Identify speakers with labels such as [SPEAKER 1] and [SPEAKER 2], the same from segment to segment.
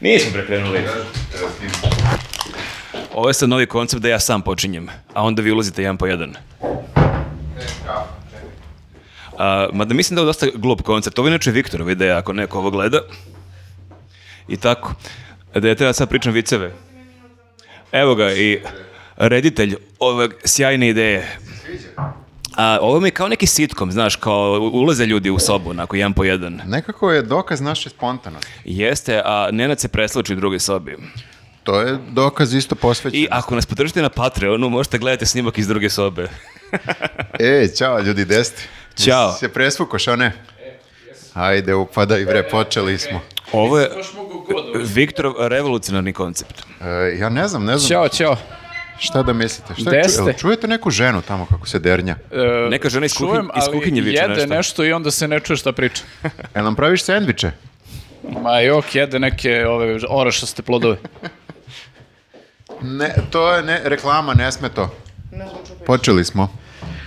[SPEAKER 1] Nismo prekrenuli. Ovo je sad novi koncept da ja sam počinjem, a onda vi ulazite jedan po jedan. A, mada mislim da je ovo dosta glup koncept. Ovo je inače Viktorova ideja, ako neko ovo gleda. I tako. Da ja treba sad pričam viceve. Evo ga i reditelj ove sjajne ideje. A, ovo mi je kao neki sitkom, znaš, kao ulaze ljudi u sobu, onako, jedan po jedan.
[SPEAKER 2] Nekako je dokaz naše spontanosti.
[SPEAKER 1] Jeste, a Nenad se presloči u drugoj sobi.
[SPEAKER 2] To je dokaz isto posvećen.
[SPEAKER 1] I ako nas podržite na Patreonu, možete gledati snimak iz druge sobe.
[SPEAKER 2] E, čao ljudi, desti.
[SPEAKER 1] Ćao.
[SPEAKER 2] Se presvukoš, a ne? Ajde, upadaj bre, počeli smo.
[SPEAKER 1] Ovo je Viktorov eh, revolucionarni koncept.
[SPEAKER 2] E, ja ne znam, ne znam
[SPEAKER 3] Ćao, ćao.
[SPEAKER 2] šta da mislite. Šta je-
[SPEAKER 3] Deste.
[SPEAKER 2] jel čujete neku ženu tamo kako se dernja?
[SPEAKER 3] E,
[SPEAKER 1] Neka žena iz kuhinje-
[SPEAKER 3] čujem,
[SPEAKER 1] iz
[SPEAKER 3] ali
[SPEAKER 1] kuhinje viče
[SPEAKER 3] jede
[SPEAKER 1] nešto.
[SPEAKER 3] nešto. i onda se ne čuje šta priča.
[SPEAKER 2] Jel nam praviš sendviče?
[SPEAKER 3] Ma jok, jede neke ove orašaste plodove.
[SPEAKER 2] Ne, to je ne, reklama, ne sme to. Počeli smo,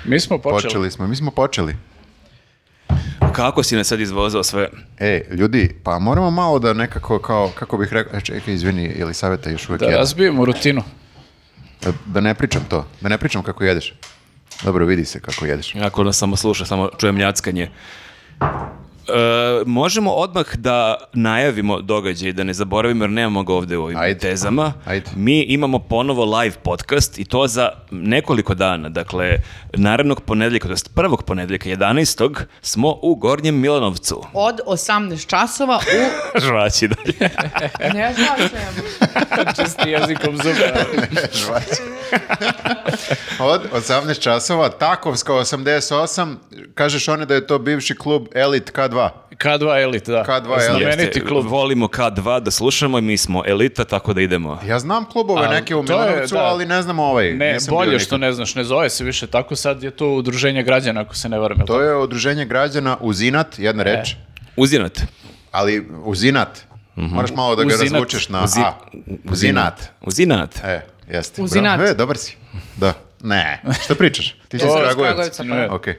[SPEAKER 3] Mi smo počeli.
[SPEAKER 2] počeli smo, mi smo počeli.
[SPEAKER 1] Kako si nas sad izvozao sve?
[SPEAKER 2] E, ljudi, pa moramo malo da nekako kao, kako bih rekao, e, čekaj, izvini, je li savjeta još uvijek
[SPEAKER 3] Da
[SPEAKER 2] jede?
[SPEAKER 3] razbijemo rutinu.
[SPEAKER 2] E, Da ne pričam to, da ne pričam kako jedeš. Dobro, vidi se kako jedeš.
[SPEAKER 1] Ako nas samo sluša, samo čujem ljackanje. E, možemo odmah da najavimo događaj, da ne zaboravimo jer nemamo ga ovde u ovim
[SPEAKER 2] Ajde.
[SPEAKER 1] tezama.
[SPEAKER 2] Ajde.
[SPEAKER 1] Mi imamo ponovo live podcast i to za nekoliko dana. Dakle, narednog ponedeljka, to jest prvog ponedeljka, 11. smo u Gornjem Milanovcu.
[SPEAKER 4] Od 18 časova u...
[SPEAKER 1] Žvaći dalje.
[SPEAKER 3] E.
[SPEAKER 4] Ne znam se.
[SPEAKER 3] Čisti jezikom zuba.
[SPEAKER 2] Od 18 časova, Takovska 88, kažeš one da je to bivši klub Elite K2.
[SPEAKER 3] K2 Elite, da.
[SPEAKER 2] K2 Elite.
[SPEAKER 3] Znameniti
[SPEAKER 1] Jeste,
[SPEAKER 3] klub.
[SPEAKER 1] Volimo K2 da slušamo i mi smo elita, tako da idemo.
[SPEAKER 2] Ja znam klubove
[SPEAKER 3] A,
[SPEAKER 2] neke u
[SPEAKER 3] to je,
[SPEAKER 2] Milanovcu,
[SPEAKER 3] da.
[SPEAKER 2] ali ne znam ovaj.
[SPEAKER 3] Ne,
[SPEAKER 2] nisam bio
[SPEAKER 3] bolje
[SPEAKER 2] nikad.
[SPEAKER 3] što ne znaš, ne zove se više tako, sad je to udruženje građana, ako se ne varam. jel
[SPEAKER 2] To je udruženje građana Uzinat, jedna reč,
[SPEAKER 3] E.
[SPEAKER 1] Uzinat.
[SPEAKER 2] ali Uzinat. Moraš malo da ga
[SPEAKER 3] Uzinat.
[SPEAKER 2] razvučeš na
[SPEAKER 1] Uzi-
[SPEAKER 2] A. Uzinat.
[SPEAKER 1] Uzinat.
[SPEAKER 2] E, jeste.
[SPEAKER 4] Uzinat.
[SPEAKER 2] Bravo. E, dobar si. Da. Ne. Šta pričaš? Ti si
[SPEAKER 3] To-
[SPEAKER 2] iz
[SPEAKER 3] iz
[SPEAKER 2] Kragujevca.
[SPEAKER 4] Kragujevca,
[SPEAKER 3] pa. Ne.
[SPEAKER 2] Ok. E,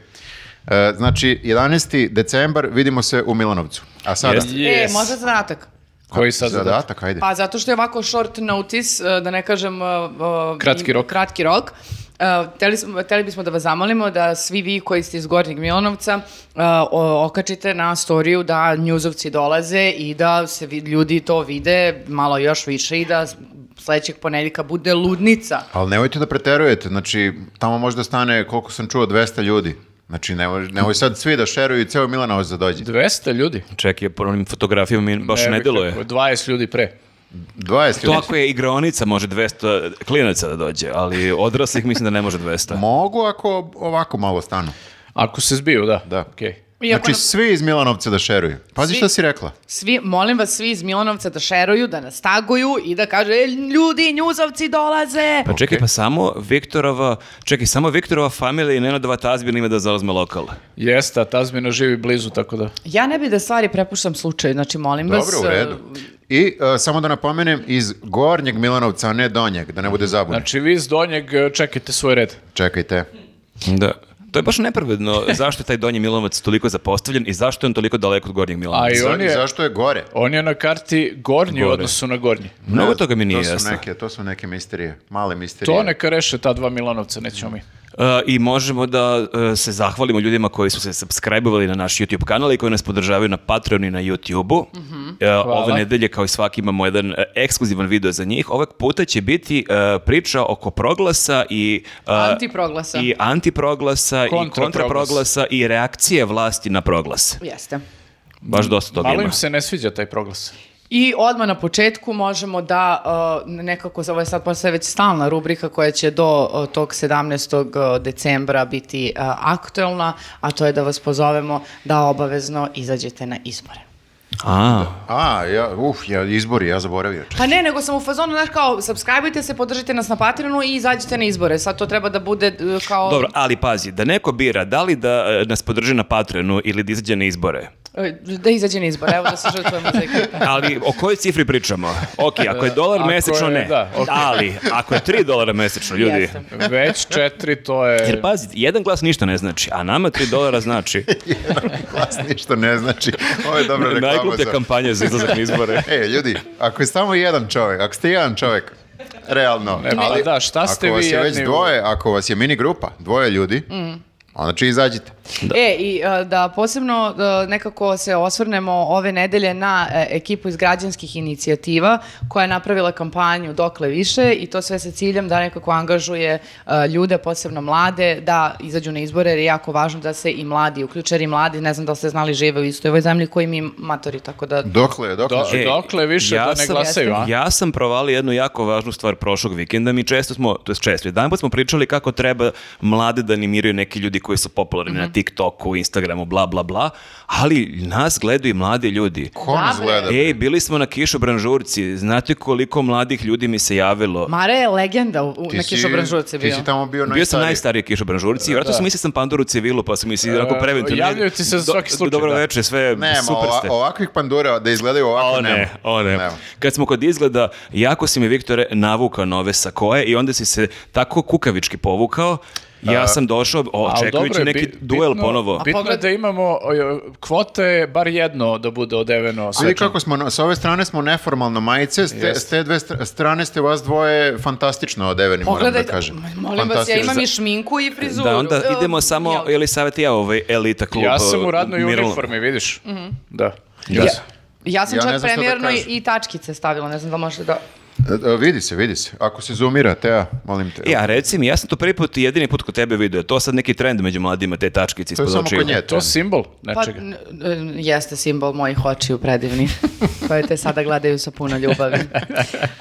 [SPEAKER 2] znači, 11. decembar vidimo se u Milanovcu. A sada?
[SPEAKER 1] Jeste.
[SPEAKER 4] E,
[SPEAKER 3] Yes.
[SPEAKER 4] možda zadatak.
[SPEAKER 3] Koji sad zadatak?
[SPEAKER 2] Zadatak, ajde.
[SPEAKER 4] Pa zato što je ovako short notice, e, da ne kažem... e, e,
[SPEAKER 3] Kratki rok.
[SPEAKER 4] Kratki rok. E, Hteli, smo- hteli bismo da vas zamolimo da svi vi koji ste iz Gornjeg Milanovca e, o- okačite na storiju da njuzovci dolaze i da se vi- ljudi to vide malo još više i da s- sledećeg ponedjeljka bude ludnica.
[SPEAKER 2] Ali nemojte da preterujete, znači tamo možda stane, koliko sam čuo, 200 ljudi. Znači nemoj, nemoj sad svi da šeruju i ceo Milanovac da dođe.
[SPEAKER 3] 200 ljudi.
[SPEAKER 1] Čekaj, po onim fotografijama mi baš ne,
[SPEAKER 3] bih
[SPEAKER 1] deluje.
[SPEAKER 3] rekao, 20 ljudi pre.
[SPEAKER 2] 20
[SPEAKER 1] To
[SPEAKER 2] ljudi.
[SPEAKER 1] ako je igraonica, može 200 klinaca da dođe, ali odraslih mislim da ne može 200.
[SPEAKER 2] Mogu ako ovako malo stanu.
[SPEAKER 3] Ako se zbiju, da.
[SPEAKER 2] Da.
[SPEAKER 3] Okej.
[SPEAKER 4] Iako
[SPEAKER 2] znači
[SPEAKER 4] nam-
[SPEAKER 2] svi iz Milanovca da šeruju. Pazi
[SPEAKER 4] Svi.
[SPEAKER 2] šta si rekla.
[SPEAKER 4] Svi, molim vas, svi iz Milanovca da šeruju, da nas taguju i da kaže, "E, ljudi, njuzovci dolaze!
[SPEAKER 1] Pa čekaj,
[SPEAKER 2] Okej.
[SPEAKER 1] pa samo Viktorova, čekaj, samo Viktorova familija i Nenadova tazbina ima da zauzme lokal.
[SPEAKER 3] Jeste, a Tazmina živi blizu, tako da...
[SPEAKER 4] Ja ne bi da stvari prepuštam slučaju, znači molim vas...
[SPEAKER 2] Dobro, u redu.
[SPEAKER 4] e,
[SPEAKER 2] I e, samo da napomenem, iz gornjeg Milanovca, a ne donjeg, da ne bude zabune.
[SPEAKER 3] Znači, vi iz Donjeg e, čekajte svoj red.
[SPEAKER 2] Čekajte.
[SPEAKER 1] Da. To je baš nepravedno zašto je taj Donji Milovac toliko zapostavljen i zašto je on toliko daleko od Gornjeg
[SPEAKER 3] A
[SPEAKER 1] Milovca.
[SPEAKER 3] i
[SPEAKER 2] Za-
[SPEAKER 3] on je-
[SPEAKER 2] Zašto je gore?
[SPEAKER 3] On je na karti gornji u
[SPEAKER 1] Gore.
[SPEAKER 3] odnosu na gornji.
[SPEAKER 1] Mnogo toga mi nije
[SPEAKER 2] to su,
[SPEAKER 1] jasno.
[SPEAKER 2] neke, to su neke misterije, male misterije.
[SPEAKER 3] To neka reše ta dva Milanovca, nećemo mi.
[SPEAKER 1] E, I možemo da e, se zahvalimo ljudima koji su se subscribe-ovali na naš YouTube kanal i koji nas podržavaju na Patreonu i na YouTubeu. E, ove nedelje, kao i svaki, imamo jedan e, ekskluzivan video za njih. Ovog puta će biti e, priča oko proglasa i... e,
[SPEAKER 4] Antiproglasa.
[SPEAKER 1] I antiproglasa i
[SPEAKER 3] Kontraproglas.
[SPEAKER 1] kontraproglasa i reakcije vlasti na proglas.
[SPEAKER 4] Jeste.
[SPEAKER 1] Baš dosta toga
[SPEAKER 3] Malo
[SPEAKER 1] ima.
[SPEAKER 3] im se ne sviđa taj proglas.
[SPEAKER 4] I odmah na početku možemo da e, nekako, ovo je sad postaje već stalna rubrika koja će do e, tog 17. decembra biti e, aktuelna, a to je da vas pozovemo da obavezno izađete na izbore.
[SPEAKER 1] A,
[SPEAKER 2] A, ja, uf, ja, izbori, ja zaboravio.
[SPEAKER 4] Pa ne, nego sam u fazonu, znaš, kao, subscribe-ujte se, podržite nas na Patreonu i izađite na izbore. Sad to treba da bude e, kao...
[SPEAKER 1] dobro, ali pazi, da neko bira, da li da e, nas podrži na Patreonu ili da izađe na izbore?
[SPEAKER 4] E, Da izađe na izbor, evo da se žrtvujemo za ekipu.
[SPEAKER 1] Ali o kojoj cifri pričamo? Ok, ako je dolar
[SPEAKER 3] Ako je,
[SPEAKER 1] mesečno, ne.
[SPEAKER 3] da, ok.
[SPEAKER 1] Ali, ako je 3 dolara mesečno, ljudi...
[SPEAKER 4] Jeste.
[SPEAKER 3] Već četiri, to je...
[SPEAKER 1] Jer pa- pazi, jedan glas ništa ne znači, a nama 3 dolara znači.
[SPEAKER 2] Glas ništa ne znači. Ovo je dobra reklama
[SPEAKER 1] Najgluplja
[SPEAKER 2] za...
[SPEAKER 1] kampanja za izlazak na izbore.
[SPEAKER 2] E, ljudi, ako je samo jedan čovjek, ako ste jedan čovjek, realno.
[SPEAKER 3] pa da, šta ste
[SPEAKER 2] ako
[SPEAKER 3] vi
[SPEAKER 2] vas je već
[SPEAKER 3] jedni u- Mm.
[SPEAKER 2] dvoje, ako vas je mini grupa, dvoje ljudi, onda znači izađite.
[SPEAKER 4] E, i e, da posebno e, nekako se osvrnemo ove nedelje na e, ekipu iz građanskih inicijativa koja je napravila kampanju Dokle više i to sve sa ciljem da nekako angažuje e, ljude, posebno mlade, da izađu na izbore jer je jako važno da se i mladi uključe, jer i mladi, ne znam da li ste znali, žive u istoj ovoj zemlji koji mi matori, tako da...
[SPEAKER 2] Dokle, dokle.
[SPEAKER 3] Do-
[SPEAKER 1] E,
[SPEAKER 3] dokle više da ne
[SPEAKER 1] sam-
[SPEAKER 3] glasaju, a?
[SPEAKER 1] Ja sam provali jednu jako važnu stvar prošlog vikenda. Mi često smo, to je često, jedan put smo pričali kako treba mlade da animiraju neki ljudi koji su popularni na TikToku, Instagramu, bla, bla, bla, ali nas gledaju i mladi ljudi.
[SPEAKER 2] Ko nas
[SPEAKER 4] Da, bre.
[SPEAKER 2] gleda?
[SPEAKER 1] Ej, bili smo na Kišu Branžurci, znate koliko mladih ljudi mi se javilo?
[SPEAKER 4] Mare je legenda u, u
[SPEAKER 2] Ti
[SPEAKER 4] na
[SPEAKER 2] si-
[SPEAKER 4] Kišobranžurce bio.
[SPEAKER 2] Ti si tamo bio,
[SPEAKER 1] Bio sam
[SPEAKER 2] najstariji.
[SPEAKER 1] najstariji Kišo Branžurci i vratno sam mislio sam Pandur u civilu, pa sam mislio onako
[SPEAKER 3] E,
[SPEAKER 1] preventivno.
[SPEAKER 3] javljaju ti se za
[SPEAKER 1] Do-
[SPEAKER 3] svaki slučaj,
[SPEAKER 1] Dobro
[SPEAKER 3] da.
[SPEAKER 1] večer, sve
[SPEAKER 2] Nema,
[SPEAKER 1] super
[SPEAKER 2] ova-
[SPEAKER 1] ste.
[SPEAKER 2] ovakvih pandura da izgledaju ovako
[SPEAKER 1] O ne,
[SPEAKER 2] nema.
[SPEAKER 1] o ne.
[SPEAKER 2] Nema.
[SPEAKER 1] Kad smo kod izgleda, jako si mi, Viktore, navukao nove sakoje i onda si se tako kukavički povukao. Ja sam došao
[SPEAKER 3] Ali dobro
[SPEAKER 1] očekujući
[SPEAKER 3] je,
[SPEAKER 1] neki
[SPEAKER 3] bit-
[SPEAKER 1] duel
[SPEAKER 3] bitno-
[SPEAKER 1] ponovo.
[SPEAKER 3] Bitno je
[SPEAKER 4] pogled-
[SPEAKER 3] da imamo o, kvote, bar jedno da bude odeveno.
[SPEAKER 2] Vidi
[SPEAKER 3] svečano.
[SPEAKER 2] kako smo, na- s ove strane smo neformalno majice, s te, s te dve str- strane ste vas dvoje fantastično odeveni, moram
[SPEAKER 4] Pogledajte,
[SPEAKER 2] da kažem.
[SPEAKER 4] ma- molim vas, ja
[SPEAKER 2] Fantastično.
[SPEAKER 4] imam i šminku i frizuru.
[SPEAKER 1] Da, onda
[SPEAKER 4] E,
[SPEAKER 1] idemo samo,
[SPEAKER 4] jel-
[SPEAKER 1] ili savjet i ja, ovaj elita klub.
[SPEAKER 3] Ja sam
[SPEAKER 1] uh,
[SPEAKER 3] u radnoj
[SPEAKER 1] Mirlo-
[SPEAKER 3] uniformi, vidiš? Da.
[SPEAKER 2] Ja-
[SPEAKER 3] Jes.
[SPEAKER 4] Ja sam
[SPEAKER 2] Ja ne
[SPEAKER 4] čak
[SPEAKER 2] znam šta da
[SPEAKER 4] premjerno i,
[SPEAKER 2] kažem.
[SPEAKER 4] i tačkice stavila, ne znam da možete da...
[SPEAKER 2] E, e, Vidi se, vidi se. Ako se zoomira, Teja, molim te.
[SPEAKER 1] E, a reci mi, ja sam to prvi put i jedini put kod tebe video. To sad neki trend među mladima, te tačkice
[SPEAKER 2] to je
[SPEAKER 1] ispod
[SPEAKER 2] samo
[SPEAKER 1] očiju.
[SPEAKER 2] kod nje.
[SPEAKER 3] E, To
[SPEAKER 2] to
[SPEAKER 3] je simbol
[SPEAKER 4] Pa,
[SPEAKER 3] nečega.
[SPEAKER 4] n- n- jeste simbol mojih očiju predivnih, koje te sada gledaju sa puno ljubavi.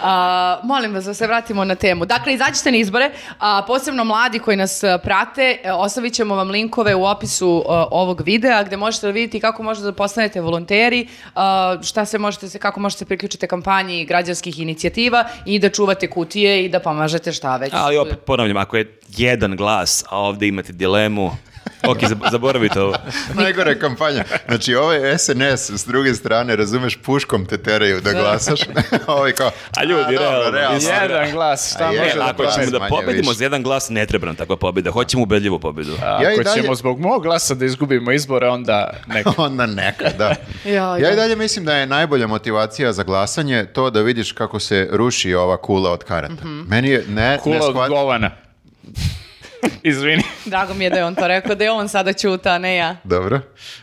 [SPEAKER 4] A, molim vas da se vratimo na temu. Dakle, izađite na izbore, a posebno mladi koji nas e, prate, e, ostavit ćemo vam linkove u opisu e, ovog videa gde možete da vidite kako možete da postanete volonteri, a, šta se možete, se, kako možete priključiti kampanji građanskih inicijativa i da čuvate kutije i da pomažete šta već.
[SPEAKER 1] Ali opet ponavljam, ako je jedan glas, a ovdje imate dilemu, ok, zab- zaboravite ovo.
[SPEAKER 2] Najgore kampanja. Znači, ovaj SNS s druge strane, razumeš, puškom te teraju da glasaš. Ovi kao,
[SPEAKER 1] A ljudi,
[SPEAKER 2] dobro,
[SPEAKER 1] realno, mislim,
[SPEAKER 3] Jedan glas, šta
[SPEAKER 2] A je,
[SPEAKER 1] E,
[SPEAKER 3] može da
[SPEAKER 1] ako
[SPEAKER 2] glas
[SPEAKER 1] ćemo da
[SPEAKER 2] manje,
[SPEAKER 1] pobedimo
[SPEAKER 2] više.
[SPEAKER 1] za jedan glas, ne treba nam takva pobjeda. Hoćemo ubedljivu pobjedu.
[SPEAKER 3] Ako
[SPEAKER 2] Ja i dalje-
[SPEAKER 3] ćemo zbog mog glasa da izgubimo izbore, onda neka.
[SPEAKER 2] Onda neka, da.
[SPEAKER 4] Ja,
[SPEAKER 2] ja
[SPEAKER 4] ja.
[SPEAKER 2] i dalje mislim da je najbolja motivacija za glasanje to da vidiš kako se ruši ova kula od karata.
[SPEAKER 4] Mhm.
[SPEAKER 2] Meni je ne, ne
[SPEAKER 3] Kula od
[SPEAKER 2] shvat-
[SPEAKER 3] govana. Izvini.
[SPEAKER 4] Drago mi je da je on to rekao, da je on sada ćuta, a ne ja.
[SPEAKER 2] Dobro.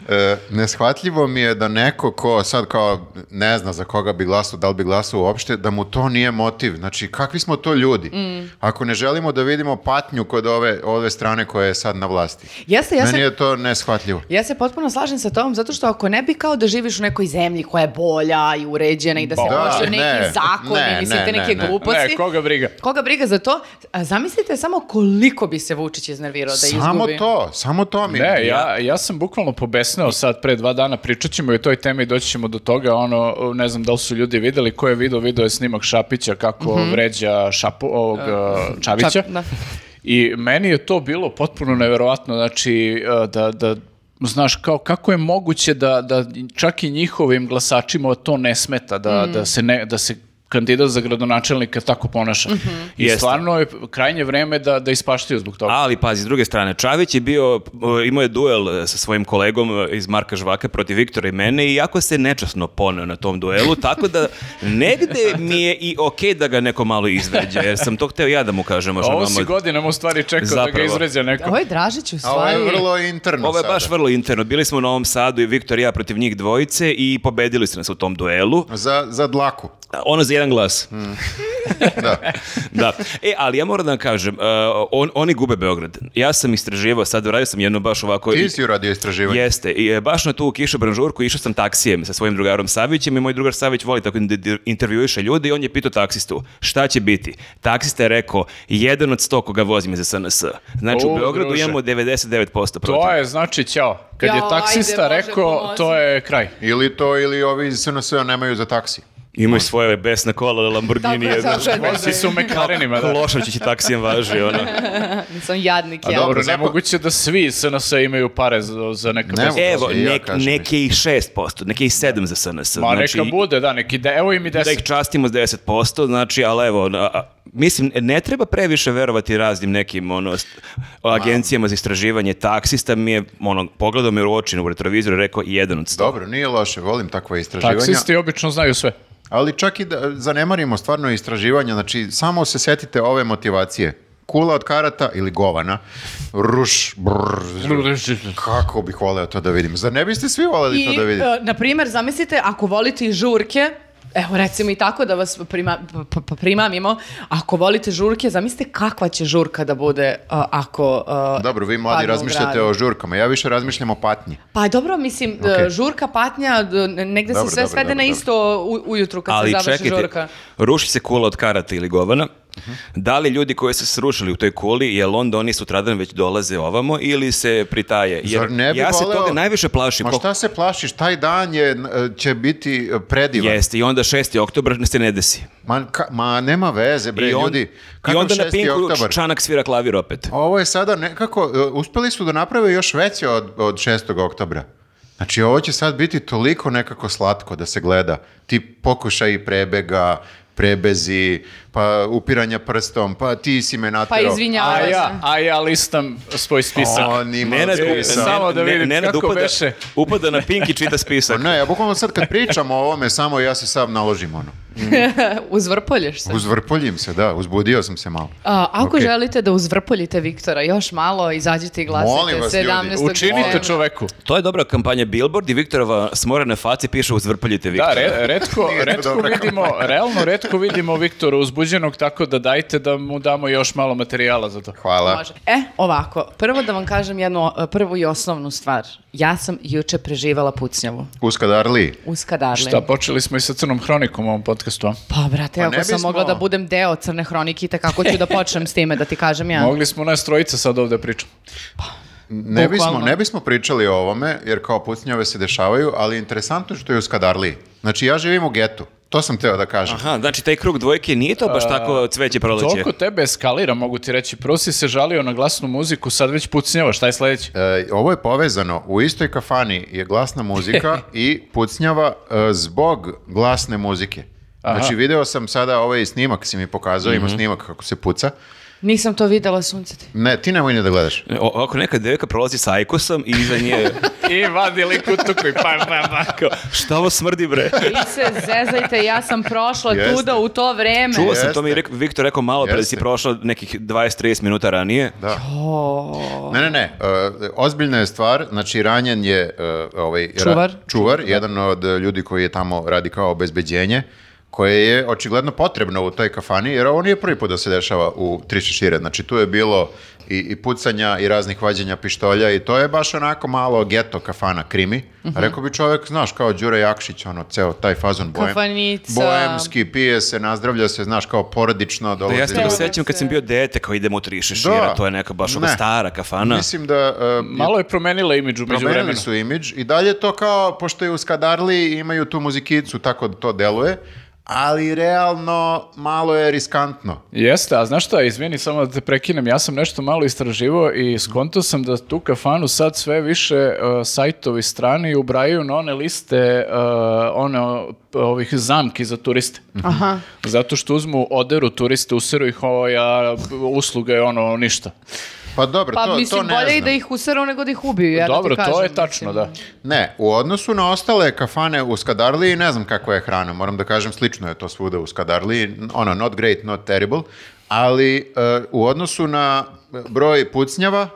[SPEAKER 2] E, neshvatljivo mi je da neko ko sad kao ne zna za koga bi glasao, da li bi glasao uopšte, da mu to nije motiv. Znači, kakvi smo to ljudi?
[SPEAKER 4] Mm.
[SPEAKER 2] Ako ne želimo da vidimo patnju kod ove, ove strane koja je sad na vlasti.
[SPEAKER 4] Jeste, ja
[SPEAKER 2] Meni
[SPEAKER 4] se,
[SPEAKER 2] je to neshvatljivo.
[SPEAKER 4] ja se potpuno slažem sa tobom, zato što ako ne bi kao da živiš u nekoj zemlji koja je bolja i uređena i da se
[SPEAKER 3] Da,
[SPEAKER 4] poštuju neki
[SPEAKER 2] ne,
[SPEAKER 4] zakoni,
[SPEAKER 2] ne,
[SPEAKER 4] mislim,
[SPEAKER 2] ne,
[SPEAKER 4] te
[SPEAKER 2] ne,
[SPEAKER 4] neke
[SPEAKER 2] ne.
[SPEAKER 4] gluposti.
[SPEAKER 3] Ne, koga briga.
[SPEAKER 4] Koga briga za to? A, zamislite samo koliko bi se Vučić iznervirao da izgubi.
[SPEAKER 2] Samo to, samo to mi.
[SPEAKER 3] Ne, ja, ja sam bukvalno pobesneo sad pre dva dana, pričat ćemo i o toj temi, doći ćemo do toga, ono, ne znam da li su ljudi videli, ko je video, video je snimak Šapića kako vređa Šapu, ovog, uh, Čavića.
[SPEAKER 4] Čap- da.
[SPEAKER 3] I meni je to bilo potpuno neverovatno, znači e, da, da znaš kao kako je moguće da, da čak i njihovim glasačima to ne smeta da, da se ne da se kandidat za gradonačelnika tako ponaša. I
[SPEAKER 1] Jeste.
[SPEAKER 3] stvarno je krajnje vreme da da ispaštaju zbog toga.
[SPEAKER 1] Ali pazi, s druge strane, Čavić je bio, e, imao je duel e, sa svojim kolegom e, iz Marka Žvaka protiv Viktora i mene i jako se nečasno poneo na tom duelu, tako da negde mi je i okej da ga neko malo izveđe, jer sam to hteo ja da mu kažem. možda
[SPEAKER 3] Pa Ovo
[SPEAKER 1] mama-
[SPEAKER 3] si godinama u stvari čekao da
[SPEAKER 1] Zapravo.
[SPEAKER 3] ga izređa neko.
[SPEAKER 4] Ovo je Dražić u
[SPEAKER 2] A ovo
[SPEAKER 4] stvari.
[SPEAKER 2] je vrlo interno
[SPEAKER 1] Ovo je
[SPEAKER 2] sada.
[SPEAKER 1] baš vrlo interno. Bili smo u Novom Sadu i Viktor i ja protiv njih dvojice i pobedili su nas u tom duelu.
[SPEAKER 2] Za, za dlaku.
[SPEAKER 1] Ono za jedan glas.
[SPEAKER 3] Hmm.
[SPEAKER 2] Da.
[SPEAKER 1] da. E, ali ja moram da vam kažem, uh, on, oni gube Beograd. Ja sam istraživao, sad uradio sam jedno baš ovako...
[SPEAKER 2] Ti si uradio istraživanje.
[SPEAKER 1] Jeste, i e, baš na tu kišu branžurku išao sam taksijem sa svojim drugarom Savićem i moj drugar Savić voli tako da dir- intervjuiše ljudi i on je pitao taksistu šta će biti. Taksista je rekao, jedan od sto koga vozim je za SNS. Znači
[SPEAKER 3] O,
[SPEAKER 1] u Beogradu
[SPEAKER 3] druže.
[SPEAKER 1] imamo 99% protiv.
[SPEAKER 3] To je znači ćao. Kad je
[SPEAKER 4] Jao,
[SPEAKER 3] taksista
[SPEAKER 4] ajde, Bože,
[SPEAKER 3] rekao
[SPEAKER 4] pomozi.
[SPEAKER 3] to je kraj.
[SPEAKER 2] Ili to, ili ovi iz SNS-a nemaju za taksi.
[SPEAKER 1] Imaju svoje besne kola, Lamborghini,
[SPEAKER 4] Tako je,
[SPEAKER 1] jedno.
[SPEAKER 4] tako je.
[SPEAKER 3] Vozi se u mekarenima, da.
[SPEAKER 1] Lošačić i taksijem važi, ono.
[SPEAKER 4] Sam jadnik,
[SPEAKER 2] A
[SPEAKER 4] ja.
[SPEAKER 2] dobro,
[SPEAKER 3] Dobro,
[SPEAKER 2] zapo-
[SPEAKER 3] nemoguće da svi SNS imaju pare za, za neka
[SPEAKER 2] Ne
[SPEAKER 3] bez-
[SPEAKER 2] mogu.
[SPEAKER 1] Evo,
[SPEAKER 2] I ja
[SPEAKER 1] nek,
[SPEAKER 2] kažem.
[SPEAKER 1] neke i 6%, neke i 7 za SNS.
[SPEAKER 3] Ma
[SPEAKER 1] znači,
[SPEAKER 3] neka bude, da, neki de, evo im i
[SPEAKER 1] da ih
[SPEAKER 3] deset.
[SPEAKER 1] častimo s 10%, znači, ali evo, na- a- mislim, ne treba previše verovati raznim nekim ono, st- agencijama za istraživanje taksista, mi je, ono, pogledao me u oči u retrovizor i rekao jedan od sto.
[SPEAKER 2] Dobro, nije loše, volim takva istraživanja.
[SPEAKER 3] Taksisti obično znaju sve.
[SPEAKER 2] Ali čak i da zanemarimo stvarno istraživanja, znači samo se setite ove motivacije. Kula od karata ili govana. Ruš, brr, kako bih voleo to da vidim. Zar ne biste svi voleli to
[SPEAKER 4] I,
[SPEAKER 2] da vidite?
[SPEAKER 4] e, na primjer, zamislite, ako volite i žurke, evo recimo i tako da vas prima, p- p- primamimo, ako volite žurke, zamislite kakva će žurka da bude a, ako...
[SPEAKER 1] E.
[SPEAKER 4] a,
[SPEAKER 2] Dobro, vi mladi
[SPEAKER 4] padnu u
[SPEAKER 2] razmišljate
[SPEAKER 4] gradu.
[SPEAKER 2] o žurkama, ja više razmišljam o patnji.
[SPEAKER 4] Pa dobro, mislim,
[SPEAKER 2] Okej.
[SPEAKER 4] e, žurka, patnja, d- negde
[SPEAKER 2] Dobro,
[SPEAKER 4] se sve
[SPEAKER 2] dobro,
[SPEAKER 4] svede na
[SPEAKER 2] dobro,
[SPEAKER 4] isto u- ujutru kad
[SPEAKER 1] Ali
[SPEAKER 4] se završi
[SPEAKER 1] čekajte,
[SPEAKER 4] žurka.
[SPEAKER 1] ruši se kula od karata ili govana,
[SPEAKER 2] Mhm.
[SPEAKER 1] da li ljudi koji su se srušili u toj kuli, jel onda oni sutradan već dolaze ovamo ili se pritaje? Jer
[SPEAKER 2] Zar ne bi
[SPEAKER 1] ja se
[SPEAKER 2] voleo-
[SPEAKER 1] toga najviše plašim.
[SPEAKER 2] Ma
[SPEAKER 1] ko-
[SPEAKER 2] šta se plašiš, taj dan je, n- će biti e, predivan.
[SPEAKER 1] Jeste, i onda 6. oktober se ne desi.
[SPEAKER 2] Ma, ka- ma nema veze, bre,
[SPEAKER 1] I, on-
[SPEAKER 2] ljudi.
[SPEAKER 1] I
[SPEAKER 2] Kakav
[SPEAKER 1] onda na
[SPEAKER 2] 6.
[SPEAKER 1] Pinku
[SPEAKER 2] oktobar?
[SPEAKER 1] Čanak svira klavir opet.
[SPEAKER 2] Ovo je sada nekako, e, uspeli su da naprave još veće od, od 6. oktobra. Znači, ovo će sad biti toliko nekako slatko da se gleda. Ti pokušaj prebega, prebezi, pa upiranja prstom, pa ti si me
[SPEAKER 4] Pa
[SPEAKER 2] naterao.
[SPEAKER 3] A
[SPEAKER 4] izvinjavam
[SPEAKER 3] ja,
[SPEAKER 4] se.
[SPEAKER 3] a ja listam svoj spisak.
[SPEAKER 2] On ima
[SPEAKER 1] Nenad,
[SPEAKER 3] E,
[SPEAKER 2] spisak.
[SPEAKER 3] samo da vidim kako
[SPEAKER 1] upada,
[SPEAKER 3] beše.
[SPEAKER 1] upada na Pink i čita
[SPEAKER 2] Pa
[SPEAKER 1] spisak.
[SPEAKER 2] Ne, ja bukvalno sad kad pričam o ovome, samo ja se sam naložim ono.
[SPEAKER 4] Uzvrpolješ se.
[SPEAKER 2] Uzvrpoljim se, da, uzbudio sam se malo.
[SPEAKER 4] A, ako
[SPEAKER 2] Ok.
[SPEAKER 4] želite da uzvrpoljite Viktora još malo, izađite i glasite.
[SPEAKER 2] Molim vas, ljudi,
[SPEAKER 4] 17.
[SPEAKER 3] Učinite
[SPEAKER 4] decembra.
[SPEAKER 3] čoveku.
[SPEAKER 1] To je dobra kampanja Billboard i Viktorova smorana faci piše uzvrpoljite Viktora.
[SPEAKER 3] Da, re- redko,
[SPEAKER 2] Nije to
[SPEAKER 3] redko
[SPEAKER 2] dobra
[SPEAKER 3] vidimo, realno redko vidimo Viktora uzbuđenog, tako da dajte da mu damo još malo materijala za to.
[SPEAKER 2] Hvala.
[SPEAKER 4] Može. E, ovako, prvo da vam kažem jednu e, prvu i osnovnu stvar. Ja sam juče preživala pucnjavu.
[SPEAKER 2] Uskadarli.
[SPEAKER 4] U Skadarliju.
[SPEAKER 3] Šta, počeli smo i sa Crnom Hronikom u ovom podcastu, a?
[SPEAKER 4] Pa,
[SPEAKER 2] Pa
[SPEAKER 4] brate,
[SPEAKER 2] ne
[SPEAKER 4] ako sam
[SPEAKER 2] bismo-
[SPEAKER 4] mogla da budem deo Crne hronike, kako ću da počnem s time, da ti kažem ja.
[SPEAKER 3] Mogli smo nas trojica sad ovde pričamo.
[SPEAKER 2] Ne bismo,
[SPEAKER 4] Bukvalno.
[SPEAKER 2] ne bismo pričali o ovome, jer kao pucnjave se dešavaju, ali interesantno je što je u Skadarliji. Znači, ja živim u getu. To sam teo da kažem.
[SPEAKER 1] Aha, znači taj krug dvojke nije to baš tako cveće proleće.
[SPEAKER 3] Toliko tebe eskalira, mogu ti reći. Prvo si se žalio na glasnu muziku, sad već pucnjava, šta je sledeće?
[SPEAKER 2] E, ovo je povezano, u istoj kafani je glasna muzika i pucnjava e, zbog glasne muzike. Znači, video sam sada ovaj snimak, si mi pokazao, ima snimak kako se puca.
[SPEAKER 4] Nisam to videla, sunce ti.
[SPEAKER 2] Ne, ti nemoj ni da gledaš.
[SPEAKER 1] E, O, ako neka devika prolazi sa ajkosom i iza nje
[SPEAKER 3] I vadi lik u tuku i pa, pa, pa.
[SPEAKER 1] kao, šta ovo smrdi bre?
[SPEAKER 4] Vi se zezajte, ja sam prošla
[SPEAKER 2] Jeste.
[SPEAKER 4] tuda u to vreme.
[SPEAKER 1] Čuo sam,
[SPEAKER 2] Jeste.
[SPEAKER 1] to mi je rek- Viktor rekao malo pre da si
[SPEAKER 2] Jeste.
[SPEAKER 1] prošao nekih 20-30 minuta ranije.
[SPEAKER 2] Da.
[SPEAKER 4] O,
[SPEAKER 2] Ne, ne, ne. e, ozbiljna je stvar, znači ranjen je e, ovaj, ra-
[SPEAKER 4] Čuvar.
[SPEAKER 2] čuvar, jedan od e, ljudi koji je tamo radi kao obezbeđenje, koje je očigledno potrebno u toj kafani, jer ovo nije prvi put da se dešava u tri šešire. Znači tu je bilo i, i pucanja i raznih vađenja pištolja i to je baš onako malo geto kafana krimi.
[SPEAKER 4] Mhm.
[SPEAKER 2] A Rekao bi čovjek, znaš, kao Đure Jakšić, ono, ceo taj fazon bojem.
[SPEAKER 4] Kafanica.
[SPEAKER 2] Boemski, pije se, nazdravlja se, znaš, kao porodično
[SPEAKER 1] Da,
[SPEAKER 2] dolaze
[SPEAKER 1] ja se toga
[SPEAKER 2] ljudi.
[SPEAKER 1] sećam kad sam bio dete kao idemo u tri šešira,
[SPEAKER 2] Da.
[SPEAKER 1] to je neka baš ova
[SPEAKER 2] Ne.
[SPEAKER 1] stara kafana.
[SPEAKER 2] Mislim da e,
[SPEAKER 3] Malo je promenila imidž u
[SPEAKER 2] Promenili
[SPEAKER 3] međuvremenu.
[SPEAKER 2] su imidž i dalje to kao, pošto je u Skadarli imaju tu muzikicu, tako da to deluje, ali realno malo je riskantno.
[SPEAKER 3] Jeste, a znaš šta, izvini samo da te prekinem, ja sam nešto malo istraživao i skonto sam da tu kafanu sad sve više uh, sajtovi strani ubrajaju na one liste, uh, one o- ovih zamki za turiste.
[SPEAKER 4] Aha.
[SPEAKER 3] Zato što uzmu oderu turiste, useru ih ovo, ja, usluga je ono ništa.
[SPEAKER 2] Pa dobro,
[SPEAKER 4] Pa
[SPEAKER 2] to,
[SPEAKER 4] mislim,
[SPEAKER 2] to ne
[SPEAKER 4] bolje i
[SPEAKER 2] znam.
[SPEAKER 4] da ih usaru nego da ih ubiju, ja da ti
[SPEAKER 3] Dobro, to
[SPEAKER 4] kažem,
[SPEAKER 3] je tačno,
[SPEAKER 4] mislim.
[SPEAKER 3] da.
[SPEAKER 2] Ne, u odnosu na ostale kafane u Skadarliji, ne znam kakva je hrana, moram da kažem, slično je to svuda u Skadarliji, ono, not great, not terrible, ali e, u odnosu na broj pucnjava,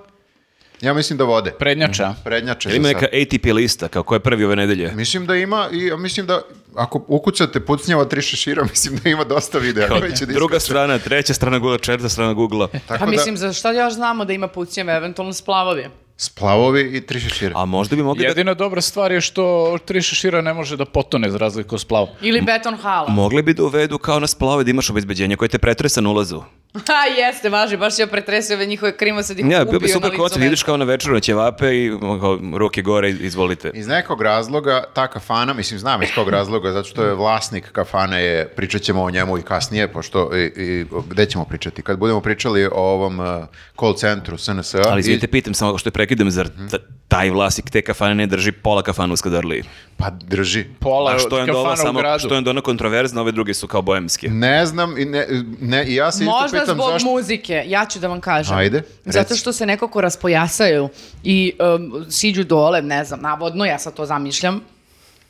[SPEAKER 2] ja mislim da vode.
[SPEAKER 1] Mhm.
[SPEAKER 3] Prednjača.
[SPEAKER 2] Prednjače
[SPEAKER 1] Jel ima
[SPEAKER 2] za sad.
[SPEAKER 1] neka ATP lista, kao ko je prvi ove nedelje?
[SPEAKER 2] Mislim da ima, i ja mislim da ako ukucate pucnjava tri šešira, mislim da ima dosta videa.
[SPEAKER 1] Kao
[SPEAKER 2] koji će da
[SPEAKER 1] druga
[SPEAKER 2] iskaču.
[SPEAKER 1] strana, treća strana Google, četvrta strana Google.
[SPEAKER 2] Tako
[SPEAKER 4] Pa
[SPEAKER 2] da,
[SPEAKER 4] mislim, za šta još znamo da ima pucnjeve, eventualno splavovi.
[SPEAKER 2] Splavovi i tri šešira.
[SPEAKER 1] A možda bi mogli da
[SPEAKER 3] Jedina dobra stvar je što tri šešira ne može da potone za razliku od splava.
[SPEAKER 4] Ili beton hala.
[SPEAKER 1] Mogli bi da uvedu kao na splave da imaš obezbeđenje koje te pretresa na ulazu.
[SPEAKER 4] Ha, jeste, važi, baš je pretresio ove njihove krimo, sad ih
[SPEAKER 1] Ne,
[SPEAKER 4] ja,
[SPEAKER 1] bio bi
[SPEAKER 4] upio na
[SPEAKER 1] super
[SPEAKER 4] licu
[SPEAKER 1] koncert, ideš kao na večeru na ćevape i ono, kao, ruke gore, izvolite.
[SPEAKER 2] Iz nekog razloga ta kafana, mislim znam iz kog razloga, zato što je vlasnik kafane je, pričat ćemo o njemu i kasnije, pošto i, i gde ćemo pričati? Kad budemo pričali o ovom eh, call centru SNS-a.
[SPEAKER 1] Ali
[SPEAKER 2] i- Mhm.
[SPEAKER 1] izvinite, pitam samo što je prekidam, zar ta- taj vlasnik te kafane ne drži pola kafana u Skadarliji?
[SPEAKER 2] Pa drži.
[SPEAKER 3] Pola
[SPEAKER 1] A što je onda ova
[SPEAKER 3] kafana u
[SPEAKER 1] samo,
[SPEAKER 3] gradu.
[SPEAKER 1] što je onda ona kontroverzna, ove druge su kao bojemske.
[SPEAKER 2] Ne znam, i ne, ne, i ja se isto
[SPEAKER 4] Možda
[SPEAKER 2] pitam
[SPEAKER 4] zbog
[SPEAKER 2] zašto...
[SPEAKER 4] muzike, ja ću da vam kažem.
[SPEAKER 2] Ajde, reci.
[SPEAKER 4] Zato što se nekako raspojasaju i um, siđu dole, ne znam, navodno, ja sad to zamišljam.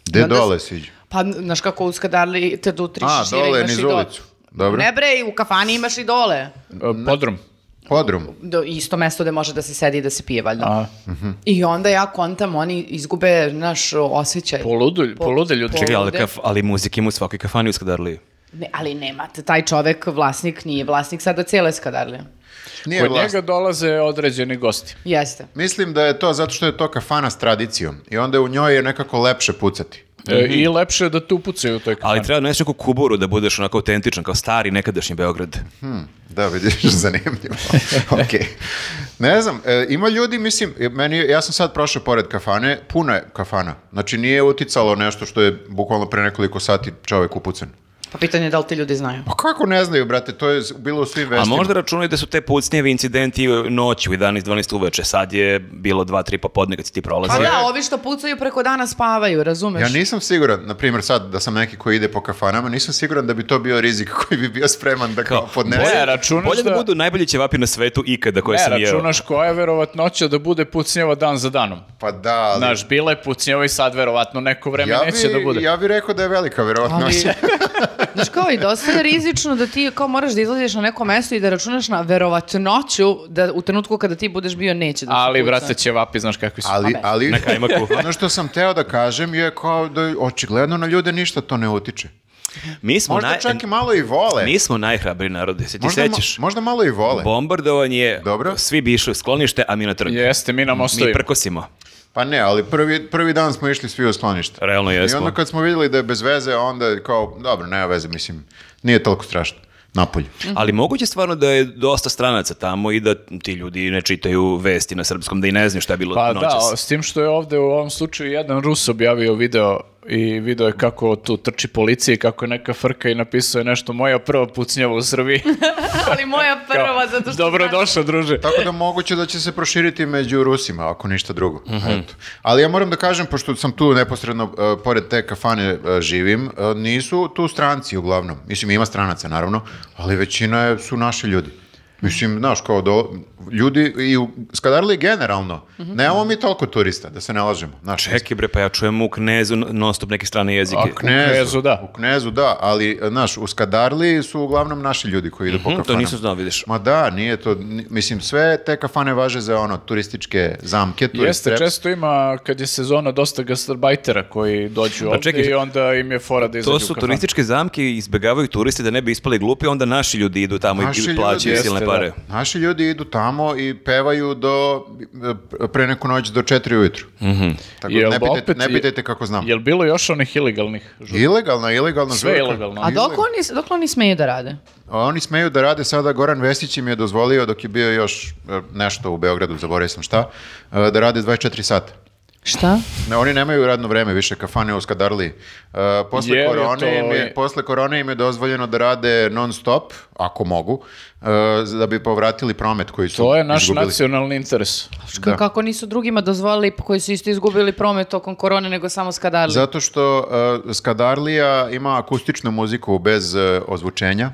[SPEAKER 2] Gde
[SPEAKER 4] onda-
[SPEAKER 2] dole siđu?
[SPEAKER 4] Pa, znaš kako uskadarli te do tri
[SPEAKER 2] A,
[SPEAKER 4] šešira
[SPEAKER 2] dole,
[SPEAKER 4] imaš
[SPEAKER 2] niz
[SPEAKER 4] i dole.
[SPEAKER 2] ulicu. Dobro.
[SPEAKER 4] Ne bre, i u kafani imaš i dole.
[SPEAKER 3] E, Podrum.
[SPEAKER 2] Podrum.
[SPEAKER 4] Do, isto mesto gde može da se sedi i da se pije, valjda.
[SPEAKER 3] A,
[SPEAKER 4] I onda ja kontam, oni izgube naš osjećaj.
[SPEAKER 3] poludu,
[SPEAKER 4] Po-
[SPEAKER 3] polude ljudi.
[SPEAKER 4] po-
[SPEAKER 1] Čekaj, ali,
[SPEAKER 4] Ovde.
[SPEAKER 1] kaf, ali muzike ima u svakoj kafani u Skadarliji.
[SPEAKER 4] Ne, ali nemate, taj čovek, vlasnik, nije vlasnik sada cijele skadarlije.
[SPEAKER 2] Nije
[SPEAKER 3] Kod
[SPEAKER 2] vlasnik.
[SPEAKER 3] njega dolaze određeni gosti.
[SPEAKER 4] Jeste.
[SPEAKER 2] Mislim da je to zato što je to kafana s tradicijom i onda u njoj je nekako lepše pucati.
[SPEAKER 3] E, I lepše je da tu pucaju u toj kafani.
[SPEAKER 1] Mhm. Ali treba da nešto neku kuboru da budeš onako autentičan, kao stari nekadašnji Beograd.
[SPEAKER 2] Da, vidiš, zanimljivo. ok. Ne znam, e, ima ljudi, mislim, e, meni, je- ja sam sad prošao pored kafane, puno je kafana. Znači nije uticalo nešto što je bukvalno pre nekoliko sati čovek upucen.
[SPEAKER 4] Pa pitanje je da li ti ljudi znaju.
[SPEAKER 2] Pa kako ne znaju, brate, to je z- bilo u svim
[SPEAKER 1] A
[SPEAKER 2] vestima.
[SPEAKER 1] možda računaju da su te pucnjevi incidenti noću, 11-12 uveče. Sad je bilo 2-3 popodne kad si ti
[SPEAKER 4] Pa
[SPEAKER 1] prolazio.
[SPEAKER 4] da, ovi što pucaju preko dana spavaju, razumeš?
[SPEAKER 2] Ja nisam siguran, na primjer sad da sam neki koji ide po kafanama, nisam siguran da bi to bio rizik koji bi bio spreman da kao
[SPEAKER 1] Kao,
[SPEAKER 3] Bolje
[SPEAKER 2] podnese.
[SPEAKER 3] računaš
[SPEAKER 1] Bolje da...
[SPEAKER 3] da-
[SPEAKER 1] budu najbolji ćevapi na svetu ikada koje
[SPEAKER 3] Ne,
[SPEAKER 1] sam jeo.
[SPEAKER 3] E, računaš koja je verovatnoća da bude pucnjava dan za danom.
[SPEAKER 2] Pa da, ali...
[SPEAKER 3] Znaš, bila je pucnjava i sad verovatno neko vreme
[SPEAKER 2] ja
[SPEAKER 3] neće
[SPEAKER 2] bi,
[SPEAKER 3] da bude.
[SPEAKER 2] ja bi rekao da je velika
[SPEAKER 4] Ali,
[SPEAKER 2] verovatnost.
[SPEAKER 4] znaš kao i dosta je rizično da ti kao moraš da izlaziš na neko mesto i da računaš na verovatnoću da u trenutku kada ti budeš bio neće da se
[SPEAKER 3] Ali,
[SPEAKER 4] puca.
[SPEAKER 3] brate, ćevapi, znaš kakvi su.
[SPEAKER 2] Ali, ali,
[SPEAKER 1] Na kajmaku.
[SPEAKER 2] ono što sam teo da kažem je kao da očigledno na ljude ništa to ne utiče.
[SPEAKER 1] Mi smo,
[SPEAKER 2] Možda
[SPEAKER 1] naj...
[SPEAKER 2] čak i malo i vole.
[SPEAKER 1] mi smo najhrabri narodi, se ti
[SPEAKER 2] možda, ma-
[SPEAKER 1] sećaš?
[SPEAKER 2] možda malo i vole.
[SPEAKER 1] Bombardovanje,
[SPEAKER 2] Dobro.
[SPEAKER 1] svi bi išli u sklonište, a mi na trg.
[SPEAKER 3] Jeste, mi na mostu
[SPEAKER 1] Mi prkosimo.
[SPEAKER 2] Pa ne, ali prvi, prvi dan smo išli svi u sklonište.
[SPEAKER 1] Realno
[SPEAKER 2] I
[SPEAKER 1] jesmo.
[SPEAKER 2] onda kad smo vidjeli da je bez veze, onda je kao, dobro, nema veze, mislim, nije toliko strašno. Napolje.
[SPEAKER 1] Ali moguće stvarno da je dosta stranaca tamo i da ti ljudi ne čitaju vesti na srpskom, da i ne znaju šta je bilo
[SPEAKER 3] Pa
[SPEAKER 1] noćas.
[SPEAKER 3] da, o- s tim što je ovde u ovom slučaju jedan Rus objavio video i video je kako tu trči policija i kako je neka frka i napisao je nešto moja prva pucnjava u Srbiji.
[SPEAKER 4] Ali moja prva, zato što...
[SPEAKER 3] Dobrodošao, druže.
[SPEAKER 2] Tako da moguće da će se proširiti među Rusima, ako ništa drugo.
[SPEAKER 3] Mhm.
[SPEAKER 2] Eto. Ali ja moram da kažem, pošto sam tu neposredno e, pored te kafane e, živim, e, nisu tu stranci uglavnom. Mislim, ima stranaca naravno, ali većina je, su naši ljudi. Mislim, znaš, kao do, ljudi i u Skadarli generalno,
[SPEAKER 3] Mhm.
[SPEAKER 2] nemamo mi toliko turista, da se ne lažemo. Znaš,
[SPEAKER 1] Čekaj bre, pa ja čujem u knezu non stop neke strane jezike.
[SPEAKER 2] A knezu,
[SPEAKER 3] Knezu, da.
[SPEAKER 2] U knezu, da, ali, e, znaš, u Skadarli su uglavnom naši ljudi koji idu po
[SPEAKER 1] Hm,
[SPEAKER 3] Mhm,
[SPEAKER 2] kafanama.
[SPEAKER 1] to nisam znao, vidiš.
[SPEAKER 2] Ma da, nije to, ni- mislim, sve te kafane važe za ono, turističke zamke, turist
[SPEAKER 3] Jeste,
[SPEAKER 2] traps.
[SPEAKER 3] često ima, kad je sezona, dosta gastarbajtera koji dođu ovde
[SPEAKER 1] čekaj,
[SPEAKER 3] i onda im je fora da izađu
[SPEAKER 1] To
[SPEAKER 3] u
[SPEAKER 1] su
[SPEAKER 3] kafanu.
[SPEAKER 1] turističke zamke i izbegavaju turisti da ne bi ispali glupi, onda naši ljudi idu tamo
[SPEAKER 2] Naši
[SPEAKER 1] i
[SPEAKER 2] ljudi,
[SPEAKER 1] plaćaju
[SPEAKER 3] jeste,
[SPEAKER 1] silne
[SPEAKER 3] da.
[SPEAKER 1] pare.
[SPEAKER 2] Naši ljudi idu tamo i pevaju do, e, pre neku noć do četiri ujutru. Tako, da
[SPEAKER 3] Mhm. Jel
[SPEAKER 2] ne,
[SPEAKER 3] da
[SPEAKER 2] pitajte,
[SPEAKER 3] opet
[SPEAKER 2] ne
[SPEAKER 3] je-
[SPEAKER 2] pitajte kako znam.
[SPEAKER 3] Jel bilo još onih ilegalnih žurka?
[SPEAKER 2] Ilegalno, ilegalno.
[SPEAKER 3] Sve
[SPEAKER 2] žurka.
[SPEAKER 3] ilegalno.
[SPEAKER 4] A dok oni, dok oni smeju da rade?
[SPEAKER 2] Oni smeju da rade sada, Goran Vesić im je dozvolio dok je bio još e, nešto u Beogradu, zaboravio sam šta, e, da rade 24 sata.
[SPEAKER 4] Šta?
[SPEAKER 2] Ne, oni nemaju radno vreme više, kafane u Skadarli. posle,
[SPEAKER 3] Je li to
[SPEAKER 2] korone im je,
[SPEAKER 3] je-
[SPEAKER 2] posle korone im je dozvoljeno da rade non stop, ako mogu, e, da bi povratili promet koji su
[SPEAKER 3] To je naš
[SPEAKER 2] izgubili.
[SPEAKER 3] nacionalni interes.
[SPEAKER 2] Da.
[SPEAKER 4] Kako nisu drugima dozvolili koji su isto izgubili promet tokom korone nego samo skadarli?
[SPEAKER 2] Zato što e, Skadarlija ima akustičnu muziku bez e, ozvučenja.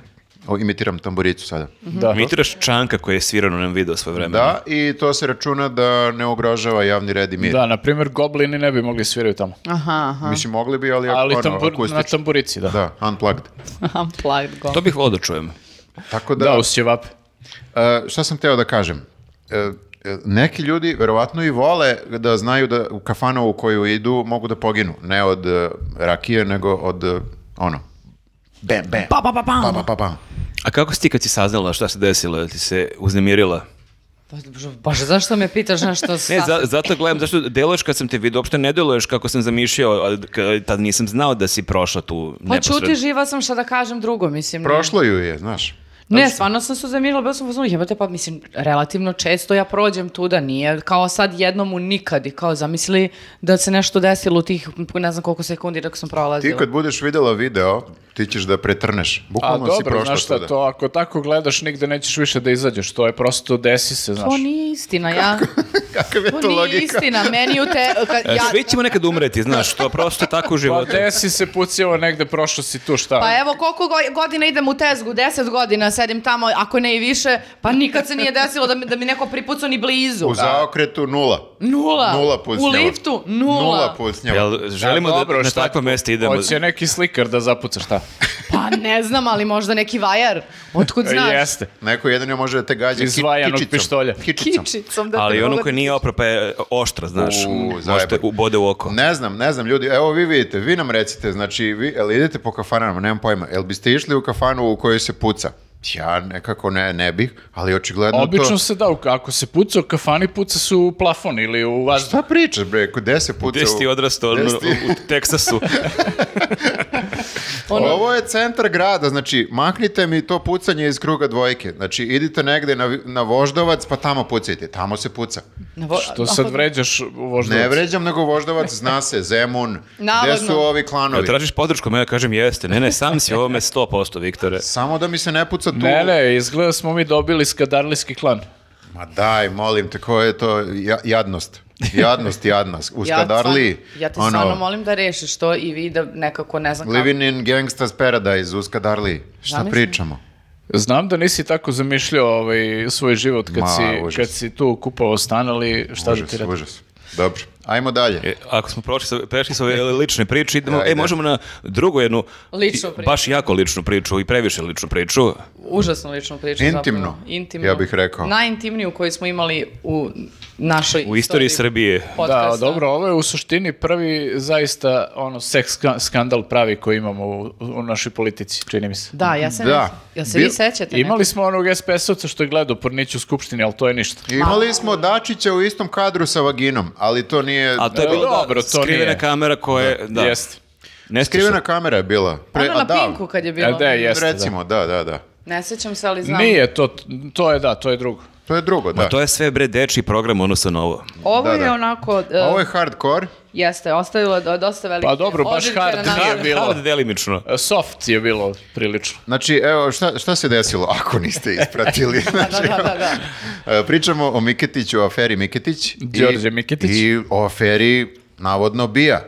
[SPEAKER 2] O, imitiram tamburicu sada.
[SPEAKER 3] Da.
[SPEAKER 1] Imitiraš Čanka koji je svirano u nam video svoje vreme.
[SPEAKER 2] Da, i to se računa da ne ugrožava javni red i mir.
[SPEAKER 3] Da, na primjer, goblini ne bi mogli sviraju tamo.
[SPEAKER 4] Aha, aha.
[SPEAKER 2] Mislim, mogli bi, ali,
[SPEAKER 3] Ali
[SPEAKER 2] ono,
[SPEAKER 3] tambur- na
[SPEAKER 2] akustično.
[SPEAKER 3] tamburici, da. Da,
[SPEAKER 2] Da, unplugged.
[SPEAKER 4] Unplugged go.
[SPEAKER 1] To bih volio da čujem.
[SPEAKER 2] Tako da,
[SPEAKER 3] da uz ćevape.
[SPEAKER 2] E, šta sam teo da kažem? E, e, neki ljudi verovatno i vole da znaju da u kafanu u koju idu mogu da poginu. Ne od e, rakije, nego od e, ono. Bam, bam.
[SPEAKER 4] Pa, pa, pa, pam.
[SPEAKER 2] Pa, pa, pa, pa.
[SPEAKER 1] A kako si ti kad si saznala šta se desilo, jel ti se uznemirila?
[SPEAKER 4] Pa, Bože, zašto me pitaš nešto sa...
[SPEAKER 1] Ne, za, zato gledam, zašto deluješ kad sam te vidio, uopšte ne deluješ kako sam zamišljao, ali k- tad nisam znao da si prošla tu
[SPEAKER 4] Pa
[SPEAKER 1] neposredno.
[SPEAKER 4] čuti, živa sam šta da kažem drugo, mislim. ne.
[SPEAKER 2] Prošlo ju je, znaš.
[SPEAKER 4] Ne, stvarno sam se zamirila, bila sam u fazonu, jebate, pa mislim, relativno često ja prođem tu da nije, kao sad jednom u nikad i kao zamisli da se nešto desilo u tih, ne znam koliko sekundi dok sam
[SPEAKER 2] Ti
[SPEAKER 4] prolazila.
[SPEAKER 2] kad budeš videla video, ti ćeš da pretrneš.
[SPEAKER 3] A
[SPEAKER 2] Bukvalno si
[SPEAKER 3] Pa dobro,
[SPEAKER 2] prošla
[SPEAKER 3] znaš šta,
[SPEAKER 2] svuda.
[SPEAKER 3] to ako tako gledaš, nigde nećeš više da izađeš, to je prosto desi se, znaš.
[SPEAKER 4] To nije istina, ja,
[SPEAKER 2] Kakav je
[SPEAKER 4] to
[SPEAKER 2] to
[SPEAKER 4] Pa nije
[SPEAKER 2] logika?
[SPEAKER 4] istina, meni u te, kad,
[SPEAKER 1] E,
[SPEAKER 4] ja,
[SPEAKER 1] Svi ćemo nekad umreti, znaš, to je prosto tako u
[SPEAKER 3] Pa
[SPEAKER 1] životu.
[SPEAKER 3] desi se pucao negde, prošao si tu, šta?
[SPEAKER 4] Pa evo, koliko go- godina idem u tezgu, deset godina sedim tamo, ako ne i više, pa nikad se nije desilo da mi, da mi neko pripucao ni blizu.
[SPEAKER 2] U zaokretu nula.
[SPEAKER 4] Nula.
[SPEAKER 2] Nula
[SPEAKER 4] U
[SPEAKER 2] pucnjava.
[SPEAKER 4] liftu nula.
[SPEAKER 2] Nula pucnjava.
[SPEAKER 1] Jel, želimo da,
[SPEAKER 3] dobro,
[SPEAKER 1] na
[SPEAKER 3] šta
[SPEAKER 1] takva
[SPEAKER 3] ti-
[SPEAKER 1] mesta idemo.
[SPEAKER 3] Hoće neki slikar da zapuca, šta?
[SPEAKER 4] Pa ne znam, ali možda neki vajar. Otkud znaš?
[SPEAKER 3] E, Jeste.
[SPEAKER 2] Neko jedan je može da te gađa ki-
[SPEAKER 3] Izvajan od
[SPEAKER 2] kičicom.
[SPEAKER 3] pištolja.
[SPEAKER 2] Kičicom.
[SPEAKER 4] Kičicom. Da te
[SPEAKER 1] Ali ono
[SPEAKER 4] dogodi.
[SPEAKER 1] koje nije opra, pa je oštra, znaš.
[SPEAKER 2] U,
[SPEAKER 1] Možete
[SPEAKER 2] zajebano.
[SPEAKER 1] u bode u oko.
[SPEAKER 2] Ne znam, ne znam, ljudi, evo vi vidite, vi nam recite, znači, vi, jel idete po kafanama, nemam pojma, jel biste išli u kafanu u kojoj se puca? Ja nekako ne, ne bih, ali očigledno
[SPEAKER 3] Obično
[SPEAKER 2] to...
[SPEAKER 3] se da, u- ako se puca u kafani, puca se u plafon ili u vazduh.
[SPEAKER 2] Šta pričaš, Pa bre, gde se puca?
[SPEAKER 1] Gde si
[SPEAKER 2] u-
[SPEAKER 1] ti odrastao?
[SPEAKER 2] Gde
[SPEAKER 1] Ono,
[SPEAKER 2] si ti-
[SPEAKER 1] U, u Teksasu.
[SPEAKER 4] Ono,
[SPEAKER 2] Ovo je centar grada, znači maknite mi to pucanje iz kruga dvojke. Znači idite negde na, vi- na voždovac pa tamo pucajte, tamo se puca.
[SPEAKER 4] Na vo-
[SPEAKER 3] To sad vređaš u voždovac.
[SPEAKER 2] Ne vređam nego voždovac, zna se, Zemun, gde
[SPEAKER 4] Navodno.
[SPEAKER 2] su ovi
[SPEAKER 1] Jel
[SPEAKER 2] klanovi.
[SPEAKER 1] tražiš podršku, ja kažem jeste. Ne, ne, sam si u ovome 100%, Viktore.
[SPEAKER 2] Samo da mi se ne puca tu.
[SPEAKER 3] Ne, ne, izgleda smo mi dobili skadarlijski klan.
[SPEAKER 2] Ma daj, molim te, koja je to ja- jadnost. Jadnost, jadnost. U Skadarli,
[SPEAKER 4] stvarno- ja te
[SPEAKER 2] ono,
[SPEAKER 4] stvarno molim da rešiš to i vi da nekako, ne znam kako.
[SPEAKER 2] Living in Gangsta's Paradise u Skadarli. Šta
[SPEAKER 4] Zamisli.
[SPEAKER 2] pričamo?
[SPEAKER 3] Znam da nisi tako zamišljao ovaj, svoj život kad,
[SPEAKER 2] Ma,
[SPEAKER 3] si,
[SPEAKER 2] užas.
[SPEAKER 3] kad si tu kupovao stan, ali šta da
[SPEAKER 2] Užas,
[SPEAKER 3] ti reći?
[SPEAKER 2] užas. Dobro, ajmo dalje.
[SPEAKER 1] E, ako smo prošli sa, prešli sa ove lične priče, idemo,
[SPEAKER 2] Ajde.
[SPEAKER 1] e, možemo na drugu jednu,
[SPEAKER 4] Ličnu
[SPEAKER 1] i-
[SPEAKER 4] priču.
[SPEAKER 1] baš jako ličnu priču i previše ličnu priču.
[SPEAKER 4] Užasno lično priču.
[SPEAKER 2] Intimno,
[SPEAKER 4] zapravo. Intimno.
[SPEAKER 2] ja bih rekao.
[SPEAKER 4] Najintimniju koju smo imali u našoj
[SPEAKER 1] U istoriji Srbije.
[SPEAKER 4] podcasta.
[SPEAKER 3] Da, dobro, ovo je u suštini prvi zaista ono seks ska- skandal pravi koji imamo u, u našoj politici, čini mi se.
[SPEAKER 4] Da, ja se
[SPEAKER 2] Da.
[SPEAKER 4] ne... Jel se
[SPEAKER 2] Bil-
[SPEAKER 4] vi sećate?
[SPEAKER 3] Imali smo onog SPS-ovca što je gledao pornić u skupštini, ali to je ništa.
[SPEAKER 2] Imali smo Dačića u istom kadru sa vaginom, ali to nije...
[SPEAKER 1] A to je
[SPEAKER 3] E,
[SPEAKER 1] bilo
[SPEAKER 3] dobro,
[SPEAKER 1] da,
[SPEAKER 3] to
[SPEAKER 1] skrivena
[SPEAKER 3] nije.
[SPEAKER 1] kamera koja da.
[SPEAKER 3] Jeste.
[SPEAKER 1] Ne
[SPEAKER 2] Skrivena kamera je bila. Pre-
[SPEAKER 4] Ono
[SPEAKER 2] a
[SPEAKER 4] na
[SPEAKER 2] da,
[SPEAKER 4] Pinku kad je
[SPEAKER 3] E,
[SPEAKER 4] bilo. ono,
[SPEAKER 3] da, jeste, da.
[SPEAKER 2] Recimo, da, da, da.
[SPEAKER 4] Ne sećam se, ali znam.
[SPEAKER 3] Nije to, to je da, to je drugo.
[SPEAKER 2] To je drugo, da.
[SPEAKER 1] Ma to je sve bre dečiji program ono sa novo.
[SPEAKER 4] Ovo
[SPEAKER 2] Da,
[SPEAKER 4] je
[SPEAKER 2] da.
[SPEAKER 4] onako... e,
[SPEAKER 2] Ovo je hardcore.
[SPEAKER 4] Jeste, ostavilo do- dosta velike...
[SPEAKER 3] Pa dobro, baš
[SPEAKER 4] odrljke
[SPEAKER 3] hard
[SPEAKER 4] na
[SPEAKER 3] nije
[SPEAKER 4] nama.
[SPEAKER 3] Bilo.
[SPEAKER 1] Hard delimično.
[SPEAKER 3] E, Soft je bilo prilično.
[SPEAKER 2] Znači, evo, šta, šta se desilo ako niste ispratili? Znači,
[SPEAKER 4] Da, da, da, da.
[SPEAKER 2] E, Pričamo o Miketiću, o aferi Miketić. i-
[SPEAKER 3] Đorđe Miketić.
[SPEAKER 2] I o aferi, navodno, Bija.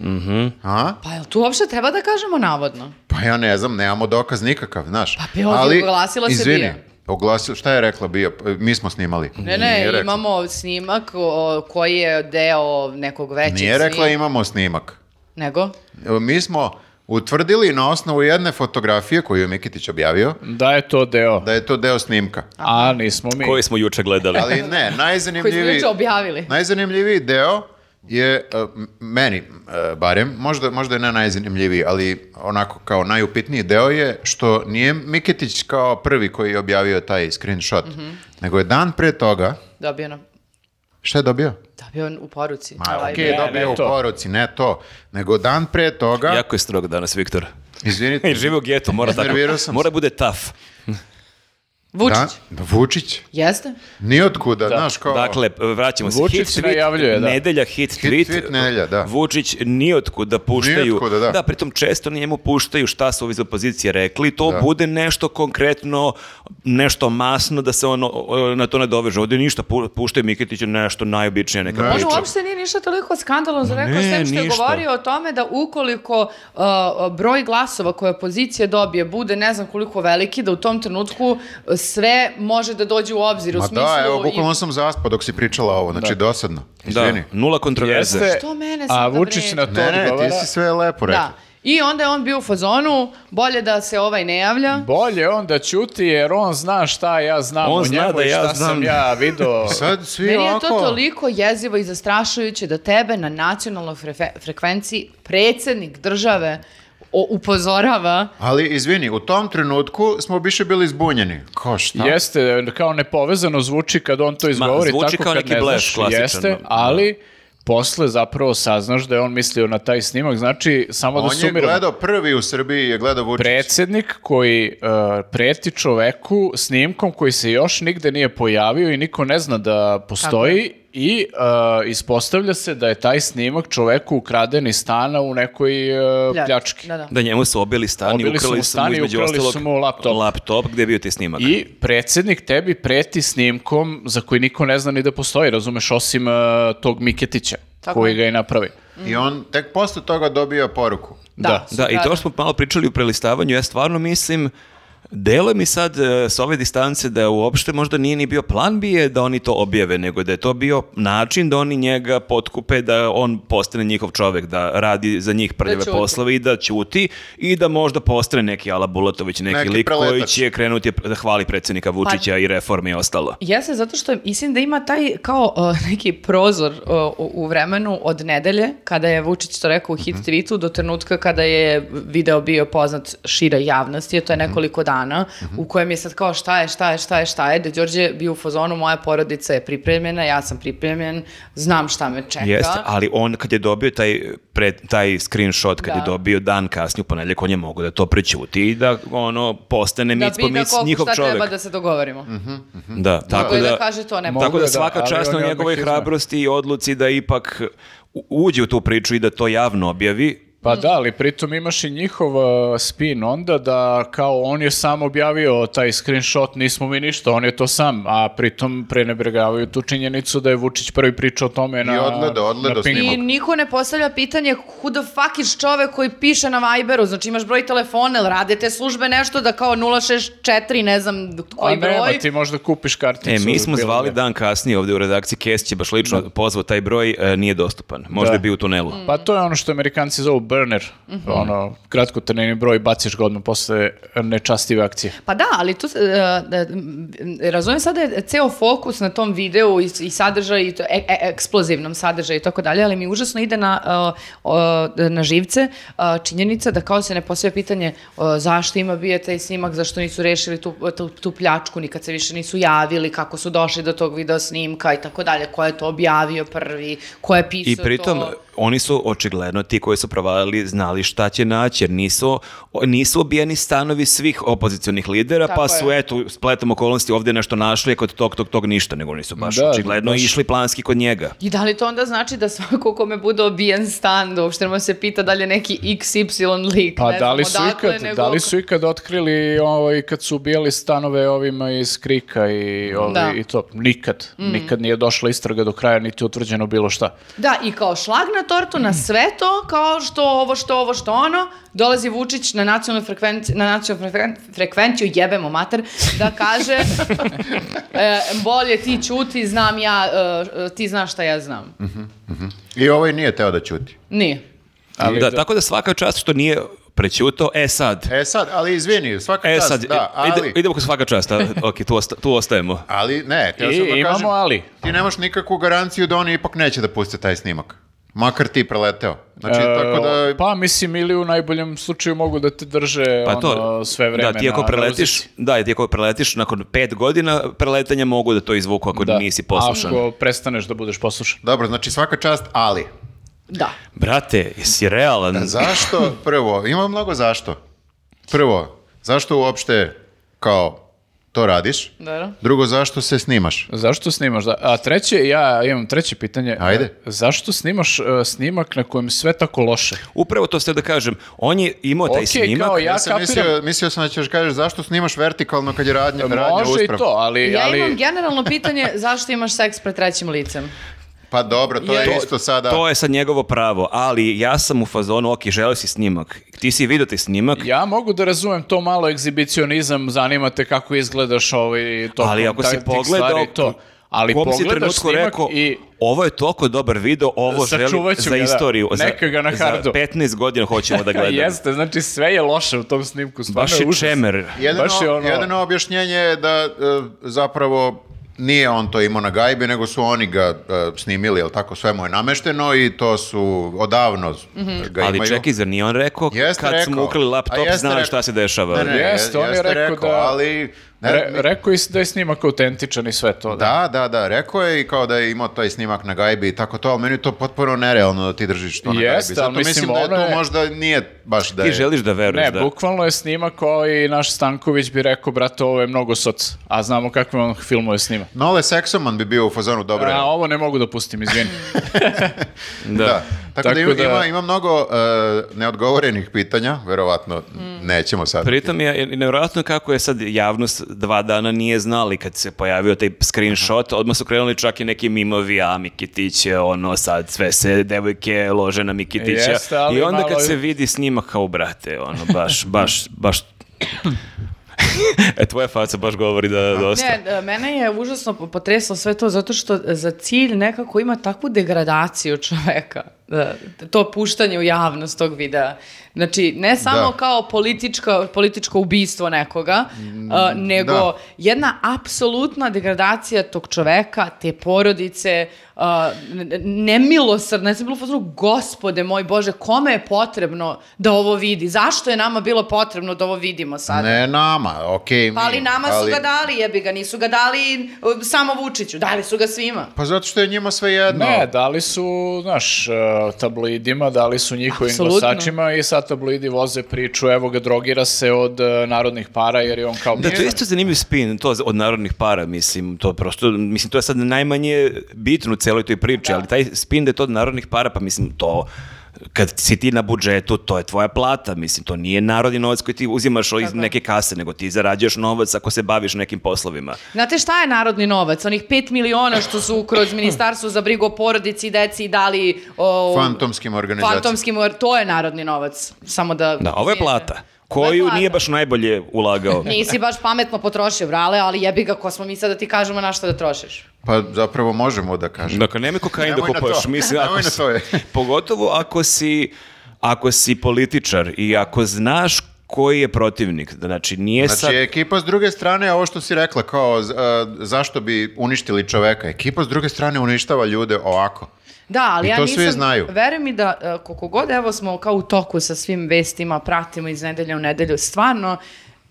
[SPEAKER 2] Mhm. A?
[SPEAKER 4] Pa jel tu uopšte treba da kažemo navodno?
[SPEAKER 2] Pa ja ne znam, nemamo dokaz nikakav, znaš.
[SPEAKER 4] Pa bio je, oglasila se
[SPEAKER 2] izvini,
[SPEAKER 4] Bija.
[SPEAKER 2] oglasila- šta je rekla Bija? E, Mi smo snimali.
[SPEAKER 4] Ne,
[SPEAKER 2] Nije
[SPEAKER 4] ne,
[SPEAKER 2] rekla.
[SPEAKER 4] imamo snimak o, koji je deo nekog većeg
[SPEAKER 2] Nije rekla
[SPEAKER 4] snimka.
[SPEAKER 2] imamo snimak.
[SPEAKER 4] Nego?
[SPEAKER 2] E, Mi smo utvrdili na osnovu jedne fotografije koju je Miketić objavio
[SPEAKER 3] Da je to deo.
[SPEAKER 2] da je to deo snimka.
[SPEAKER 3] A nismo mi.
[SPEAKER 1] Koji smo juče gledali.
[SPEAKER 2] Ali ne,
[SPEAKER 4] Koji smo
[SPEAKER 2] najzanimljiviji...
[SPEAKER 4] juče objavili.
[SPEAKER 2] Najzanimljiviji deo je, uh, m- meni uh, barem, možda, možda je ne najzanimljiviji, ali onako kao najupitniji deo je što nije Miketić kao prvi koji je objavio taj screenshot,
[SPEAKER 4] Mhm.
[SPEAKER 2] nego je dan pre toga,
[SPEAKER 4] Dobio nam...
[SPEAKER 2] šta je dobio?
[SPEAKER 4] Dobio on u poruci.
[SPEAKER 2] Ma,
[SPEAKER 4] ovaj,
[SPEAKER 2] okej,
[SPEAKER 3] ne, ne
[SPEAKER 2] dobio u
[SPEAKER 3] to.
[SPEAKER 2] poruci, ne to, nego dan pre toga,
[SPEAKER 1] Jako je strog danas, Viktor.
[SPEAKER 2] izvinite,
[SPEAKER 1] I žive u getu, mora tako.
[SPEAKER 2] Iznervirao sam se.
[SPEAKER 1] Mora bude tough.
[SPEAKER 4] Vučić.
[SPEAKER 2] dan- Vučić,
[SPEAKER 4] Jeste?
[SPEAKER 2] nijotkuda, znaš kao...
[SPEAKER 1] Dakle, vraćamo se.
[SPEAKER 3] Vučić
[SPEAKER 1] hit tweet,
[SPEAKER 3] najavljuje, da.
[SPEAKER 1] Nedelja hit, tweet.
[SPEAKER 2] tweet nedelja, da.
[SPEAKER 1] Vučić nijotkud da puštaju.
[SPEAKER 2] Niotkuda, da.
[SPEAKER 1] pritom često njemu puštaju šta su ovi iz opozicije rekli. To bude nešto konkretno, nešto masno da se ono, o, na to ne doveže. Ovdje ništa, pu- puštaju Miketiću nešto najobičnije neka
[SPEAKER 2] Ne.
[SPEAKER 1] priča.
[SPEAKER 4] On Ono uopšte nije ništa toliko skandalno rekao,
[SPEAKER 1] ne,
[SPEAKER 4] s tem što je
[SPEAKER 1] ništa.
[SPEAKER 4] govorio o tome da ukoliko uh, broj glasova koje opozicija dobije bude ne znam koliko veliki, da u tom trenutku uh, sve može da dođe u obzir. u
[SPEAKER 2] Ma
[SPEAKER 4] smislu
[SPEAKER 2] da, evo,
[SPEAKER 4] i-
[SPEAKER 2] bukvalno sam zaspao dok si pričala ovo, znači dosadno.
[SPEAKER 1] Da,
[SPEAKER 2] Izvini.
[SPEAKER 1] nula kontroverze.
[SPEAKER 3] Jeste,
[SPEAKER 4] Što mene
[SPEAKER 3] a
[SPEAKER 4] sada
[SPEAKER 3] Vučić na
[SPEAKER 4] bre?
[SPEAKER 3] to
[SPEAKER 2] Ne, ne,
[SPEAKER 3] odgovara.
[SPEAKER 2] ti si sve lepo rekao.
[SPEAKER 4] Da. I onda je on bio u fazonu, bolje da se ovaj ne javlja.
[SPEAKER 3] Bolje on da ćuti jer on zna šta ja znam
[SPEAKER 1] On
[SPEAKER 3] o
[SPEAKER 1] zna
[SPEAKER 3] njemu
[SPEAKER 1] da
[SPEAKER 3] i
[SPEAKER 1] ja
[SPEAKER 3] šta
[SPEAKER 1] znam.
[SPEAKER 3] sam ja video.
[SPEAKER 2] Sad svi
[SPEAKER 4] Meni je to
[SPEAKER 2] ovako-
[SPEAKER 4] toliko jezivo i zastrašujuće da tebe na nacionalnoj frefe- frekvenciji predsjednik države o- upozorava
[SPEAKER 2] Ali izvini, u tom trenutku smo više bili zbunjeni. Kao šta?
[SPEAKER 3] Jeste, kao nepovezano zvuči kad on to izgovori,
[SPEAKER 1] zvuči
[SPEAKER 3] tako
[SPEAKER 1] kao
[SPEAKER 3] kad
[SPEAKER 1] neki
[SPEAKER 3] ne
[SPEAKER 1] blef
[SPEAKER 3] znaš,
[SPEAKER 1] klasičan,
[SPEAKER 3] jeste,
[SPEAKER 1] da.
[SPEAKER 3] ali posle zapravo saznaš da je on mislio na taj snimak, znači samo da
[SPEAKER 2] On je
[SPEAKER 3] sumiramo.
[SPEAKER 2] gledao prvi u Srbiji, je gledao Vučić.
[SPEAKER 3] Predsednik koji uh, preti čoveku snimkom koji se još nigde nije pojavio i niko ne zna da postoji i uh, ispostavlja se da je taj snimak čoveku ukraden iz stana u nekoj uh, pljački.
[SPEAKER 4] Da, da.
[SPEAKER 1] Da njemu su obili stan i
[SPEAKER 3] Obili su mu
[SPEAKER 1] ukrali su
[SPEAKER 3] stan
[SPEAKER 1] mu
[SPEAKER 3] i
[SPEAKER 1] između
[SPEAKER 3] ukrali su
[SPEAKER 1] ostalog
[SPEAKER 3] mu laptop.
[SPEAKER 1] laptop gdje je bio ti snimak.
[SPEAKER 3] I predsednik tebi preti snimkom za koji niko ne zna ni da postoji, razumeš, osim uh, tog Miketića
[SPEAKER 4] Tako
[SPEAKER 3] koji
[SPEAKER 4] je.
[SPEAKER 3] ga je napravi.
[SPEAKER 2] I on tek posle toga dobio poruku.
[SPEAKER 3] Da.
[SPEAKER 1] Da, i to što smo malo pričali u prelistavanju, ja stvarno mislim, delo mi sad e, s ove distance da uopšte možda nije ni bio plan bije da oni to objave, nego da je to bio način da oni njega potkupe, da on postane njihov čovek, da radi za njih prljave
[SPEAKER 4] ćuti.
[SPEAKER 1] poslove i da ćuti i da možda postane neki Ala Bulatović, neki,
[SPEAKER 2] Neki
[SPEAKER 1] lik koji
[SPEAKER 2] preletač.
[SPEAKER 1] će krenuti da hvali predsjednika Vučića i reforme i ostalo.
[SPEAKER 4] Jeste, zato što mislim da ima taj kao uh, neki prozor uh, u, u vremenu od nedelje, kada je Vučić to rekao u hit tweetu, do trenutka kada je video bio poznat šira javnosti, a to je nekoliko dana, u kojem je sad kao šta je, šta je, šta je, šta je, da je Đorđe bio u fazonu, moja porodica je pripremljena, ja sam pripremljen, znam šta me čeka.
[SPEAKER 1] Jeste, ali on kad je dobio taj, pre, taj screenshot, kad je
[SPEAKER 4] Da.
[SPEAKER 1] dobio dan kasnije u ponedjeljak, on je mogao da to prećuti i da ono postane
[SPEAKER 4] da
[SPEAKER 1] mic po
[SPEAKER 4] pita
[SPEAKER 1] mic
[SPEAKER 4] koliko
[SPEAKER 1] njihov
[SPEAKER 4] šta
[SPEAKER 1] čovjek.
[SPEAKER 4] treba da se dogovorimo.
[SPEAKER 1] Da, tako
[SPEAKER 4] Koji da
[SPEAKER 1] da,
[SPEAKER 4] kaže to, ne
[SPEAKER 3] Mogu
[SPEAKER 1] tako
[SPEAKER 3] da,
[SPEAKER 1] da
[SPEAKER 3] da,
[SPEAKER 1] svaka
[SPEAKER 3] ali
[SPEAKER 1] čast
[SPEAKER 3] on
[SPEAKER 1] na
[SPEAKER 3] je odmah
[SPEAKER 1] njegovoj
[SPEAKER 3] izna.
[SPEAKER 1] hrabrosti i odluci da ipak u- uđe u tu priču i da to javno objavi.
[SPEAKER 4] Mm.
[SPEAKER 3] Pa da, ali pritom imaš i njihov uh, spin onda da kao on je sam objavio taj screenshot, nismo mi ništa, on je to sam, a pritom prenebregavaju tu činjenicu da je Vučić prvi pričao o tome na,
[SPEAKER 2] odgledao, odgledao
[SPEAKER 3] na Pinku.
[SPEAKER 2] snimak.
[SPEAKER 4] I niko ne postavlja pitanje who the fuck is čovek koji piše na Viberu, znači imaš broj telefona, ili rade te službe nešto da kao 064, ne znam
[SPEAKER 3] A
[SPEAKER 4] koji
[SPEAKER 3] nema,
[SPEAKER 4] broj.
[SPEAKER 3] ti možda kupiš karticu.
[SPEAKER 1] E, mi smo
[SPEAKER 3] bilo
[SPEAKER 1] zvali
[SPEAKER 3] gde.
[SPEAKER 1] dan kasnije ovdje u redakciji, Kes će baš lično pozvao taj broj, e, nije dostupan. Možda
[SPEAKER 3] Da.
[SPEAKER 1] je bio u tunelu.
[SPEAKER 3] Pa to je ono što amerikanci zovu burner,
[SPEAKER 4] Mhm.
[SPEAKER 3] ono, kratko broj, baciš ga odmah posle nečastive akcije.
[SPEAKER 4] Pa da, ali tu, se, e, e, m, razumijem sada je ceo fokus na tom videu i, i sadržaju, i to, e- e- eksplozivnom sadržaju i tako dalje, ali mi užasno ide na, e, o, na živce e, činjenica da kao se ne postavlja pitanje e, zašto ima bio taj snimak, zašto nisu rešili tu, tu, tu pljačku, nikad se više nisu javili, kako su došli do tog video snimka i tako dalje, ko je to objavio prvi, ko je pisao
[SPEAKER 1] I pritom,
[SPEAKER 4] to.
[SPEAKER 1] oni su očigledno ti koji su provalili znali šta će naći, jer nisu, o- nisu obijeni stanovi svih opozicionih lidera,
[SPEAKER 4] Tako
[SPEAKER 1] pa su
[SPEAKER 4] je.
[SPEAKER 1] eto, spletom okolnosti ovdje nešto našli, a kod tog, tog, tog ništa, nego nisu baš
[SPEAKER 3] Da,
[SPEAKER 1] očigledno
[SPEAKER 3] baš.
[SPEAKER 1] išli planski kod njega.
[SPEAKER 4] I da li to onda znači da svako kome bude obijen stan, da uopšte nema se pita da li je neki XY lik,
[SPEAKER 3] Pa
[SPEAKER 4] ne
[SPEAKER 3] da
[SPEAKER 4] znam
[SPEAKER 3] li, su
[SPEAKER 4] odakle,
[SPEAKER 3] ikad,
[SPEAKER 4] nego-
[SPEAKER 3] da li su ikad otkrili ovaj, kad su ubijali stanove ovima iz Krika i, ovi,
[SPEAKER 4] Da. Mhm.
[SPEAKER 3] i to? Nikad. Nikad nije došla istraga do kraja, niti je utvrđeno bilo šta.
[SPEAKER 4] Da, i kao šlag na tortu na sve to, kao što ovo, što ovo, što ono, dolazi Vučić na nacionalnu frekvenciju, na nacionalnu frekven, frekvenciju, jebemo mater, da kaže e, bolje ti čuti, znam ja, e, ti znaš šta ja znam.
[SPEAKER 2] I ovaj nije teo da ćuti.
[SPEAKER 4] Nije.
[SPEAKER 3] Ali
[SPEAKER 1] da,
[SPEAKER 3] da-
[SPEAKER 1] tako da svaka čast što nije prećutao, e sad,
[SPEAKER 2] E sad, ali izvini, svaka
[SPEAKER 1] e
[SPEAKER 2] čast,
[SPEAKER 1] sad,
[SPEAKER 2] da, ali...
[SPEAKER 1] ide- idemo kod svaka čast, a, ok, tu, osta- tu ostajemo.
[SPEAKER 2] Ali ne, teo
[SPEAKER 3] I
[SPEAKER 2] sam da
[SPEAKER 3] imamo
[SPEAKER 2] kažem,
[SPEAKER 3] ali.
[SPEAKER 2] ti nemaš nikakvu garanciju da oni ipak neće da puste taj snimak. Makar ti preleteo. Znači,
[SPEAKER 3] E,
[SPEAKER 2] tako da...
[SPEAKER 3] Pa mislim, ili u najboljem slučaju mogu da te drže
[SPEAKER 1] Pa to,
[SPEAKER 3] ono, sve vreme
[SPEAKER 1] da, ti ako
[SPEAKER 3] na- na
[SPEAKER 1] preletiš,
[SPEAKER 3] ruzici.
[SPEAKER 1] da, ti ako preletiš nakon pet godina preletanja mogu da to izvuku ako
[SPEAKER 3] Da.
[SPEAKER 1] nisi poslušan.
[SPEAKER 3] Ako prestaneš da budeš poslušan.
[SPEAKER 2] Dobro, znači svaka čast, ali.
[SPEAKER 4] Da.
[SPEAKER 1] Brate, jesi realan?
[SPEAKER 2] Zašto, prvo, ima mnogo zašto. Prvo, zašto uopšte, kao, to radiš?
[SPEAKER 4] Dobro.
[SPEAKER 2] Drugo, zašto se snimaš?
[SPEAKER 3] Zašto snimaš? Da- A treće, ja imam treće pitanje.
[SPEAKER 2] Ajde.
[SPEAKER 3] Zašto snimaš e, snimak na kojem je sve tako loše?
[SPEAKER 1] Upravo to ste da kažem. On je imao taj
[SPEAKER 3] Ok,
[SPEAKER 1] snimak.
[SPEAKER 3] kao ja,
[SPEAKER 2] Ja sam
[SPEAKER 3] kapiram.
[SPEAKER 2] mislio, mislio sam da ćeš kažeš zašto snimaš vertikalno kad je radnja, radnja
[SPEAKER 3] Može i
[SPEAKER 2] uspravna.
[SPEAKER 3] to, ali...
[SPEAKER 4] Ja
[SPEAKER 3] E, ali...
[SPEAKER 4] imam generalno pitanje zašto imaš seks pred trećim licem.
[SPEAKER 2] Pa dobro, to
[SPEAKER 4] Jer-
[SPEAKER 2] je isto sada...
[SPEAKER 1] To je sad njegovo pravo, ali ja sam u fazonu, ok, želeo si snimak. Ti si vidio taj snimak,
[SPEAKER 3] Ja mogu da razumem to malo egzibicionizam, zanima te kako izgledaš ovaj tokom
[SPEAKER 1] ali ako si
[SPEAKER 3] taj- tih
[SPEAKER 1] pogledao...
[SPEAKER 3] stvari i to. Ali
[SPEAKER 1] kom si
[SPEAKER 3] pogledaš
[SPEAKER 1] trenutku
[SPEAKER 3] snimak
[SPEAKER 1] rekao,
[SPEAKER 3] i
[SPEAKER 1] ovo je toliko dobar video, ovo želim
[SPEAKER 3] Sačuvat ću
[SPEAKER 1] za
[SPEAKER 3] ga, da.
[SPEAKER 1] istoriju. za-
[SPEAKER 3] Neka ga na
[SPEAKER 1] za,
[SPEAKER 3] hardu.
[SPEAKER 1] 15 godina hoćemo da gledamo.
[SPEAKER 3] Jeste, znači sve je loše u tom snimku, stvarno
[SPEAKER 1] Baš je
[SPEAKER 3] užas.
[SPEAKER 1] čemer.
[SPEAKER 2] Jedino,
[SPEAKER 3] Baš je ono-
[SPEAKER 2] jedino objašnjenje je da e, zapravo nije on to imao na gajbi, nego su oni ga e, snimili, jel tako, sve mu je namešteno i to su odavno
[SPEAKER 3] Mhm.
[SPEAKER 2] ga
[SPEAKER 1] Ali
[SPEAKER 2] imaju.
[SPEAKER 1] čekaj, zar nije on rekao
[SPEAKER 2] Jeste
[SPEAKER 1] kad smo
[SPEAKER 2] rekao.
[SPEAKER 1] ukrali
[SPEAKER 2] A
[SPEAKER 1] laptop,
[SPEAKER 2] jeste
[SPEAKER 1] znali
[SPEAKER 2] rekao.
[SPEAKER 1] šta se dešava.
[SPEAKER 2] Ne, ne,
[SPEAKER 3] Jeste, on je
[SPEAKER 2] jeste
[SPEAKER 3] rekao da-
[SPEAKER 2] ali Ne,
[SPEAKER 3] Re-
[SPEAKER 2] mi-
[SPEAKER 3] rekao je da je snimak autentičan i sve to.
[SPEAKER 2] Da, da, da, rekao je i kao da je imao taj snimak na gajbi i tako to, ali meni je to potpuno nerealno da ti držiš to na
[SPEAKER 3] Jeste,
[SPEAKER 2] gajbi. Zato
[SPEAKER 3] ali mislim,
[SPEAKER 2] mislim da je
[SPEAKER 3] ono
[SPEAKER 2] to
[SPEAKER 3] je-
[SPEAKER 2] možda nije baš da je...
[SPEAKER 1] Ti želiš da veruješ
[SPEAKER 3] Ne,
[SPEAKER 1] da...
[SPEAKER 3] bukvalno je snimak koji naš Stanković bi rekao, brate, ovo je mnogo soc, a znamo kakve on filmove snima.
[SPEAKER 2] Nole Seksoman bi bio u fazonu dobro.
[SPEAKER 3] A,
[SPEAKER 2] je.
[SPEAKER 3] ovo ne mogu da pustim, izvini.
[SPEAKER 1] da.
[SPEAKER 2] Da. Tako, da, ima,
[SPEAKER 3] Tako da-
[SPEAKER 2] ima, ima mnogo e, neodgovorenih pitanja, verovatno nećemo sad.
[SPEAKER 1] Pritom je je nevjerojatno kako je sad javnost dva dana nije znali kad se pojavio taj screenshot, odmah su krenuli čak i neki mimovi, a Mikitiće, ono sad sve se devojke lože na Mikitića.
[SPEAKER 3] Jeste, ali
[SPEAKER 1] I onda
[SPEAKER 3] malo-
[SPEAKER 1] kad se vidi snimak kao brate, ono baš, baš, baš... e, tvoja faca baš govori da dosta.
[SPEAKER 4] Ne, e, mene je užasno po- potreslo sve to zato što za cilj nekako ima takvu degradaciju čoveka. Da, to puštanje u javnost tog videa. Znači, ne samo
[SPEAKER 2] Da.
[SPEAKER 4] kao politička, političko ubistvo nekoga, e, nego
[SPEAKER 2] Mm, da.
[SPEAKER 4] jedna apsolutna degradacija tog čoveka, te porodice, uh, n- n- nemilosrdna. Ja sam bila u fazonu, gospode moj Bože, kome je potrebno da ovo vidi? Zašto je nama bilo potrebno da ovo vidimo sad?
[SPEAKER 2] Ne nama, okej. mi,
[SPEAKER 4] Pa ali nama
[SPEAKER 2] ali-
[SPEAKER 4] su ga dali, jebi ga, nisu ga dali uh, samo Vučiću, dali su ga svima.
[SPEAKER 2] Pa zato što je njima sve jedno.
[SPEAKER 3] ne, dali su, znaš, e, tabloidima, dali su njihovim
[SPEAKER 4] Apsolutno.
[SPEAKER 3] glasačima i sad tabloidi voze priču, evo ga, drogira se od e, narodnih para jer je on kao...
[SPEAKER 1] Da, to je
[SPEAKER 3] ministar.
[SPEAKER 1] isto zanimljiv spin, to od narodnih para, mislim, to prosto, mislim, to je sad najmanje bitno u celoj toj priči, ali taj spin da je to od narodnih para, pa mislim, to, kad si ti na budžetu, to je tvoja plata, mislim, to nije narodni novac koji ti uzimaš iz neke kase, nego ti zarađuješ novac ako se baviš nekim poslovima.
[SPEAKER 4] Znate šta je narodni novac? Onih 5 miliona što su kroz ministarstvo za brigu o porodici i deci dali o,
[SPEAKER 2] Fantomskim organizacijama.
[SPEAKER 4] fantomskim, or- to je narodni novac. Samo da...
[SPEAKER 1] Da, ovo je plata,
[SPEAKER 4] Ovo je
[SPEAKER 1] koju
[SPEAKER 4] plata.
[SPEAKER 1] nije baš najbolje ulagao.
[SPEAKER 4] Nisi baš pametno potrošio, brale, ali jebi ga, ko smo mi sad da ti kažemo na što da trošiš?
[SPEAKER 2] Pa zapravo možemo da kažemo.
[SPEAKER 1] Dakle, nemoj kokain da
[SPEAKER 2] Nemoj na
[SPEAKER 1] kupaš.
[SPEAKER 2] to.
[SPEAKER 1] Mislim,
[SPEAKER 2] Nemoj
[SPEAKER 1] ako
[SPEAKER 2] na
[SPEAKER 1] si-
[SPEAKER 2] to je.
[SPEAKER 1] pogotovo ako si, ako si političar i ako znaš koji je protivnik. Znači,
[SPEAKER 3] E
[SPEAKER 1] nije
[SPEAKER 2] Znači,
[SPEAKER 1] sad...
[SPEAKER 2] ekipa s druge strane, ovo što si rekla, kao z- a, zašto bi uništili čoveka, ekipa s druge strane uništava ljude ovako.
[SPEAKER 4] Da, ali
[SPEAKER 2] I
[SPEAKER 4] ja
[SPEAKER 2] to
[SPEAKER 4] nisam,
[SPEAKER 2] svi znaju.
[SPEAKER 4] veruj mi da e, koliko god evo smo kao u toku sa svim vestima, pratimo iz nedelja u nedelju, stvarno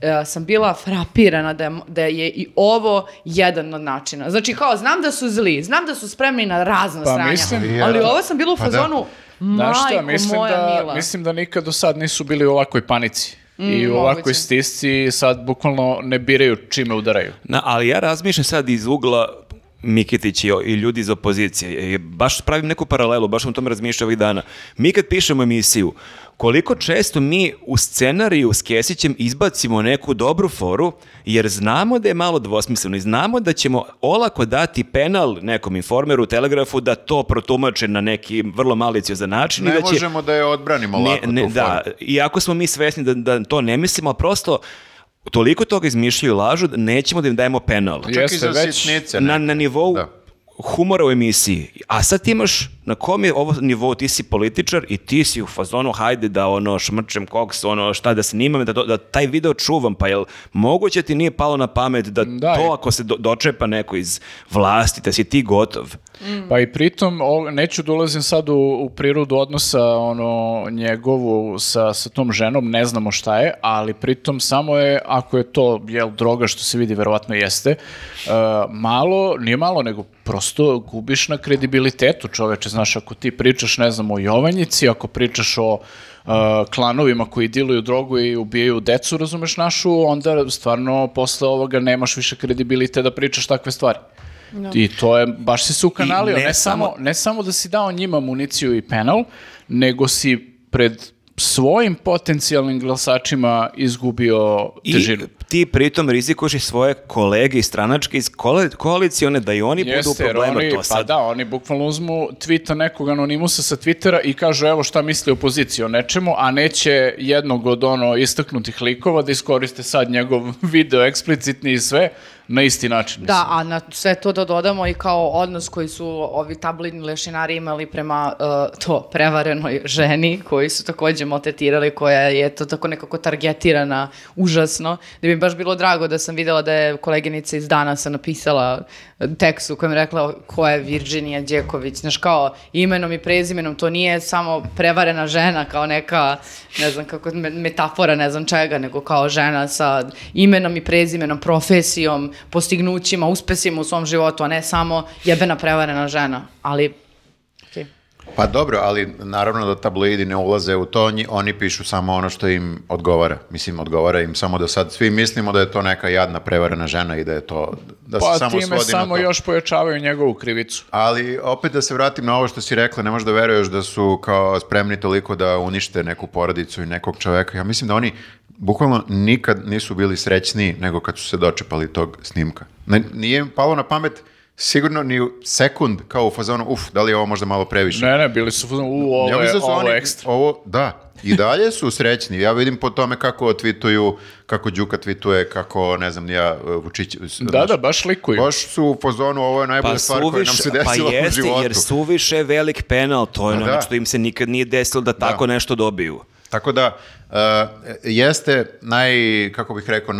[SPEAKER 4] e, sam bila frapirana da je, mo- da je i ovo jedan od načina. Znači kao, znam da su zli, znam da su spremni na razna
[SPEAKER 3] Pa
[SPEAKER 4] sranja,
[SPEAKER 3] mislim-
[SPEAKER 4] ali ovo sam bila u
[SPEAKER 2] Pa da.
[SPEAKER 4] fazonu,
[SPEAKER 3] Znaš šta,
[SPEAKER 4] majko
[SPEAKER 3] mislim
[SPEAKER 4] moja
[SPEAKER 3] da,
[SPEAKER 4] mila. Mm,
[SPEAKER 3] Mislim da nikad do sad nisu bili u ovakvoj panici i u ovakvoj
[SPEAKER 4] moguće.
[SPEAKER 3] stisci i sad bukvalno ne biraju čime udaraju.
[SPEAKER 1] Na, ali ja razmišljam sad iz ugla Mikitić i, o- i ljudi iz opozicije. I baš pravim neku paralelu, baš sam o tome razmišljao ovih dana. Mi kad pišemo emisiju, koliko često mi u scenariju s Kesićem izbacimo neku dobru foru, jer znamo da je malo dvosmisleno i znamo da ćemo olako dati penal nekom informeru, telegrafu, da to protumače na neki vrlo maliciozan način. i
[SPEAKER 2] Ne
[SPEAKER 1] da će,
[SPEAKER 2] možemo da je odbranimo Pa lako tu foru.
[SPEAKER 1] da, iako smo mi svesni da, da to ne mislimo, a prosto toliko toga izmišljaju i lažu da nećemo da im dajemo penal.
[SPEAKER 2] Čak
[SPEAKER 3] Jeste,
[SPEAKER 2] i za
[SPEAKER 3] već
[SPEAKER 2] sitnice.
[SPEAKER 1] Na,
[SPEAKER 2] ne.
[SPEAKER 1] na nivou
[SPEAKER 2] Da.
[SPEAKER 1] humora u emisiji. A sad ti imaš, na kom je ovo nivou, ti si političar i ti si u fazonu, hajde da ono šmrčem koks, ono šta da snimam, da, to- da taj video čuvam, pa jel moguće ti nije palo na pamet da,
[SPEAKER 3] Da,
[SPEAKER 1] to
[SPEAKER 3] i-
[SPEAKER 1] ako se do- dočepa neko iz vlasti, da si ti gotov.
[SPEAKER 3] Pa i pritom, o- neću da ulazim sad u, u prirodu odnosa ono, njegovu sa, sa tom ženom, ne znamo šta je, ali pritom samo je, ako je to jel, droga što se vidi, verovatno jeste, e, malo, nije malo, nego prosto gubiš na kredibilitetu čoveče, znaš, ako ti pričaš, ne znam, o Jovanjici, ako pričaš o e, klanovima koji diluju drogu i ubijaju decu, razumeš našu, onda stvarno posle ovoga nemaš više kredibilite da pričaš takve stvari. I to je, baš si se ukanalio,
[SPEAKER 1] I ne
[SPEAKER 3] ne, samo, ne samo da si dao njima municiju i penal, nego si pred svojim potencijalnim glasačima izgubio
[SPEAKER 1] I
[SPEAKER 3] težinu.
[SPEAKER 1] ti pritom rizikuješ i svoje kolege i stranačke iz koali- koalicione da i oni budu u
[SPEAKER 3] Jeste, jer
[SPEAKER 1] problemu.
[SPEAKER 3] oni,
[SPEAKER 1] to
[SPEAKER 3] pa
[SPEAKER 1] sad.
[SPEAKER 3] da, oni bukvalno uzmu tvita nekog anonimusa sa Twittera i kažu evo šta misli opozicija o nečemu, a neće jednog od ono istaknutih likova da iskoriste sad njegov video eksplicitni i sve na isti način.
[SPEAKER 4] Da,
[SPEAKER 3] mislim.
[SPEAKER 4] a na sve to da dodamo i kao odnos koji su ovi tabloidni lešinari imali prema uh, to prevarenoj ženi koji su takođe maltretirali, koja je to tako nekako targetirana užasno. Da bi mi baš bilo drago da sam videla da je koleginica iz Danasa napisala tekst u kojem je rekla ko je Virginija Đeković. Znaš kao imenom i prezimenom to nije samo prevarena žena kao neka ne znam kako me- metafora ne znam čega nego kao žena sa imenom i prezimenom, profesijom, postignućima, uspesima u svom životu, a ne samo jebena prevarena žena. Ali okay.
[SPEAKER 2] Pa dobro, ali naravno da tabloidi ne ulaze u to, nji- oni pišu samo ono što im odgovara. Mislim, odgovara im samo da sad svi mislimo da je to neka jadna prevarena žena i da je to, da se
[SPEAKER 3] pa
[SPEAKER 2] samo svodi
[SPEAKER 3] time
[SPEAKER 2] na
[SPEAKER 3] samo
[SPEAKER 2] to.
[SPEAKER 3] još pojačavaju njegovu krivicu.
[SPEAKER 2] Ali opet da se vratim na ovo što si rekla, ne možeš da veruješ da su kao spremni toliko da unište neku porodicu i nekog čoveka. Ja mislim da oni bukvalno nikad nisu bili srećniji nego kad su se dočepali tog snimka. Ne- Nije im palo na pamet sigurno ni u sekund kao u fazonu, uf, da li je ovo možda malo previše.
[SPEAKER 3] Ne, ne, bili su u fazonu, u,
[SPEAKER 2] Ja
[SPEAKER 3] ovo je,
[SPEAKER 2] mislim da su
[SPEAKER 3] ovo
[SPEAKER 2] oni-
[SPEAKER 3] je ekstra.
[SPEAKER 2] Ovo, da. I dalje su srećni. Ja vidim po tome kako tvituju, kako Đuka tvituje, kako, ne znam, ni ja, Vučić...
[SPEAKER 3] Da, da, baš likuju.
[SPEAKER 2] Baš su u fazonu, ovo je najbolja
[SPEAKER 1] Pa,
[SPEAKER 2] stvar koja nam
[SPEAKER 1] suviš,
[SPEAKER 2] se desila
[SPEAKER 1] pa jeste,
[SPEAKER 2] u životu.
[SPEAKER 1] jer suviše velik penal, to je
[SPEAKER 2] Pa
[SPEAKER 1] ono
[SPEAKER 2] da.
[SPEAKER 1] što im se nikad nije desilo da tako nešto dobiju.
[SPEAKER 2] Tako da, e, jeste naj, kako bih rekao,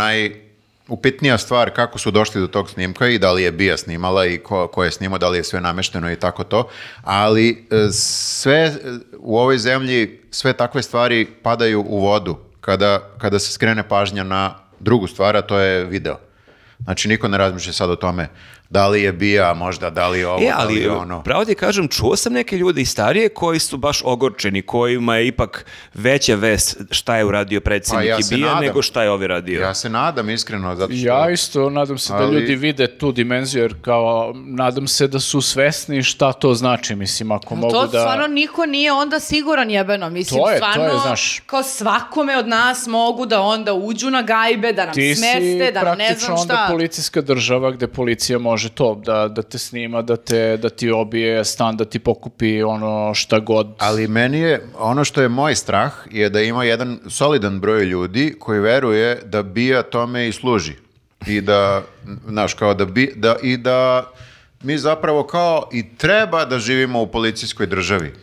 [SPEAKER 2] najupitnija stvar kako su došli do tog snimka i da li je Bija snimala i ko, ko je snimao, da li je sve namešteno i tako to, ali e, sve e, u ovoj zemlji, sve takve stvari padaju u vodu kada, kada se skrene pažnja na drugu stvar, a to je video. Znači, niko ne razmišlja sad o tome da li je Bija, možda, da li je ovo,
[SPEAKER 1] E,
[SPEAKER 2] da li
[SPEAKER 1] ali
[SPEAKER 2] je ono.
[SPEAKER 1] pravo ti kažem, čuo sam neke ljude i starije koji su baš ogorčeni, kojima je ipak veća vest šta je uradio
[SPEAKER 2] Pa
[SPEAKER 1] predsjednik
[SPEAKER 2] ja
[SPEAKER 1] i
[SPEAKER 2] se
[SPEAKER 1] bija
[SPEAKER 2] nadam.
[SPEAKER 1] nego šta je ovi radio.
[SPEAKER 2] Ja se nadam iskreno, zato što...
[SPEAKER 3] Ja isto nadam se da
[SPEAKER 2] Ali-
[SPEAKER 3] ljudi vide tu dimenziju, jer kao nadam se da su svesni šta to znači, mislim, ako mogu
[SPEAKER 4] to
[SPEAKER 3] da...
[SPEAKER 4] stvarno niko nije onda siguran jebeno. Mislim,
[SPEAKER 3] To je, to je,
[SPEAKER 4] stvarno,
[SPEAKER 3] znaš.
[SPEAKER 4] kao svakome od nas mogu da onda uđu na gajbe, da nam
[SPEAKER 3] Ti
[SPEAKER 4] smeste,
[SPEAKER 3] si
[SPEAKER 4] da nam ne
[SPEAKER 3] praktično
[SPEAKER 4] znam
[SPEAKER 3] onda
[SPEAKER 4] šta.
[SPEAKER 3] policijska država gde policija može to, da, da te snima, da, te, da ti obije stan, da ti pokupi ono šta god.
[SPEAKER 2] Ali meni je, ono što je moj strah je da ima jedan solidan broj ljudi koji veruje da bija tome i služi. I da, znaš, kao da bi, da, i da mi zapravo kao i treba da živimo u policijskoj državi.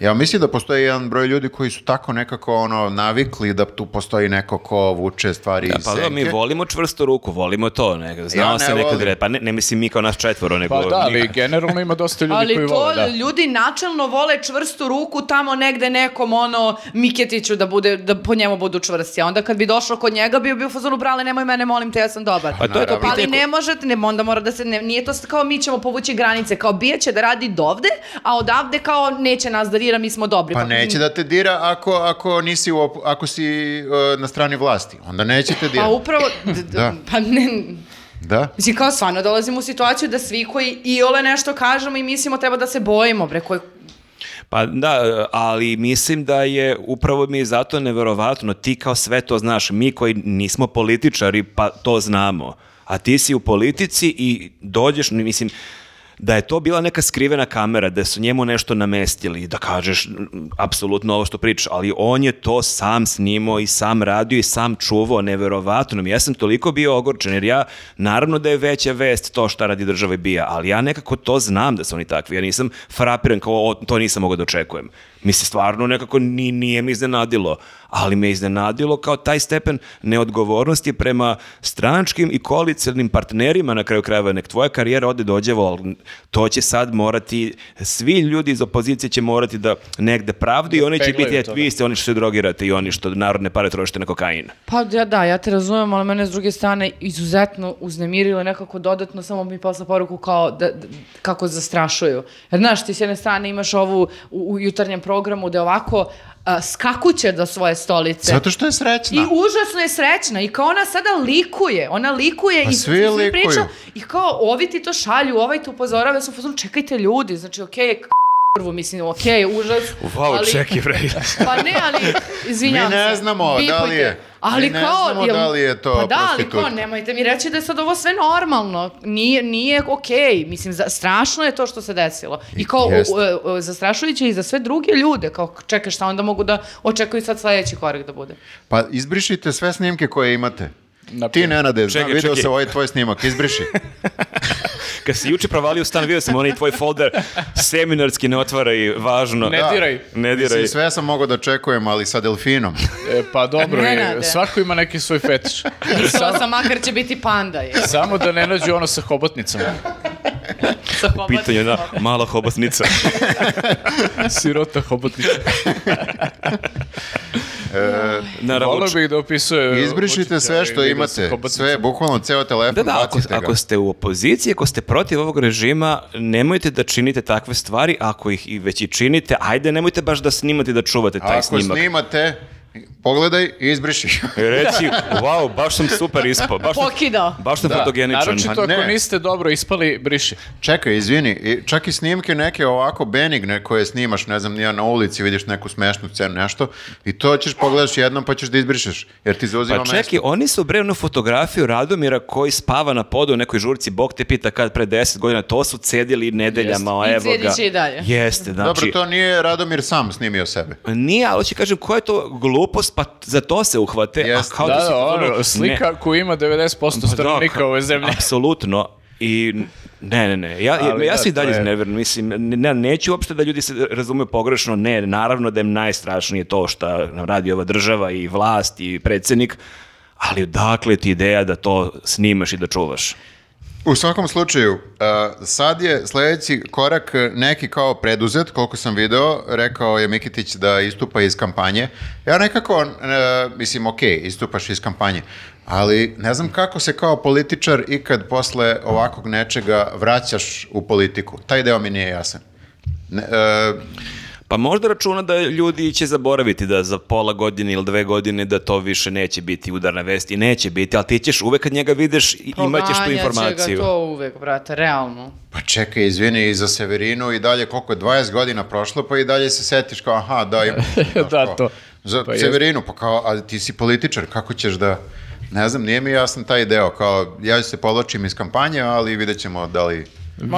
[SPEAKER 2] Ja mislim da postoji jedan broj ljudi koji su tako nekako ono navikli da tu postoji neko ko vuče stvari
[SPEAKER 1] Da,
[SPEAKER 2] iz
[SPEAKER 1] pa da, mi
[SPEAKER 2] senke.
[SPEAKER 1] volimo čvrstu ruku, volimo to. Ne, znao
[SPEAKER 2] ne
[SPEAKER 1] se nekad
[SPEAKER 2] volim.
[SPEAKER 1] re- pa ne, ne mislim mi kao naš četvoro, nego...
[SPEAKER 3] pa da, ali
[SPEAKER 1] mi-
[SPEAKER 3] generalno ima dosta ljudi
[SPEAKER 4] Ali
[SPEAKER 3] koji
[SPEAKER 4] to
[SPEAKER 3] vole, da.
[SPEAKER 4] ljudi načelno vole čvrstu ruku tamo negde nekom ono Miketiću da bude da po njemu budu čvrsti. A onda kad bi došlo kod njega bio bi u fazonu brale nemoj mene molim te ja sam dobar.
[SPEAKER 1] Pa to je to
[SPEAKER 4] Pa ali
[SPEAKER 1] pitanje
[SPEAKER 4] ne možete, ne, onda mora da se, ne, nije to s- kao mi ćemo povući granice, kao bija će da radi dovde, a odavde kao neće nas da dira, mi smo dobri.
[SPEAKER 2] Pa neće da te dira ako, ako, nisi u op- ako si e, na strani vlasti. Onda neće te dira.
[SPEAKER 4] Pa upravo, d- d-
[SPEAKER 2] Da.
[SPEAKER 4] pa ne,
[SPEAKER 2] Da.
[SPEAKER 4] mislim kao stvarno dolazimo u situaciju da svi koji iole nešto kažemo i mislimo treba da se bojimo, bre, koji,
[SPEAKER 1] Pa da, ali mislim da je upravo mi je zato neverovatno, ti kao sve to znaš, mi koji nismo političari pa to znamo, a ti si u politici i dođeš, mislim, da je to bila neka skrivena kamera, da su njemu nešto namestili, i da kažeš mm, apsolutno ovo što pričaš, ali on je to sam snimao i sam radio i sam čuvao, neverovatno mi. Ja sam toliko bio ogorčen, jer ja, naravno da je veća vest to šta radi država i bija, ali ja nekako to znam da su oni takvi, ja nisam frapiran kao o, to nisam mogao da očekujem. Mislim, stvarno nekako ni, nije mi iznenadilo, ali me je iznenadilo kao taj stepen neodgovornosti prema stranačkim i koalicijnim partnerima na kraju krajeva, nek tvoja karijera ode dođevo, ali to će sad morati, svi ljudi iz opozicije će morati da negde pravdu i oni će
[SPEAKER 3] Peglaju
[SPEAKER 1] biti, et,
[SPEAKER 3] to,
[SPEAKER 1] vi ste oni što se drogirate i oni što narodne pare trošite na kokain.
[SPEAKER 4] Pa ja, da, ja te razumem, ali mene s druge strane izuzetno uznemirilo i nekako dodatno samo mi posla poruku kao da, da- kako zastrašuju. Jer znaš, ti s jedne strane imaš ovu u, u jutarnjem programu da ovako a, skakuće do svoje stolice.
[SPEAKER 2] Zato što je srećna.
[SPEAKER 4] I užasno je srećna i kao ona sada likuje, ona likuje
[SPEAKER 2] Pa
[SPEAKER 4] i
[SPEAKER 2] svi
[SPEAKER 4] i
[SPEAKER 2] likuju.
[SPEAKER 4] priča i kao ovi ti to šalju, ovaj ti upozorava, ja sam u fazonu, čekajte ljudi, znači okej, okay, prvo mislim, okej, užas, ali pa ne, ali izvinjavam
[SPEAKER 2] Mi
[SPEAKER 4] se. pa
[SPEAKER 2] ne znamo da li je.
[SPEAKER 4] Ali
[SPEAKER 2] Mi ne
[SPEAKER 4] kao,
[SPEAKER 2] znamo da li je to
[SPEAKER 4] Pa da, ali
[SPEAKER 2] prostitutka.
[SPEAKER 4] kao, nemojte mi reći da je sad ovo sve normalno. Nije, nije okej. Mislim, za, strašno je to što se desilo. I kao,
[SPEAKER 2] Jest.
[SPEAKER 4] u- u- u- zastrašujuće i za sve druge ljude. Kao, čekaj, šta onda mogu da očekuju sad sledeći korak da bude?
[SPEAKER 2] Pa izbrišite sve snimke koje imate. Ti, Nenade, znam,
[SPEAKER 1] Čekaj,
[SPEAKER 2] video
[SPEAKER 1] čekaj.
[SPEAKER 2] sam ovaj tvoj snimak, izbriši.
[SPEAKER 1] Kad si juče provalio stan, vidio sam onaj tvoj folder, seminarski ne otvara i važno.
[SPEAKER 3] Ne diraj.
[SPEAKER 1] Ne diraj.
[SPEAKER 2] Mislim, sve sam mogao da očekujem, ali sa delfinom.
[SPEAKER 3] E, pa dobro, je,
[SPEAKER 4] Nenade.
[SPEAKER 3] svako ima neki svoj fetiš.
[SPEAKER 4] Mislila sam, makar će biti panda. Je.
[SPEAKER 3] Samo da ne nađu ono sa hobotnicama.
[SPEAKER 4] Sa hobotnicom.
[SPEAKER 1] Pitanje je da mala hobotnica.
[SPEAKER 3] Sirota hobotnica.
[SPEAKER 1] Naravno,
[SPEAKER 3] Volio bih da opisuje...
[SPEAKER 2] Izbrišite sve
[SPEAKER 3] očitaj
[SPEAKER 2] što
[SPEAKER 3] video
[SPEAKER 2] imate,
[SPEAKER 3] sa hobotnicama.
[SPEAKER 2] sve, bukvalno ceo telefon,
[SPEAKER 1] Da, da, ako,
[SPEAKER 2] bacite ga.
[SPEAKER 1] ako ste u opoziciji, ako ste protiv ovog režima, nemojte da činite takve stvari, ako ih i već i činite, ajde, nemojte baš da snimate i da čuvate taj
[SPEAKER 2] Ako
[SPEAKER 1] snimak.
[SPEAKER 2] snimate, pogledaj i izbriši.
[SPEAKER 1] I Reci, wow, baš sam super ispao, baš sam,
[SPEAKER 4] Pokidao.
[SPEAKER 1] baš sam
[SPEAKER 2] Da,
[SPEAKER 1] fotogeničan.
[SPEAKER 3] Naročito
[SPEAKER 2] Ma Pa ne.
[SPEAKER 3] ako niste dobro ispali, briši.
[SPEAKER 2] Čekaj, izvini, i čak i snimke neke ovako benigne koje snimaš, ne znam, nije na ulici, vidiš neku smešnu scenu, nešto, i to ćeš pogledaš jednom pa ćeš da izbrišeš, jer ti zauzima
[SPEAKER 1] Pa
[SPEAKER 2] mesto.
[SPEAKER 1] čekaj, oni su bre onu fotografiju Radomira koji spava na podu u nekoj žurci, Bog te pita kad pre 10 godina, to su cedili nedeljama,
[SPEAKER 4] I
[SPEAKER 1] evo ga.
[SPEAKER 4] cedit će i dalje.
[SPEAKER 1] Jeste, znači...
[SPEAKER 2] Dobro, to nije Radomir sam snimio sebe.
[SPEAKER 1] Nije, ali hoće kažem, koja je to glupost, pa za to se uhvate.
[SPEAKER 2] Jeste.
[SPEAKER 1] A kao
[SPEAKER 3] Da,
[SPEAKER 1] da, si-
[SPEAKER 3] da, ono,
[SPEAKER 1] ono,
[SPEAKER 3] slika koju ima 90%
[SPEAKER 1] Pa da,
[SPEAKER 3] stanovnika
[SPEAKER 1] ka-
[SPEAKER 3] ove zemlje.
[SPEAKER 1] Apsolutno. I ne, ne, ne. Ja,
[SPEAKER 3] Ali
[SPEAKER 1] ja
[SPEAKER 3] da,
[SPEAKER 1] sam i dalje
[SPEAKER 3] to je-
[SPEAKER 1] izneveran. Mislim, ne, ne- neću uopšte da ljudi se razumeju pogrešno. Ne, naravno da je najstrašnije to što nam radi ova država i vlast i predsjednik, ali odakle ti ideja da to snimaš i da čuvaš?
[SPEAKER 2] U svakom slučaju, uh, sad je sljedeći korak uh, neki kao preduzet, koliko sam video, rekao je Mikitić da istupa iz kampanje. Ja nekako, uh, mislim, ok, istupaš iz kampanje, ali ne znam kako se kao političar ikad posle ovakvog nečega vraćaš u politiku. Taj deo mi nije jasan. Ne, uh,
[SPEAKER 1] Pa možda računa da ljudi će zaboraviti da za pola godine ili dve godine da to više neće biti udarna vest i neće biti, ali ti ćeš uvek kad njega vidiš i imaćeš tu
[SPEAKER 4] Proganjat će
[SPEAKER 1] informaciju.
[SPEAKER 4] ga to uvek, brate, realno.
[SPEAKER 2] pa čekaj, izvini, i za Severinu i dalje, koliko je 20 godina prošlo, pa i dalje se setiš kao, aha, da, im, znaš,
[SPEAKER 3] Da,
[SPEAKER 2] kao,
[SPEAKER 3] to.
[SPEAKER 2] Za
[SPEAKER 3] Pa jest.
[SPEAKER 2] Severinu, pa kao, ali ti si političar, kako ćeš da... Ne znam, nije mi jasan taj deo, kao, ja se povlačim iz kampanje, ali vidjet ćemo da li...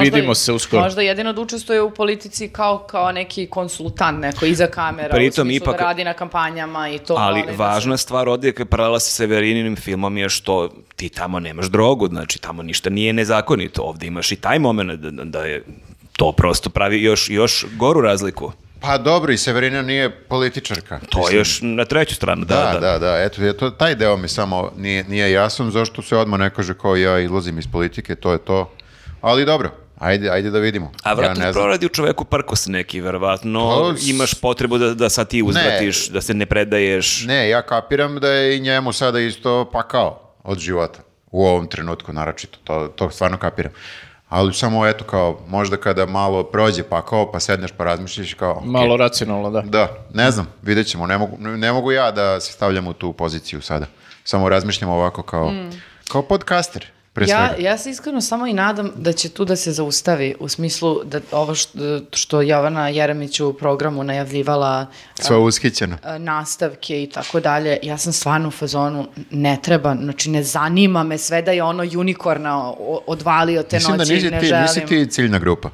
[SPEAKER 3] Vidimo se uskoro.
[SPEAKER 4] Možda jedino da učestvuje u politici kao, kao neki konsultant, neko iza kamera,
[SPEAKER 1] Pritom
[SPEAKER 4] u smislu
[SPEAKER 1] ipak-
[SPEAKER 4] da radi na kampanjama i to.
[SPEAKER 1] Ali
[SPEAKER 4] da se-
[SPEAKER 1] važna stvar ovdje je paralela sa Severininim filmom je što ti tamo nemaš drogu, znači tamo ništa nije nezakonito. Ovdje imaš i taj moment da, da je to prosto pravi još, još goru razliku.
[SPEAKER 2] Pa dobro, i Severina nije političarka.
[SPEAKER 1] To je
[SPEAKER 2] Mislim,
[SPEAKER 1] još na treću stranu. Da,
[SPEAKER 2] Da,
[SPEAKER 1] da,
[SPEAKER 2] da, da, eto, je to, taj deo mi samo nije, nije jasan, zašto se odmah ne kaže kao ja izlazim iz politike, to je to. Ali dobro, ajde, ajde da vidimo.
[SPEAKER 1] A vratno
[SPEAKER 2] ja ne znam.
[SPEAKER 1] proradi u čoveku prkos neki, verovatno.
[SPEAKER 2] Pa, s-
[SPEAKER 1] Imaš potrebu da, da sad ti uzvratiš, da se ne predaješ.
[SPEAKER 2] Ne, ja kapiram da je i njemu sada isto pakao od života. U ovom trenutku, naročito, to, to stvarno kapiram. Ali samo, eto, kao, možda kada malo prođe pakao, pa sedneš pa razmišljaš kao... okej,
[SPEAKER 3] Malo racionalno, da.
[SPEAKER 2] Da, ne znam, vidjet ćemo. Ne mogu, ne mogu ja da se stavljam u tu poziciju sada. Samo razmišljam ovako kao, kao podcaster, pre
[SPEAKER 4] Mm. Ja,
[SPEAKER 2] svega.
[SPEAKER 4] ja se iskreno samo i nadam da će tu da se zaustavi, u smislu da ovo što, što Jovana Jeremić u programu najavljivala
[SPEAKER 2] Sve ushićeno.
[SPEAKER 4] e, nastavke i tako dalje, ja sam stvarno u fazonu ne treba, znači ne zanima me sve da je ono unikorna o- odvalio te
[SPEAKER 2] Mislim da
[SPEAKER 4] noći,
[SPEAKER 2] nisi
[SPEAKER 4] ne
[SPEAKER 2] ti,
[SPEAKER 4] želim.
[SPEAKER 2] nisi ti ciljna grupa.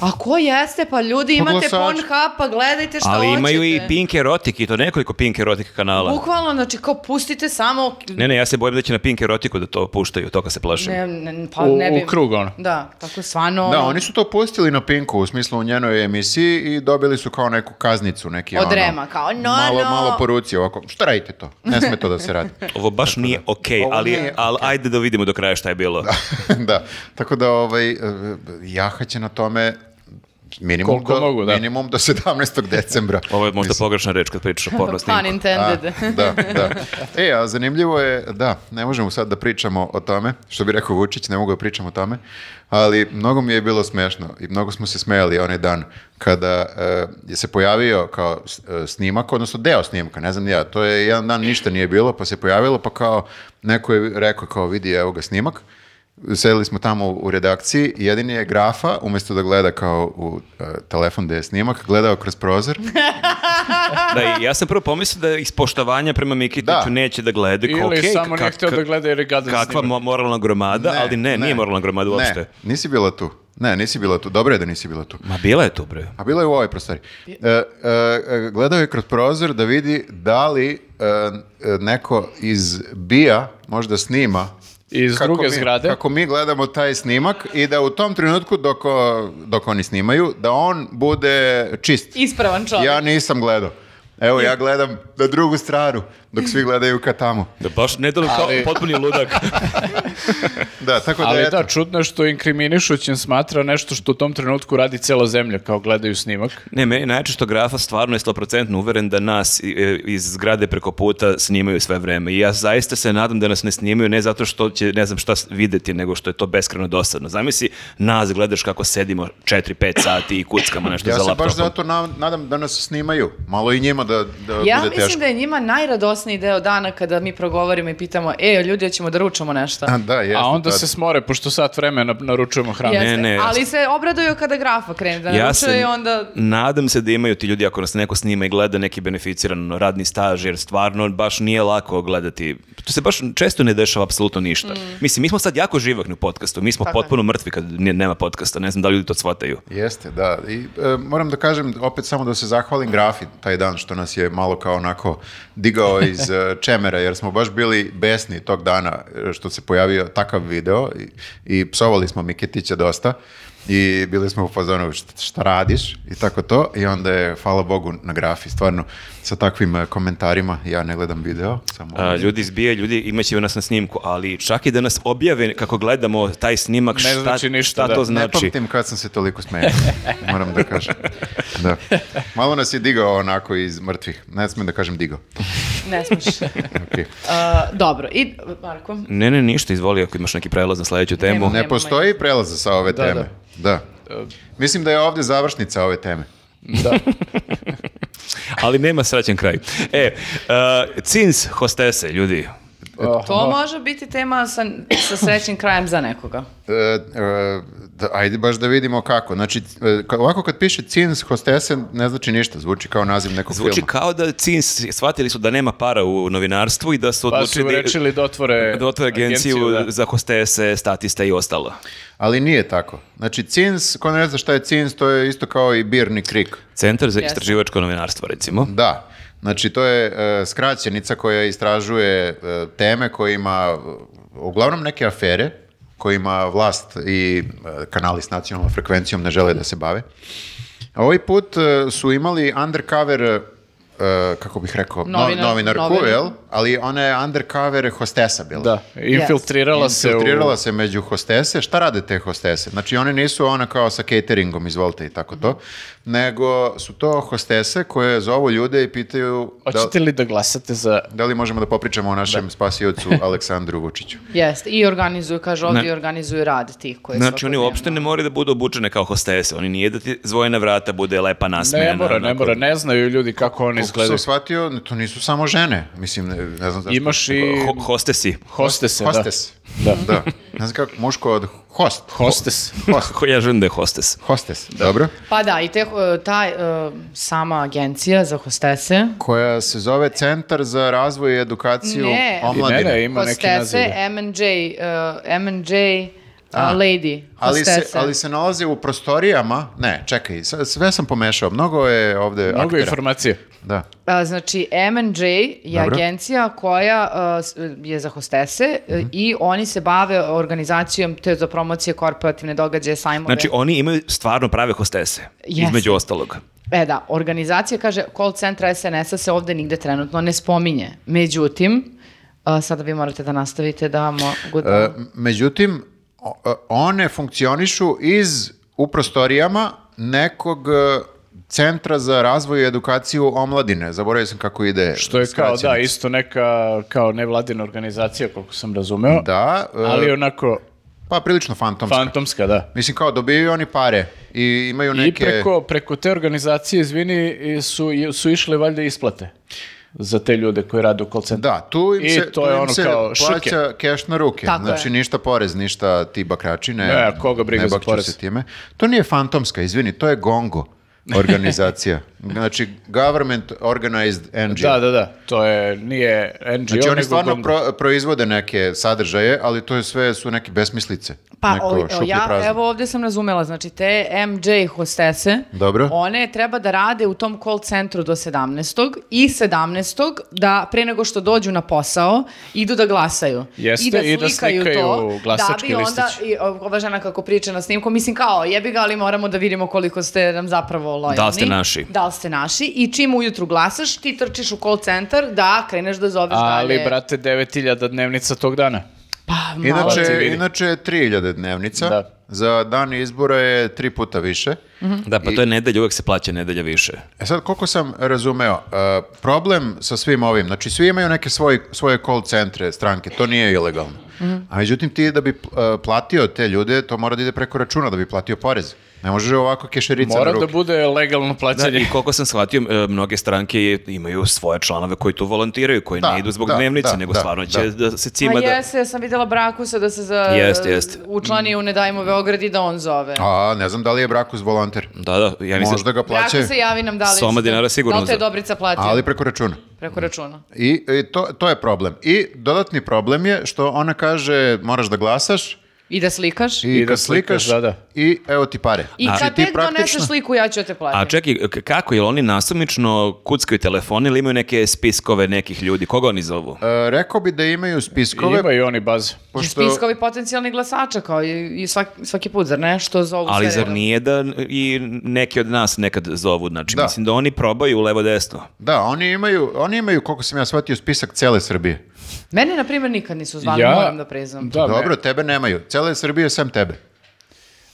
[SPEAKER 4] A ko jeste? Pa ljudi imate
[SPEAKER 2] glasači.
[SPEAKER 4] Pornhub, pa gledajte šta
[SPEAKER 1] Ali
[SPEAKER 4] hoćete.
[SPEAKER 1] imaju i Pink Erotik i to nekoliko Pink Erotik kanala.
[SPEAKER 4] Bukvalno, znači kao pustite samo...
[SPEAKER 1] Ne, ne, ja se bojim da će na Pink Erotiku da to puštaju, toga se plašim.
[SPEAKER 4] Ne, ne, pa
[SPEAKER 3] U-
[SPEAKER 4] ne bi...
[SPEAKER 3] u krug, ono.
[SPEAKER 4] Da, tako stvarno...
[SPEAKER 2] Da,
[SPEAKER 4] ono,
[SPEAKER 2] oni su to pustili na Pinku, u smislu u njenoj emisiji i dobili su kao neku kaznicu, neki
[SPEAKER 4] Od
[SPEAKER 2] ono-
[SPEAKER 4] Rema, kao, no,
[SPEAKER 2] malo,
[SPEAKER 4] no.
[SPEAKER 2] Malo poruci ovako, šta radite to? Ne sme to da se radi.
[SPEAKER 1] Ovo baš nije okej,
[SPEAKER 2] Ovo
[SPEAKER 1] ali,
[SPEAKER 2] nije
[SPEAKER 1] ali ajde da vidimo do kraja šta je bilo.
[SPEAKER 2] da, tako da ovaj, eh, Jaha će na tome minimum
[SPEAKER 3] Koliko
[SPEAKER 2] do,
[SPEAKER 3] mogu, da.
[SPEAKER 2] minimum do 17. decembra.
[SPEAKER 1] Ovo je možda pogrešna reč kad pričaš o porno
[SPEAKER 4] pa Pun
[SPEAKER 1] snimku.
[SPEAKER 2] A,
[SPEAKER 4] intended.
[SPEAKER 2] da, da. E, a zanimljivo je, da, ne možemo sad da pričamo o tome, što bi rekao Vučić, ne mogu da pričam o tome, ali mnogo mi je bilo smešno i mnogo smo se smejali onaj dan kada eh, je se pojavio kao s- eh, snimak, odnosno deo snimka, ne znam ni ja, to je jedan dan ništa nije bilo, pa se pojavilo, pa kao neko je rekao kao vidi evo ga snimak, Sedeli smo tamo u redakciji i jedini je grafa, umjesto da gleda kao u eh, telefon gde je snimak, gledao kroz prozor
[SPEAKER 1] Da, i ja sam prvo pomislio da iz poštovanja prema Mikitiću
[SPEAKER 2] Da.
[SPEAKER 1] neće da gleda.
[SPEAKER 3] Ili
[SPEAKER 1] Okej,
[SPEAKER 3] samo nije
[SPEAKER 1] kak-
[SPEAKER 3] htio da gleda jer je gadan
[SPEAKER 1] Kakva
[SPEAKER 3] snimak.
[SPEAKER 1] mo- moralna gromada, ali ne, nije moralna gromada uopšte.
[SPEAKER 2] Ne, nisi bila tu. Ne, nisi bila tu. Dobro je da nisi bila tu.
[SPEAKER 1] Ma bila je tu, bre.
[SPEAKER 2] A bilo je u ovoj prostori. E, e, e, gledao je kroz prozor da vidi da li e, e, neko iz BIA možda snima
[SPEAKER 3] Iz
[SPEAKER 2] kako
[SPEAKER 3] druge
[SPEAKER 2] mi,
[SPEAKER 3] zgrade.
[SPEAKER 2] Kako mi gledamo taj snimak i da u tom trenutku dok, o- dok oni snimaju, da on bude čist.
[SPEAKER 4] Ispravan čovjek.
[SPEAKER 2] Ja nisam gledao. Evo, ja gledam na drugu stranu, dok svi gledaju ka tamo.
[SPEAKER 1] Da baš ne delujem kao
[SPEAKER 3] Ali-
[SPEAKER 1] potpuni ludak.
[SPEAKER 2] Da, tako da,
[SPEAKER 3] Ali
[SPEAKER 2] eto.
[SPEAKER 3] da, čudno je što inkriminišućem smatra nešto što u tom trenutku radi cela zemlja, kao gledaju snimak.
[SPEAKER 1] ne, meni je najjače što grafa stvarno je 100% uveren da nas i- e, iz zgrade preko puta snimaju sve vreme. I ja zaista se nadam da nas ne snimaju ne zato što će ne znam šta s- videti, nego što je to beskreno dosadno. Zamisli, nas gledaš kako sedimo 4-5 sati i kuckamo nešto
[SPEAKER 2] Ja
[SPEAKER 1] za
[SPEAKER 2] se
[SPEAKER 1] laptopom.
[SPEAKER 2] baš zato na- nadam da nas snimaju. Malo i njima da, da
[SPEAKER 4] Ja
[SPEAKER 2] bude
[SPEAKER 4] mislim
[SPEAKER 2] teško.
[SPEAKER 4] da je njima najradosniji deo dana kada mi progovorimo i pitamo, e, ljudi, hoćemo da ručamo nešto.
[SPEAKER 2] A, Da, jeste,
[SPEAKER 3] A onda
[SPEAKER 2] da.
[SPEAKER 3] se smore, pošto sat vremena naručujemo hranu.
[SPEAKER 4] Jeste.
[SPEAKER 1] ne, ja
[SPEAKER 4] Ali se obraduju kada grafa krene da
[SPEAKER 1] Pa Ja
[SPEAKER 4] naručuje
[SPEAKER 1] se
[SPEAKER 4] i onda...
[SPEAKER 1] nadam se da imaju ti ljudi ako nas neko snima i gleda neki beneficiran radni staž jer stvarno baš nije lako gledati. To se baš često ne dešava apsolutno ništa. Mislim, mi smo sad jako živakni u podcastu, mi smo
[SPEAKER 4] Tako je.
[SPEAKER 1] potpuno mrtvi kad nje- nema podcasta, ne znam da li ljudi to shvataju.
[SPEAKER 2] Jeste, da. I e, moram da kažem opet samo da se zahvalim Grafi taj dan što nas je malo kao onako digao iz e, čemera jer smo baš bili besni tog dana e, što se pojavio takav video i, i psovali smo Miketića dosta i bili smo u fazonu "Šta- šta radiš i tako to i onda je hvala Bogu na Grafi stvarno sa takvim e, komentarima ja ne gledam video samo
[SPEAKER 1] A, ljudi izbije, ljudi imaće nas na snimku, ali čak i da nas objave kako gledamo taj snimak,
[SPEAKER 3] Ne
[SPEAKER 1] šta,
[SPEAKER 3] znači ništa,
[SPEAKER 1] šta
[SPEAKER 3] da.
[SPEAKER 1] to
[SPEAKER 3] Ne
[SPEAKER 2] Ne
[SPEAKER 1] znači.
[SPEAKER 2] pamtim kad sam se toliko smejao, moram da kažem. Da. Malo nas je digao onako iz mrtvih. Ne smijem da kažem digao.
[SPEAKER 4] Ne smiješ.
[SPEAKER 2] Ok.
[SPEAKER 4] A, dobro. I, Marko,
[SPEAKER 1] Ne, ne, ništa, izvoli ako imaš neki prelaz na sledeću temu.
[SPEAKER 4] Nema.
[SPEAKER 2] Ne postoji prelaza sa ove
[SPEAKER 3] Da,
[SPEAKER 2] teme. Da. Mislim da je ovdje završnica ove teme.
[SPEAKER 3] Da.
[SPEAKER 1] Ali nema srećen kraj. E, a, cins hostese, ljudi.
[SPEAKER 4] to može biti tema sa, sa srećnim krajem za nekoga.
[SPEAKER 2] E, e, da, ajde baš da vidimo kako. Znači, e, ka- ovako kad piše Cins Hostesen ne znači ništa. Zvuči kao naziv nekog
[SPEAKER 1] Zvuči
[SPEAKER 2] filma.
[SPEAKER 1] kao da cins, shvatili su da nema para u novinarstvu i da su
[SPEAKER 3] Pa
[SPEAKER 1] odlučili
[SPEAKER 3] su rečili da otvore,
[SPEAKER 1] da otvore agenciju,
[SPEAKER 3] da.
[SPEAKER 1] za hostese, statiste i ostalo.
[SPEAKER 2] Ali nije tako. Znači, Cins, ko ne zna šta je Cins, to je isto kao i Birni Krik.
[SPEAKER 1] Centar za
[SPEAKER 4] Jeste.
[SPEAKER 1] istraživačko novinarstvo, recimo.
[SPEAKER 2] Da. Znači, to je e, skraćenica koja istražuje e, teme kojima, e, uglavnom neke afere, kojima vlast i e, kanali s nacionalnom frekvencijom ne žele da se bave. A ovaj put e, su imali undercover, e, kako bih rekao, no-
[SPEAKER 4] Novinar-
[SPEAKER 2] novinarku,
[SPEAKER 4] novinar.
[SPEAKER 2] jel? Ali ona je undercover hostesa bila.
[SPEAKER 3] Da, infiltrirala se u...
[SPEAKER 2] Filtrirala se među hostese. Šta rade te hostese? Znači, one nisu ona kao sa cateringom, izvolite i tako to, nego su to hostese koje zovu ljude i pitaju da,
[SPEAKER 3] Hoćete li da glasate za...
[SPEAKER 2] da li možemo da popričamo o našem spasiocu Aleksandru Vučiću.
[SPEAKER 4] Jeste. I organizuju, kaže ovdje,
[SPEAKER 1] Ne.
[SPEAKER 4] i organizuju rad tih koji
[SPEAKER 1] Znači, oni
[SPEAKER 4] svakodnevno-
[SPEAKER 1] uopšte ne moraju da budu obučene kao hostese. Oni nije da ti zvojena vrata bude lepa nasmena.
[SPEAKER 3] Ne mora, ne
[SPEAKER 1] onako.
[SPEAKER 3] mora, ne znaju ljudi kako oni
[SPEAKER 2] Koliko sam
[SPEAKER 3] izgledaju.
[SPEAKER 2] shvatio, to nisu samo žene. Mislim, ne, ne znam zašto.
[SPEAKER 3] Imaš i
[SPEAKER 1] Ho- hostesi.
[SPEAKER 3] hostese, da.
[SPEAKER 2] Hostes.
[SPEAKER 3] Da.
[SPEAKER 2] Da. Ne znam kako, muško od host.
[SPEAKER 3] Hostes.
[SPEAKER 1] Ko ja želim da je hostes.
[SPEAKER 2] Hostes, dobro.
[SPEAKER 4] Pa da, i te, e, ta e, sama agencija za hostese,
[SPEAKER 2] Koja se zove Centar za razvoj i edukaciju
[SPEAKER 4] Ne.
[SPEAKER 2] omladine.
[SPEAKER 3] Ne, ne, ima neki naziv.
[SPEAKER 4] hostese, M&J, uh, M&J, uh, lady,
[SPEAKER 2] Ali se,
[SPEAKER 4] hostese.
[SPEAKER 2] ali se nalaze u prostorijama, ne, čekaj, s- sve sam pomešao, mnogo je ovde
[SPEAKER 3] Mnogo
[SPEAKER 2] aktera.
[SPEAKER 3] informacije.
[SPEAKER 2] Da.
[SPEAKER 4] A, znači, M&J je
[SPEAKER 2] Dobro.
[SPEAKER 4] agencija koja a, s- je za hostese e,
[SPEAKER 2] Mhm.
[SPEAKER 4] i oni se bave organizacijom te za promocije korporativne događaje, sajmove.
[SPEAKER 1] Znači, oni imaju stvarno prave hostese.
[SPEAKER 4] Jeste.
[SPEAKER 1] Između ostalog.
[SPEAKER 4] E da, organizacija kaže call centra SNS-a se ovde nigde trenutno ne spominje. Međutim, a, sada vi morate da nastavite da... Mo, good,
[SPEAKER 2] E, međutim, o- e, one funkcionišu iz, u prostorijama nekog e, centra za razvoj i edukaciju omladine. Zaboravio sam kako ide.
[SPEAKER 3] Što je kao, da,
[SPEAKER 2] skraćenica.
[SPEAKER 3] isto neka kao nevladina organizacija, koliko sam razumeo.
[SPEAKER 2] Da, e,
[SPEAKER 3] Ali onako,
[SPEAKER 2] pa prilično fantomska.
[SPEAKER 3] fantomska, da.
[SPEAKER 2] Mislim kao dobijaju oni pare i imaju neke...
[SPEAKER 3] I preko, preko te organizacije, izvini, i su, i- su išle valjda isplate za te ljude koji rade u call centru.
[SPEAKER 2] Da, tu im
[SPEAKER 3] I
[SPEAKER 2] se,
[SPEAKER 3] to
[SPEAKER 2] tu
[SPEAKER 3] je
[SPEAKER 2] im
[SPEAKER 3] ono
[SPEAKER 2] se
[SPEAKER 3] kao šuke.
[SPEAKER 2] plaća keš na ruke.
[SPEAKER 4] Tako
[SPEAKER 2] znači
[SPEAKER 4] je.
[SPEAKER 2] ništa porez, ništa ti bakrači, ne,
[SPEAKER 3] Ne, koga briga
[SPEAKER 2] ne
[SPEAKER 3] za
[SPEAKER 2] bakću
[SPEAKER 3] porez.
[SPEAKER 2] se time. To nije fantomska, izvini, to je gongo. organizacija. Znači, government organized NGO.
[SPEAKER 3] Da, da, da. To je, nije NGO,
[SPEAKER 2] Znači oni
[SPEAKER 3] nego
[SPEAKER 2] stvarno
[SPEAKER 3] GONG.
[SPEAKER 2] pro- proizvode neke sadržaje, ali to je sve su neke besmislice.
[SPEAKER 4] Pa
[SPEAKER 2] neko
[SPEAKER 4] o, o,
[SPEAKER 2] šuplje
[SPEAKER 4] ja
[SPEAKER 2] prazno.
[SPEAKER 4] evo ovdje sam razumela, znači te MJ hostese,
[SPEAKER 2] Dobro.
[SPEAKER 4] one treba da rade u tom call centru do 17. i 17. da pre nego što dođu na posao idu da glasaju.
[SPEAKER 3] Jeste, i da slikaju glasački
[SPEAKER 4] da bi onda,
[SPEAKER 3] listić.
[SPEAKER 4] i, o, ova žena kako priča na snimku, mislim kao jebi ga, ali moramo da vidimo koliko ste nam zapravo lojalni.
[SPEAKER 1] Da li ste naši?
[SPEAKER 4] Da li ste naši i čim ujutru glasaš ti trčiš u call centar da kreneš da zoveš
[SPEAKER 3] Ali,
[SPEAKER 4] dalje.
[SPEAKER 3] brate, 9000 dnevnica tog dana.
[SPEAKER 4] Pa, malo
[SPEAKER 2] Inače,
[SPEAKER 3] ti vidi.
[SPEAKER 2] inače je 3000 dnevnica,
[SPEAKER 3] Da.
[SPEAKER 2] za dan izbora je tri puta više.
[SPEAKER 1] Da, pa to je nedelja, uvek se plaća nedelja više.
[SPEAKER 2] E sad, koliko sam razumeo, e, problem sa svim ovim, znači svi imaju neke svoj, svoje call centre, stranke, to nije ilegalno. A međutim, ti da bi e, platio te ljude, to mora da ide preko računa, da bi platio porez. Ne može ovako kešerica
[SPEAKER 3] Mora
[SPEAKER 2] na
[SPEAKER 3] da
[SPEAKER 2] ruke.
[SPEAKER 3] bude legalno
[SPEAKER 1] Da,
[SPEAKER 2] Znači-
[SPEAKER 3] plaćanje.
[SPEAKER 1] i koliko sam shvatio, e, mnoge stranke je- imaju svoje članove koji tu volontiraju, koji
[SPEAKER 2] Da,
[SPEAKER 1] ne idu zbog
[SPEAKER 2] da,
[SPEAKER 1] dnevnice,
[SPEAKER 2] da,
[SPEAKER 1] nego
[SPEAKER 2] da,
[SPEAKER 1] stvarno će da, se cima
[SPEAKER 4] Pa
[SPEAKER 1] da...
[SPEAKER 4] jeste, ja sam vidjela Brakusa da se za,
[SPEAKER 1] Jeste, jeste.
[SPEAKER 4] učlani u Ne dajmo Beograd i da on zove.
[SPEAKER 2] A, ne znam da li je Brakus volonter.
[SPEAKER 1] Da, da, ja mislim...
[SPEAKER 2] Možda ga plaćaju,
[SPEAKER 4] Brakus se javi nam da li...
[SPEAKER 1] Soma
[SPEAKER 4] ste-
[SPEAKER 1] dinara sigurno
[SPEAKER 4] Da li te je
[SPEAKER 1] za-
[SPEAKER 4] Dobrica platio
[SPEAKER 2] ali preko računa.
[SPEAKER 4] preko računa?
[SPEAKER 2] I, i to, to je problem. I dodatni problem je što ona kaže moraš da glasaš
[SPEAKER 4] I da slikaš?
[SPEAKER 2] i,
[SPEAKER 3] I da
[SPEAKER 2] kad
[SPEAKER 3] slikaš,
[SPEAKER 2] slikaš
[SPEAKER 3] da, da.
[SPEAKER 2] i evo ti pare.
[SPEAKER 4] I
[SPEAKER 2] Znači,
[SPEAKER 4] kad
[SPEAKER 2] ti
[SPEAKER 4] tek doneseš sliku, ja ću te
[SPEAKER 1] A
[SPEAKER 4] platiti.
[SPEAKER 1] čekaj, k- kako, jel oni nasumično kuckaju telefon ili imaju neke spiskove nekih ljudi? Koga oni zovu?
[SPEAKER 2] e, rekao bi da imaju spiskove,
[SPEAKER 3] Imaju oni baze.
[SPEAKER 4] I
[SPEAKER 2] pošto...
[SPEAKER 4] spiskovi potencijalni glasača, kao i, i svak- svaki put, zar ne? Što zovu
[SPEAKER 1] Ali
[SPEAKER 4] sve
[SPEAKER 1] zar
[SPEAKER 4] redom?
[SPEAKER 1] nije da i neki od nas nekad zovu? Znači,
[SPEAKER 2] Da.
[SPEAKER 1] mislim da oni probaju levo-desno.
[SPEAKER 2] Da, oni imaju, oni imaju, koliko sam ja shvatio, spisak cele Srbije.
[SPEAKER 4] Mene, na primjer, nikad nisu zvali, moram da priznam.
[SPEAKER 3] Da, me-
[SPEAKER 2] Dobro, tebe nemaju. Cele Srbije sem tebe.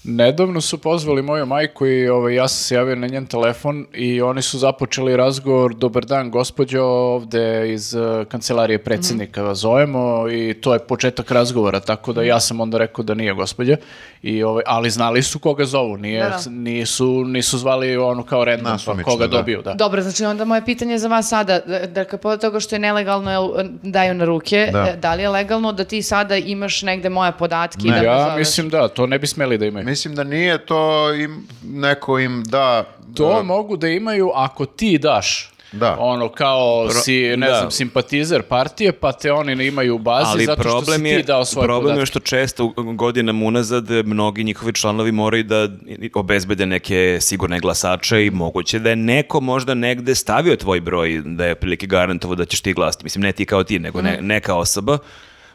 [SPEAKER 3] Nedavno su pozvali moju majku i ovaj, ja sam se javio na njen telefon i oni su započeli razgovor Dobar dan, gospođo, ovde iz eh,
[SPEAKER 4] Mhm.
[SPEAKER 3] kancelarije predsjednika vas zovemo i to je početak razgovora, tako da
[SPEAKER 4] Mhm.
[SPEAKER 3] ja sam onda rekao da nije gospođa, I, ovaj, ali znali su koga zovu, nije,
[SPEAKER 4] Da, da.
[SPEAKER 3] Nisu, nisu zvali ono kao random, pa
[SPEAKER 2] Nasumično,
[SPEAKER 3] koga
[SPEAKER 2] da.
[SPEAKER 3] dobiju. Da.
[SPEAKER 4] Dobro, znači onda moje pitanje za vas sada, da- da kad pored toga što je nelegalno jel, daju na ruke, e,
[SPEAKER 2] Da.
[SPEAKER 4] da. li je legalno da ti sada imaš negde moje podatke i
[SPEAKER 2] Ne.
[SPEAKER 4] da pa me
[SPEAKER 3] Ja
[SPEAKER 4] zoveš?
[SPEAKER 3] mislim da, to ne bi smeli da imaju.
[SPEAKER 2] Mislim da nije to im, neko im da...
[SPEAKER 3] To
[SPEAKER 2] e,
[SPEAKER 3] mogu da imaju ako ti daš.
[SPEAKER 2] Da.
[SPEAKER 3] Ono kao si, ne
[SPEAKER 1] da.
[SPEAKER 3] znam, simpatizer partije, pa te oni ne imaju u bazi
[SPEAKER 1] Ali
[SPEAKER 3] zato što si
[SPEAKER 1] problem,
[SPEAKER 3] ti
[SPEAKER 1] je,
[SPEAKER 3] dao svoje
[SPEAKER 1] problem je
[SPEAKER 3] podatke.
[SPEAKER 1] što često u- godinama unazad mnogi njihovi članovi moraju da obezbede neke sigurne glasače i moguće da je neko možda negde stavio tvoj broj da je prilike garantovo da ćeš ti glasiti. Mislim, ne ti kao ti, nego
[SPEAKER 3] Mm.
[SPEAKER 1] ne- neka osoba.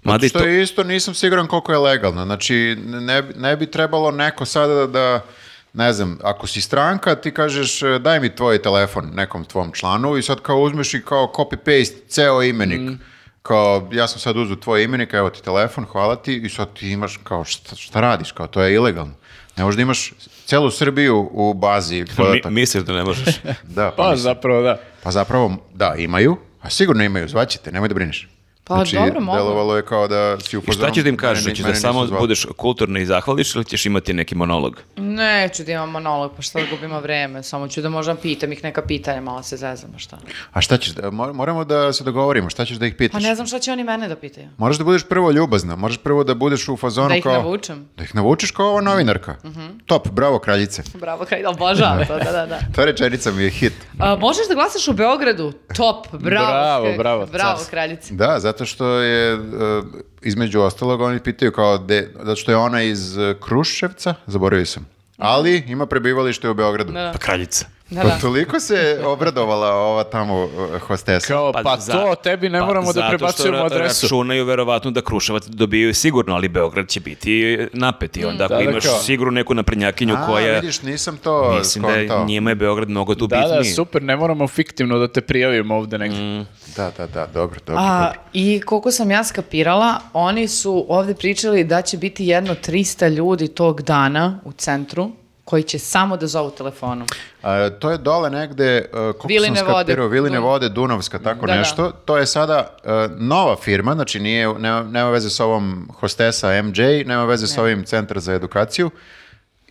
[SPEAKER 1] Mada
[SPEAKER 2] Pa
[SPEAKER 1] i
[SPEAKER 2] Što
[SPEAKER 1] to-
[SPEAKER 2] je isto, nisam siguran koliko je legalno. Znači, ne, bi- ne bi trebalo neko sada da, ne znam, ako si stranka, ti kažeš e, daj mi tvoj telefon nekom tvom članu i sad kao uzmeš i kao copy-paste ceo imenik.
[SPEAKER 1] Mm.
[SPEAKER 2] Kao, ja sam sad uzeo tvoj imenik, evo ti telefon, hvala ti i sad ti imaš kao šta, šta radiš, kao to je ilegalno. Ne možda imaš celu Srbiju u bazi
[SPEAKER 1] Mi,
[SPEAKER 2] podataka.
[SPEAKER 1] misliš da ne možeš?
[SPEAKER 2] Da, pa,
[SPEAKER 3] Pa
[SPEAKER 2] mislim.
[SPEAKER 3] zapravo da.
[SPEAKER 2] pa zapravo, da, imaju, a sigurno imaju, zvaćete, nemoj da brineš. Znači,
[SPEAKER 4] Pa dobro, mogu.
[SPEAKER 2] delovalo je kao da si upozorom.
[SPEAKER 1] Šta ćeš da im kažeš?
[SPEAKER 2] Mene ni-
[SPEAKER 1] Hoćeš da
[SPEAKER 2] mene nisu
[SPEAKER 1] samo
[SPEAKER 2] zvali.
[SPEAKER 1] budeš kulturno i zahvališ ili ćeš imati neki monolog?
[SPEAKER 4] Neću da imam monolog, pa šta da gubimo vreme, samo ću da možda pitam ih neka pitanja, malo se zezamo šta.
[SPEAKER 2] A šta ćeš, da- mor- moramo da se dogovorimo, šta ćeš da ih
[SPEAKER 4] Pa
[SPEAKER 2] pitaš?
[SPEAKER 4] ne znam šta će oni mene da pitaju.
[SPEAKER 2] Moraš da budeš prvo ljubazna, moraš prvo da budeš u fazonu
[SPEAKER 4] Da ih
[SPEAKER 3] Ono
[SPEAKER 2] kao...
[SPEAKER 4] navučem. Mhm.
[SPEAKER 2] Da ih navučeš kao ova novinarka. Top, bravo kraljice.
[SPEAKER 4] Bravo, kaj, obožavam to, da, da, da.
[SPEAKER 2] Ta rečenica mi je hit.
[SPEAKER 4] A, možeš da glasaš u Beogradu? Top, bravo.
[SPEAKER 3] Bravo,
[SPEAKER 4] kraljice,
[SPEAKER 3] bravo,
[SPEAKER 4] Bravo,
[SPEAKER 3] carstvo.
[SPEAKER 4] kraljice.
[SPEAKER 2] Da, zato što je, e, između ostalog, oni pitaju kao, de, zato što je ona iz e, Kruševca, zaboravio sam, ali ima prebivalište u Beogradu.
[SPEAKER 4] Da.
[SPEAKER 1] Pa kraljica.
[SPEAKER 4] Da,
[SPEAKER 2] Pa
[SPEAKER 4] da.
[SPEAKER 2] toliko se obradovala ova tamo e, hostesa.
[SPEAKER 3] Kao, pa,
[SPEAKER 1] za-
[SPEAKER 3] to tebi ne
[SPEAKER 1] pa
[SPEAKER 3] moramo da
[SPEAKER 1] zato što
[SPEAKER 3] prebacujemo
[SPEAKER 1] ra-
[SPEAKER 3] adresu.
[SPEAKER 1] Računaju verovatno da Kruševac dobijaju sigurno, ali Beograd će biti napet i onda ako
[SPEAKER 3] Da, da,
[SPEAKER 1] imaš
[SPEAKER 3] kao-
[SPEAKER 1] sigurno neku naprednjakinju
[SPEAKER 2] A,
[SPEAKER 1] koja...
[SPEAKER 2] vidiš, nisam to
[SPEAKER 1] Mislim da
[SPEAKER 2] skontao.
[SPEAKER 1] je, njima je Beograd mnogo tu
[SPEAKER 3] Da, da,
[SPEAKER 1] bitniji. Mm.
[SPEAKER 3] super, ne moramo fiktivno da te prijavimo ovde negdje.
[SPEAKER 2] Da, da, da, dobro, dobro.
[SPEAKER 4] A,
[SPEAKER 2] dobro.
[SPEAKER 4] I koliko sam ja skapirala, oni su ovde pričali da će biti jedno 300 ljudi tog dana u centru koji će samo da zovu telefonom.
[SPEAKER 2] A, to je dole negde, uh, koliko
[SPEAKER 4] Viline
[SPEAKER 2] sam
[SPEAKER 4] vode.
[SPEAKER 2] skapirao, Viline
[SPEAKER 4] Dun-
[SPEAKER 2] vode, Dunovska, tako
[SPEAKER 4] Da, da.
[SPEAKER 2] nešto. To je sada uh, nova firma, znači nije, nema, nema veze s ovom hostesa MJ, nema veze s ovim Centar za edukaciju,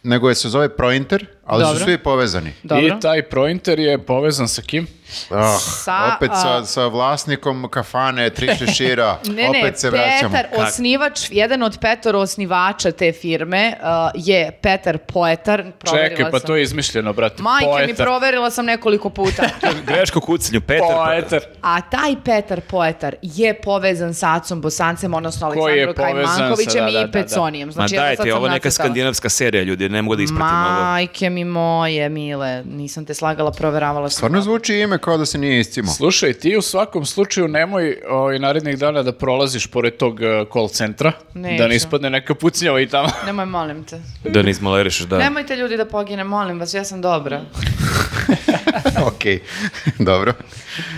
[SPEAKER 2] nego je se zove Prointer ali su
[SPEAKER 4] Dobro.
[SPEAKER 2] svi povezani.
[SPEAKER 4] Dobro.
[SPEAKER 3] I taj pointer je povezan sa kim?
[SPEAKER 2] Ah,
[SPEAKER 4] Sa,
[SPEAKER 2] opet
[SPEAKER 4] a-
[SPEAKER 2] sa, sa vlasnikom kafane, tri šešira,
[SPEAKER 4] Ne, ne,
[SPEAKER 2] opet se vraćamo.
[SPEAKER 4] Petar, osnivač, jedan od petoro osnivača te firme uh, je Petar Poetar. Proverila
[SPEAKER 3] Čekaj, pa
[SPEAKER 4] sam.
[SPEAKER 3] to je izmišljeno, brate.
[SPEAKER 4] Majke mi,
[SPEAKER 3] Poetar.
[SPEAKER 4] proverila sam nekoliko puta.
[SPEAKER 1] Greško kucnju, Petar. pa-
[SPEAKER 3] Poetar.
[SPEAKER 4] A taj Petar Poetar je povezan sa Acom Bosancem, odnosno
[SPEAKER 3] Koji je
[SPEAKER 4] Aleksandrom
[SPEAKER 3] povezan sa-
[SPEAKER 4] Kajmankovićem
[SPEAKER 3] da, da, da,
[SPEAKER 4] i
[SPEAKER 3] da.
[SPEAKER 4] Peconijem.
[SPEAKER 1] Ma
[SPEAKER 4] Znači, evo sad
[SPEAKER 1] dajte,
[SPEAKER 4] sam
[SPEAKER 1] ovo je neka
[SPEAKER 4] nacrtala.
[SPEAKER 1] skandinavska serija, ljudi, ne mogu da ispratim ovo.
[SPEAKER 4] Majke mi moje, mile, nisam te slagala, proveravala sam.
[SPEAKER 2] Stvarno zvuči ime kao da se nije iscimo.
[SPEAKER 3] Slušaj, ti u svakom slučaju nemoj i narednih dana da prolaziš pored tog e, call centra,
[SPEAKER 4] Neću.
[SPEAKER 3] da ne ispadne neka pucnjava i tamo.
[SPEAKER 4] Nemoj, molim te.
[SPEAKER 1] Da ne izmalerišeš, da.
[SPEAKER 4] Nemojte ljudi da pogine, molim vas, ja sam dobra.
[SPEAKER 2] ok, dobro.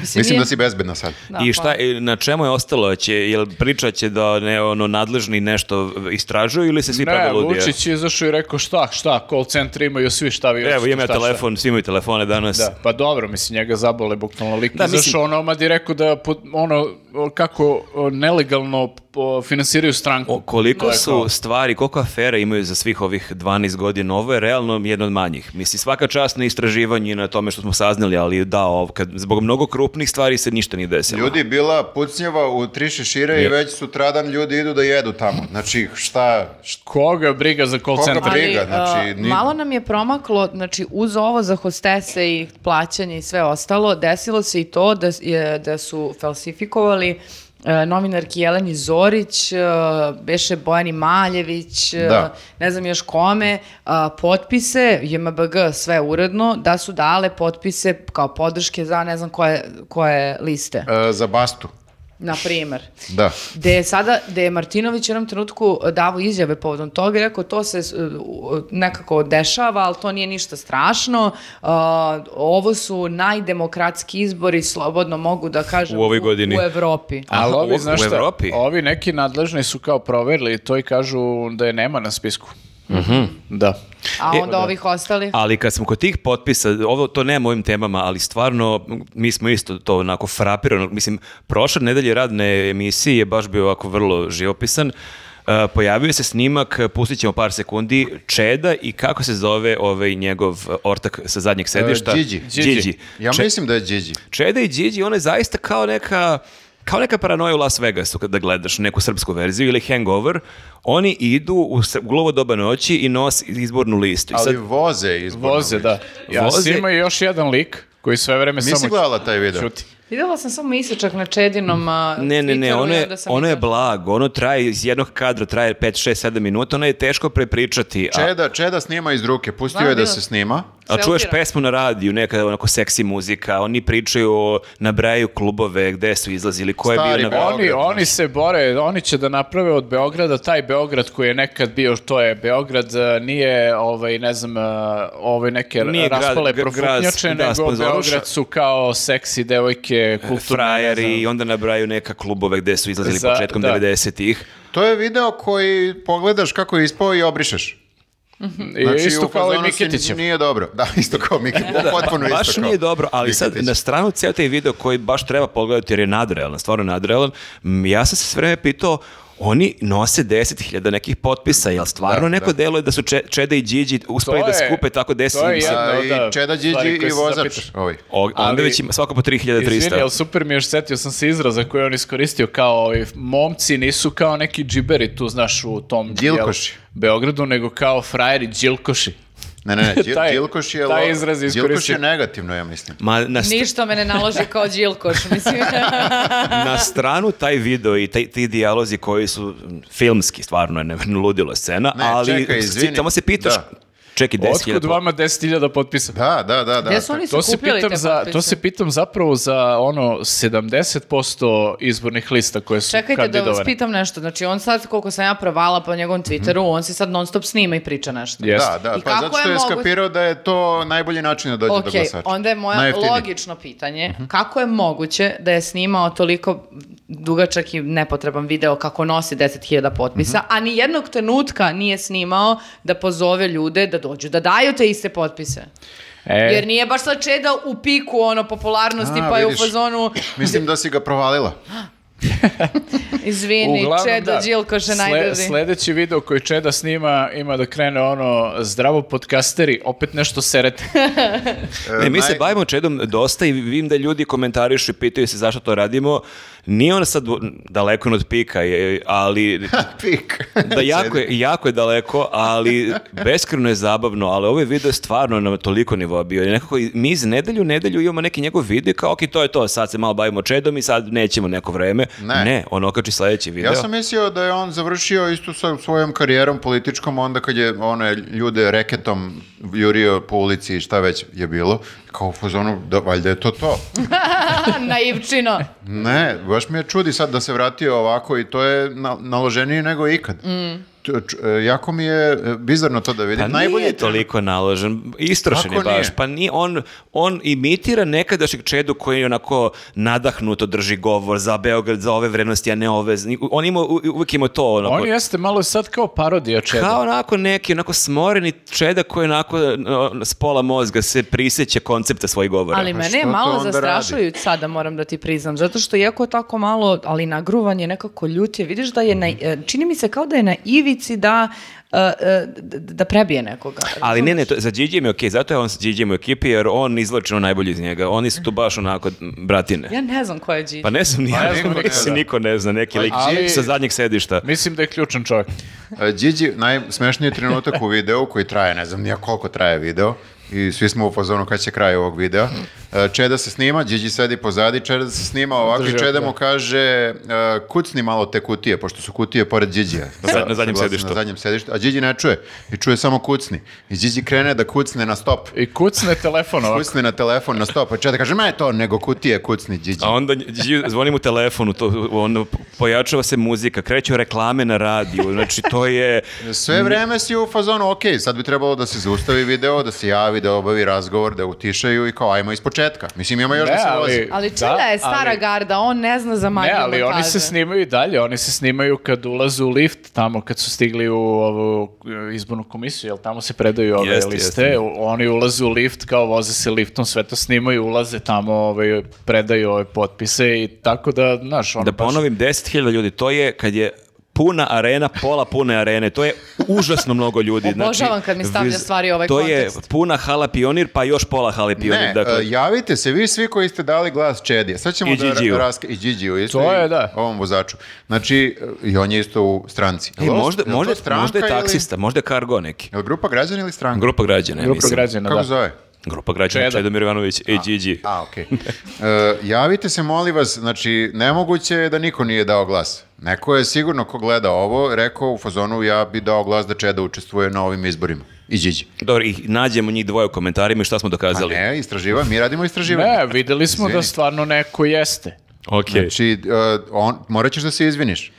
[SPEAKER 2] Mislim,
[SPEAKER 4] nije-
[SPEAKER 2] da si bezbedna sad.
[SPEAKER 1] I
[SPEAKER 4] hvala.
[SPEAKER 1] šta, i na čemu je ostalo? Će, jel priča će da ne, ono, nadležni nešto istražuju ili se svi
[SPEAKER 3] Ne,
[SPEAKER 1] prave ludi?
[SPEAKER 3] Vučić je izašao i rekao šta, šta, call centri imaju svi šta vi
[SPEAKER 1] Evo,
[SPEAKER 3] hoćete,
[SPEAKER 1] imam ja
[SPEAKER 3] šta, šta.
[SPEAKER 1] telefon, svi imaju telefone danas.
[SPEAKER 3] Da, pa dobro, mislim, njega zabole bukvalno lik.
[SPEAKER 1] Da,
[SPEAKER 3] Da,
[SPEAKER 1] mislim-
[SPEAKER 3] Zašao ono, ma di rekao da po- ono, o, kako o, nelegalno o, finansiraju stranku.
[SPEAKER 1] O, koliko
[SPEAKER 3] To je
[SPEAKER 1] su
[SPEAKER 3] kao-
[SPEAKER 1] stvari, koliko afera imaju za svih ovih 12 godina, ovo je realno jedna od manjih. Mislim, svaka čast na istraživanju i na tome što smo saznali, ali da, ovo, kad, zbog mnogo krupnih stvari se ništa nije desilo.
[SPEAKER 2] Ljudi, bila pucnjava u tri šešira i
[SPEAKER 1] Je.
[SPEAKER 2] već sutradan ljudi idu da jedu tamo. Znači, šta, šta
[SPEAKER 3] Koga briga za call
[SPEAKER 2] Koga
[SPEAKER 3] centar?
[SPEAKER 2] briga? Briga,
[SPEAKER 4] Ali,
[SPEAKER 2] znači,
[SPEAKER 4] a,
[SPEAKER 2] ni-
[SPEAKER 4] Malo nam je promaklo, znači, uz ovo za hostese i plaćanje i sve ostalo, desilo se i to da, s- je- da su falsifikovali e, novinarki Jeleni Zorić, e, Beše Bojani Maljević, e,
[SPEAKER 2] Da.
[SPEAKER 4] ne znam još kome, a, potpise, JMBG sve uredno, da su dale potpise kao podrške za ne znam koje, koje liste,
[SPEAKER 2] e, za bastu?
[SPEAKER 4] na primer.
[SPEAKER 2] Da.
[SPEAKER 4] Gde je sada, gde je Martinović u jednom trenutku davo izjave povodom toga i rekao to se s- u- nekako dešava, ali to nije ništa strašno. Uh, ovo su najdemokratski izbori, slobodno mogu da kažem,
[SPEAKER 1] U ovoj godini.
[SPEAKER 4] U, Evropi.
[SPEAKER 3] Ali
[SPEAKER 1] Aha,
[SPEAKER 3] ovi,
[SPEAKER 1] u-
[SPEAKER 3] znaš
[SPEAKER 1] u
[SPEAKER 3] šta,
[SPEAKER 1] Evropi?
[SPEAKER 3] ovi neki nadležni su kao proverili to i kažu da je nema na spisku.
[SPEAKER 1] Mhm.
[SPEAKER 3] Da.
[SPEAKER 4] A
[SPEAKER 1] E,
[SPEAKER 4] onda ovih ostalih.
[SPEAKER 1] Ali kad smo kod tih potpisa, ovo to nema u ovim temama, ali stvarno mi smo isto to onako frapirano. Mislim, prošle nedelje radne emisije je baš bio ovako vrlo živopisan. E, pojavio se snimak, pustit ćemo par sekundi, Čeda i kako se zove ovaj njegov ortak sa zadnjeg sedišta?
[SPEAKER 2] E, Điđi.
[SPEAKER 1] Điđi.
[SPEAKER 2] Ja
[SPEAKER 1] Če-
[SPEAKER 2] mislim da je Điđi.
[SPEAKER 1] Čeda i Điđi, ona je zaista kao neka kao neka paranoja u Las Vegasu kada gledaš neku srpsku verziju ili Hangover, oni idu u, s- u glovo doba noći i nosi izbornu listu. I sad-
[SPEAKER 2] Ali voze izborno.
[SPEAKER 3] Voze, da. Ja
[SPEAKER 1] Voze-
[SPEAKER 3] ima još jedan lik koji sve vreme samo...
[SPEAKER 2] Nisi gledala taj video?
[SPEAKER 3] Ćuti.
[SPEAKER 4] Videla sam samo isječak na Čedinom a,
[SPEAKER 1] Ne, ne, ne,
[SPEAKER 4] Twitteru
[SPEAKER 1] ono
[SPEAKER 4] i
[SPEAKER 1] je,
[SPEAKER 4] onda sam
[SPEAKER 1] ono je
[SPEAKER 4] videla.
[SPEAKER 1] blago, ono traje iz jednog kadra, traje 5, 6, 7 minuta, ono je teško prepričati, a,
[SPEAKER 2] Čeda, Čeda snima iz ruke, pustio
[SPEAKER 4] Znam,
[SPEAKER 2] je da
[SPEAKER 4] bilo.
[SPEAKER 2] se snima.
[SPEAKER 1] a čuješ
[SPEAKER 4] selfira.
[SPEAKER 1] pesmu na radiju, neka onako seksi muzika, oni pričaju o nabraju klubove, gde su izlazili, ko je
[SPEAKER 2] Stari
[SPEAKER 1] bio na...
[SPEAKER 2] Beograd.
[SPEAKER 3] Oni, oni
[SPEAKER 2] znaš.
[SPEAKER 3] se bore, oni će da naprave od Beograda taj Beograd koji je nekad bio, to je Beograd, e, nije ovaj, ne znam, e, ovaj neke
[SPEAKER 1] Nije grad-
[SPEAKER 3] raspale
[SPEAKER 1] gr-
[SPEAKER 3] profutnjače,
[SPEAKER 1] grad, da,
[SPEAKER 3] nego
[SPEAKER 1] sponzoruša.
[SPEAKER 3] Beograd su kao seksi devojke, kulturne,
[SPEAKER 1] Frajeri
[SPEAKER 3] ne
[SPEAKER 1] i
[SPEAKER 3] znam.
[SPEAKER 1] onda nabraju neka klubove gde su izlazili
[SPEAKER 3] Za-
[SPEAKER 1] početkom
[SPEAKER 3] da.
[SPEAKER 1] 90-ih.
[SPEAKER 2] To je video koji pogledaš kako je ispao i obrišeš. E, Znači,
[SPEAKER 3] I isto
[SPEAKER 2] u
[SPEAKER 3] kao i
[SPEAKER 2] fazonu si,
[SPEAKER 3] Mikitićev.
[SPEAKER 2] Nije dobro. Da, isto kao Mikitić. Potpuno isto
[SPEAKER 1] baš
[SPEAKER 2] kao
[SPEAKER 1] nije dobro, ali sad
[SPEAKER 2] Mikitić.
[SPEAKER 1] na stranu cijel taj video koji baš treba pogledati jer je nadrealan, stvarno nadrealan, m, ja sam se sve vreme pitao, oni nose 10.000 nekih potpisa, jel stvarno neko deluje da su Če- Čeda i Điđi uspeli
[SPEAKER 3] To
[SPEAKER 1] da
[SPEAKER 3] je-
[SPEAKER 1] skupe tako 10
[SPEAKER 3] to je
[SPEAKER 1] mislim,
[SPEAKER 3] jedno,
[SPEAKER 2] A, I
[SPEAKER 3] da,
[SPEAKER 2] Čeda
[SPEAKER 3] stvari
[SPEAKER 2] Điđi
[SPEAKER 3] koje
[SPEAKER 2] i
[SPEAKER 3] se
[SPEAKER 2] vozač.
[SPEAKER 3] zapitaš.
[SPEAKER 2] Ovaj.
[SPEAKER 1] o- onda
[SPEAKER 3] ali-
[SPEAKER 1] već ima svako po
[SPEAKER 3] Izvini,
[SPEAKER 1] 3.300.
[SPEAKER 3] ali super mi je, setio sam se izraza koji je on iskoristio kao ovi momci, nisu kao neki džiberi tu, znaš, u tom jel,
[SPEAKER 2] Đilkoši.
[SPEAKER 3] Beogradu, nego kao frajeri džilkoši.
[SPEAKER 2] Ne, ne, ne, Đil-
[SPEAKER 3] Taj-
[SPEAKER 2] Đilkoš je...
[SPEAKER 3] taj
[SPEAKER 2] lo-
[SPEAKER 3] izraz je
[SPEAKER 2] Đilkoš
[SPEAKER 3] iskoristio.
[SPEAKER 2] je negativno, ja mislim.
[SPEAKER 1] Ma, na, st-
[SPEAKER 4] Ništa me ne naloži kao Đilkoš, mislim.
[SPEAKER 1] na stranu taj video i taj, ti dijalozi koji su m, filmski, stvarno je ne, ludilo scena,
[SPEAKER 2] Ne,
[SPEAKER 1] ali
[SPEAKER 2] čekaj,
[SPEAKER 1] si-
[SPEAKER 2] izvini.
[SPEAKER 1] tamo se pitaš,
[SPEAKER 2] Da.
[SPEAKER 1] čekaj 10.000
[SPEAKER 3] Otkud vama 10.000 potpisa?
[SPEAKER 2] Da, da, da. da.
[SPEAKER 4] Gde su oni
[SPEAKER 3] To se,
[SPEAKER 4] sakupljali
[SPEAKER 3] pitam
[SPEAKER 4] te
[SPEAKER 3] za,
[SPEAKER 4] potpise?
[SPEAKER 3] to se pitam zapravo za ono 70% izbornih lista koje su
[SPEAKER 4] Čekajte da vas
[SPEAKER 3] kandidovane.
[SPEAKER 4] pitam nešto. Znači, on sad, koliko sam ja provala po njegovom Twitteru, on se sad non stop snima i priča nešto.
[SPEAKER 3] Jeste.
[SPEAKER 2] Da, da,
[SPEAKER 4] I
[SPEAKER 2] pa
[SPEAKER 4] kako
[SPEAKER 2] zato
[SPEAKER 4] je
[SPEAKER 2] što je
[SPEAKER 4] moguće-
[SPEAKER 2] skapirao da je to najbolji način da dođe do
[SPEAKER 4] Ok,
[SPEAKER 2] glasača.
[SPEAKER 4] onda je moje
[SPEAKER 2] Najjeftiniji. Mhm.
[SPEAKER 4] logično pitanje, kako je moguće da je snimao toliko dugačak i nepotreban video kako nosi 10.000 potpisa,
[SPEAKER 2] Mhm.
[SPEAKER 4] a ni jednog trenutka nije snimao da pozove ljude da dođu da daju te iste potpise.
[SPEAKER 3] E,
[SPEAKER 4] Jer nije baš sad čeda u piku ono popularnosti
[SPEAKER 2] A,
[SPEAKER 4] pa je u
[SPEAKER 2] vidiš.
[SPEAKER 4] fazonu
[SPEAKER 2] Mislim da si ga provalila.
[SPEAKER 4] Izvini, Čedo Đilko še najdraži.
[SPEAKER 3] sledeći video koji Čeda snima ima da krene ono zdravo podcasteri, opet nešto serete.
[SPEAKER 1] Ne, mi se
[SPEAKER 2] E, naj-
[SPEAKER 1] bavimo čedom dosta i vidim da ljudi komentarišu i pitaju se zašto to radimo. Nije on sad daleko od pika, je, ali
[SPEAKER 2] Pik.
[SPEAKER 1] da jako je, jako je daleko, ali beskreno je zabavno, ali ovaj video je stvarno na toliko nivoa bio. I nekako i- mi iz nedelju u nedelju imamo neki njegov video i kao, ok, to je to, sad se malo bavimo čedom i sad nećemo neko vreme. Ne,
[SPEAKER 2] Ne.
[SPEAKER 1] on okači sledeći video.
[SPEAKER 2] Ja sam mislio da je on završio isto sa svojom karijerom političkom onda kad je one ljude reketom jurio po ulici i šta već je bilo. Kao u fazonu, da, valjda je to to.
[SPEAKER 4] Pa, Naivčino.
[SPEAKER 2] Ne, baš me čudi sad da se vratio ovako i to je na- naloženije nego ikad. T- č- e, jako mi je e, bizarno to da vidim.
[SPEAKER 1] Pa
[SPEAKER 2] Najbolje
[SPEAKER 1] nije
[SPEAKER 2] je to
[SPEAKER 1] toliko naložen, istrošen je
[SPEAKER 2] Kako nije?
[SPEAKER 1] baš. Pa nije, on, on imitira nekadašnjeg čedu koji onako nadahnuto drži govor za Beograd, za ove vrednosti, a ne ove. On ima, u- uvijek ima to onako.
[SPEAKER 3] On jeste malo sad kao parodija Čeda.
[SPEAKER 1] Kao onako neki, onako smoreni čeda koji onako no, s pola mozga se prisjeća koncepta svojih govora.
[SPEAKER 4] Ali mene je
[SPEAKER 2] što to
[SPEAKER 4] malo
[SPEAKER 2] onda
[SPEAKER 4] zastrašujući sada, moram da ti priznam, zato što iako je tako malo, ali nagruvan je nekako ljut je, vidiš da je, na,
[SPEAKER 1] Mhm.
[SPEAKER 4] e, čini mi se kao da je na ivici da, e, e, d- da prebije nekoga.
[SPEAKER 1] Ali ne, ne, to, za Điđijem je okej, zato je on sa Điđijem u ekipi, jer on izvlači ono najbolje iz njega. Oni su tu baš onako m, bratine.
[SPEAKER 4] Ja ne znam ko je Gigi.
[SPEAKER 1] Pa ne znam, ni ja,
[SPEAKER 3] ne znam
[SPEAKER 1] mislim,
[SPEAKER 3] niko ne zna.
[SPEAKER 1] niko ne zna, neki lik
[SPEAKER 3] Ali-
[SPEAKER 1] sa zadnjeg sedišta.
[SPEAKER 3] Mislim da je ključan čovjek.
[SPEAKER 2] E, Điđi, najsmešniji trenutak u videu koji traje, ne znam nija koliko traje video i svi smo u fazonu kad će kraj ovog videa. E, Čeda se snima, Điđi sedi pozadi, Čeda se snima ovako i
[SPEAKER 3] Drži
[SPEAKER 2] Čeda
[SPEAKER 3] ovako.
[SPEAKER 2] mu kaže e, kucni malo te kutije, pošto su kutije pored Điđija.
[SPEAKER 1] Sad na zadnjem
[SPEAKER 2] Saglasno,
[SPEAKER 1] sedištu.
[SPEAKER 2] Na zadnjem sedištu, a Điđi ne čuje i čuje samo kucni. I Điđi krene da kucne na stop.
[SPEAKER 3] I kucne telefon ovako.
[SPEAKER 2] Kucni na telefon na stop, a Čeda kaže, ma je to nego kutije, kucni Điđi.
[SPEAKER 1] A onda Đi- zvoni mu telefonu, to, ono, pojačava se muzika, kreću reklame na radiju, znači to je...
[SPEAKER 2] Sve vreme si u fazonu, ok, sad bi trebalo da se zaustavi video, da se javi, da obavi razgovor, da utišaju i kao ajmo iz početka. Mislim, ima još
[SPEAKER 3] Ne,
[SPEAKER 2] da se
[SPEAKER 3] ali-
[SPEAKER 2] vozi.
[SPEAKER 4] Ali
[SPEAKER 3] Da,
[SPEAKER 4] Čeda je stara
[SPEAKER 3] ali-
[SPEAKER 4] garda, on ne zna za magiju
[SPEAKER 3] Ne, ali oni
[SPEAKER 4] montaže.
[SPEAKER 3] se snimaju i dalje, oni se snimaju kad ulaze u lift, tamo kad su stigli u ovu e, izbornu komisiju, jel tamo se predaju ove
[SPEAKER 1] Jeste,
[SPEAKER 3] liste,
[SPEAKER 1] jeste.
[SPEAKER 3] u- oni ulaze u lift, kao voze se liftom, sve to snimaju, ulaze tamo, ovaj, predaju ove potpise i tako da, znaš, ono
[SPEAKER 1] Da
[SPEAKER 3] baš-
[SPEAKER 1] ponovim, 10.000 ljudi, to je kad je puna arena, pola pune arene. To je užasno mnogo ljudi.
[SPEAKER 4] Obožavam kad mi stavlja
[SPEAKER 1] viz-
[SPEAKER 4] stvari u ovaj
[SPEAKER 1] To je
[SPEAKER 4] kontekst.
[SPEAKER 1] puna hala pionir, pa još pola hale pionir.
[SPEAKER 2] Ne,
[SPEAKER 1] dakle,
[SPEAKER 2] e, javite se vi svi koji ste dali glas Čedije. Sad ćemo
[SPEAKER 1] I
[SPEAKER 2] da ra-
[SPEAKER 1] Điđiju.
[SPEAKER 2] raske- I Điđiju isto.
[SPEAKER 3] To
[SPEAKER 2] i
[SPEAKER 3] je, da.
[SPEAKER 2] Ovom vozaču. Znači, e, i on je isto u stranci.
[SPEAKER 1] E,
[SPEAKER 2] Jel ovo-
[SPEAKER 1] možda,
[SPEAKER 2] jel to
[SPEAKER 1] možda,
[SPEAKER 2] stranka
[SPEAKER 1] možda je
[SPEAKER 2] ili-
[SPEAKER 1] taksista, možda je kargo neki.
[SPEAKER 2] Jel grupa građana ili stranka?
[SPEAKER 1] Grupa građana, ja
[SPEAKER 3] Grupa
[SPEAKER 1] mislim.
[SPEAKER 3] građana,
[SPEAKER 2] Kako
[SPEAKER 3] da.
[SPEAKER 2] zove?
[SPEAKER 1] Grupa građana,
[SPEAKER 3] Čeda.
[SPEAKER 1] Čedomir Ivanović, i Gigi.
[SPEAKER 2] A, okej. E, javite se, molim vas, znači, nemoguće je da niko nije dao glas. Neko je sigurno ko gleda ovo, rekao u fazonu ja bi dao glas da Čeda učestvuje na ovim izborima. I Điđi.
[SPEAKER 1] Dobro, i nađemo njih dvoje u komentarima i šta smo
[SPEAKER 2] A
[SPEAKER 1] dokazali.
[SPEAKER 2] ne, istraživanje, mi radimo istraživanje.
[SPEAKER 3] Ne, videli smo da
[SPEAKER 2] Izvini.
[SPEAKER 3] stvarno neko jeste.
[SPEAKER 1] Ok.
[SPEAKER 2] Znači, e, on, morat ćeš da se izviniš.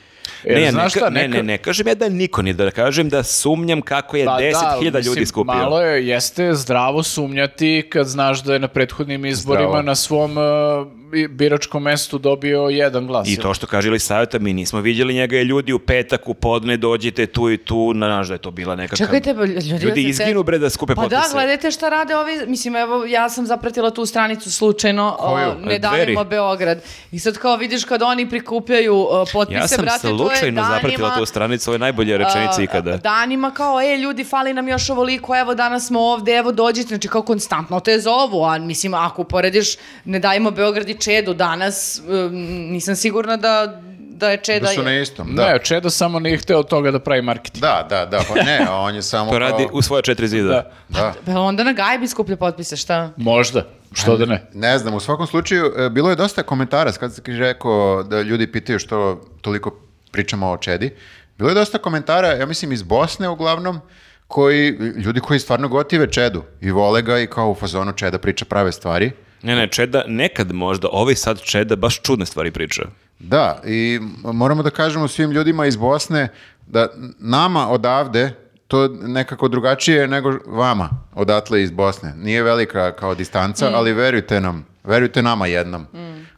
[SPEAKER 3] Jer,
[SPEAKER 1] ne,
[SPEAKER 3] znaš
[SPEAKER 1] ne,
[SPEAKER 3] šta,
[SPEAKER 1] ne,
[SPEAKER 3] neka-
[SPEAKER 1] ne, ne, kažem ja da niko nije, da kažem da sumnjam kako je
[SPEAKER 3] Pa da,
[SPEAKER 1] 10.000 E, ljudi
[SPEAKER 3] mislim,
[SPEAKER 1] skupio.
[SPEAKER 3] Malo je, jeste zdravo sumnjati kad znaš da je na prethodnim izborima
[SPEAKER 2] Zdravo.
[SPEAKER 3] na svom e, bi- biračkom mestu dobio jedan glas.
[SPEAKER 1] I to što kaže ili savjeta, mi nismo vidjeli njega, je ljudi u petak, u podne, dođite tu i tu, na naš da je to bila nekakva...
[SPEAKER 4] Čekajte, pa ljudi,
[SPEAKER 1] Ljudi
[SPEAKER 4] jel se
[SPEAKER 1] izginu bre da skupe
[SPEAKER 4] Pa
[SPEAKER 1] potpise.
[SPEAKER 4] da, gledajte šta rade ovi, mislim, evo, ja sam zapratila tu stranicu slučajno,
[SPEAKER 2] Koju?
[SPEAKER 4] o, ne
[SPEAKER 1] E,
[SPEAKER 4] davimo
[SPEAKER 1] Dveri.
[SPEAKER 4] Beograd. I sad kao vidiš kad oni prikupljaju o, potpise,
[SPEAKER 1] Ja sam
[SPEAKER 4] brate, to je
[SPEAKER 1] slučajno
[SPEAKER 4] danima,
[SPEAKER 1] zapratila tu stranicu, ovo je najbolja rečenica
[SPEAKER 4] a,
[SPEAKER 1] ikada.
[SPEAKER 4] Danima kao, e, ljudi, fali nam još ovoliko, evo, danas smo ovde, evo, dođite, znači kao konstantno te zovu, a mislim, ako uporediš, ne dajmo Beograd i Čedu danas, um, nisam sigurna da, E, da je Čeda...
[SPEAKER 2] Da su na
[SPEAKER 4] je-
[SPEAKER 2] istom, da.
[SPEAKER 3] Ne, Čedo samo nije hteo od toga da pravi marketing.
[SPEAKER 2] Da, da, da, pa ne, a on je samo
[SPEAKER 1] To radi
[SPEAKER 2] kao-
[SPEAKER 1] u svoja četiri zida.
[SPEAKER 3] Da.
[SPEAKER 2] Da.
[SPEAKER 4] Pa onda na Gajbi skuplja potpise, šta?
[SPEAKER 3] Možda, što da ne.
[SPEAKER 2] Ne znam, u svakom slučaju, e, bilo je dosta komentara, kad si rekao da ljudi pitaju što toliko pričamo o Čedi, bilo je dosta komentara, ja mislim, iz Bosne uglavnom, koji, ljudi koji stvarno gotive Čedu i vole ga i kao u fazonu Čeda priča prave stvari.
[SPEAKER 1] Ne, ne, Čeda, nekad možda, ovaj sad Čeda baš čudne stvari priča.
[SPEAKER 2] Da, i m- moramo da kažemo svim ljudima iz Bosne da n- nama odavde to nekako drugačije nego vama odatle iz Bosne. Nije velika kao distanca, ali verujte nam, Verujte nama jednom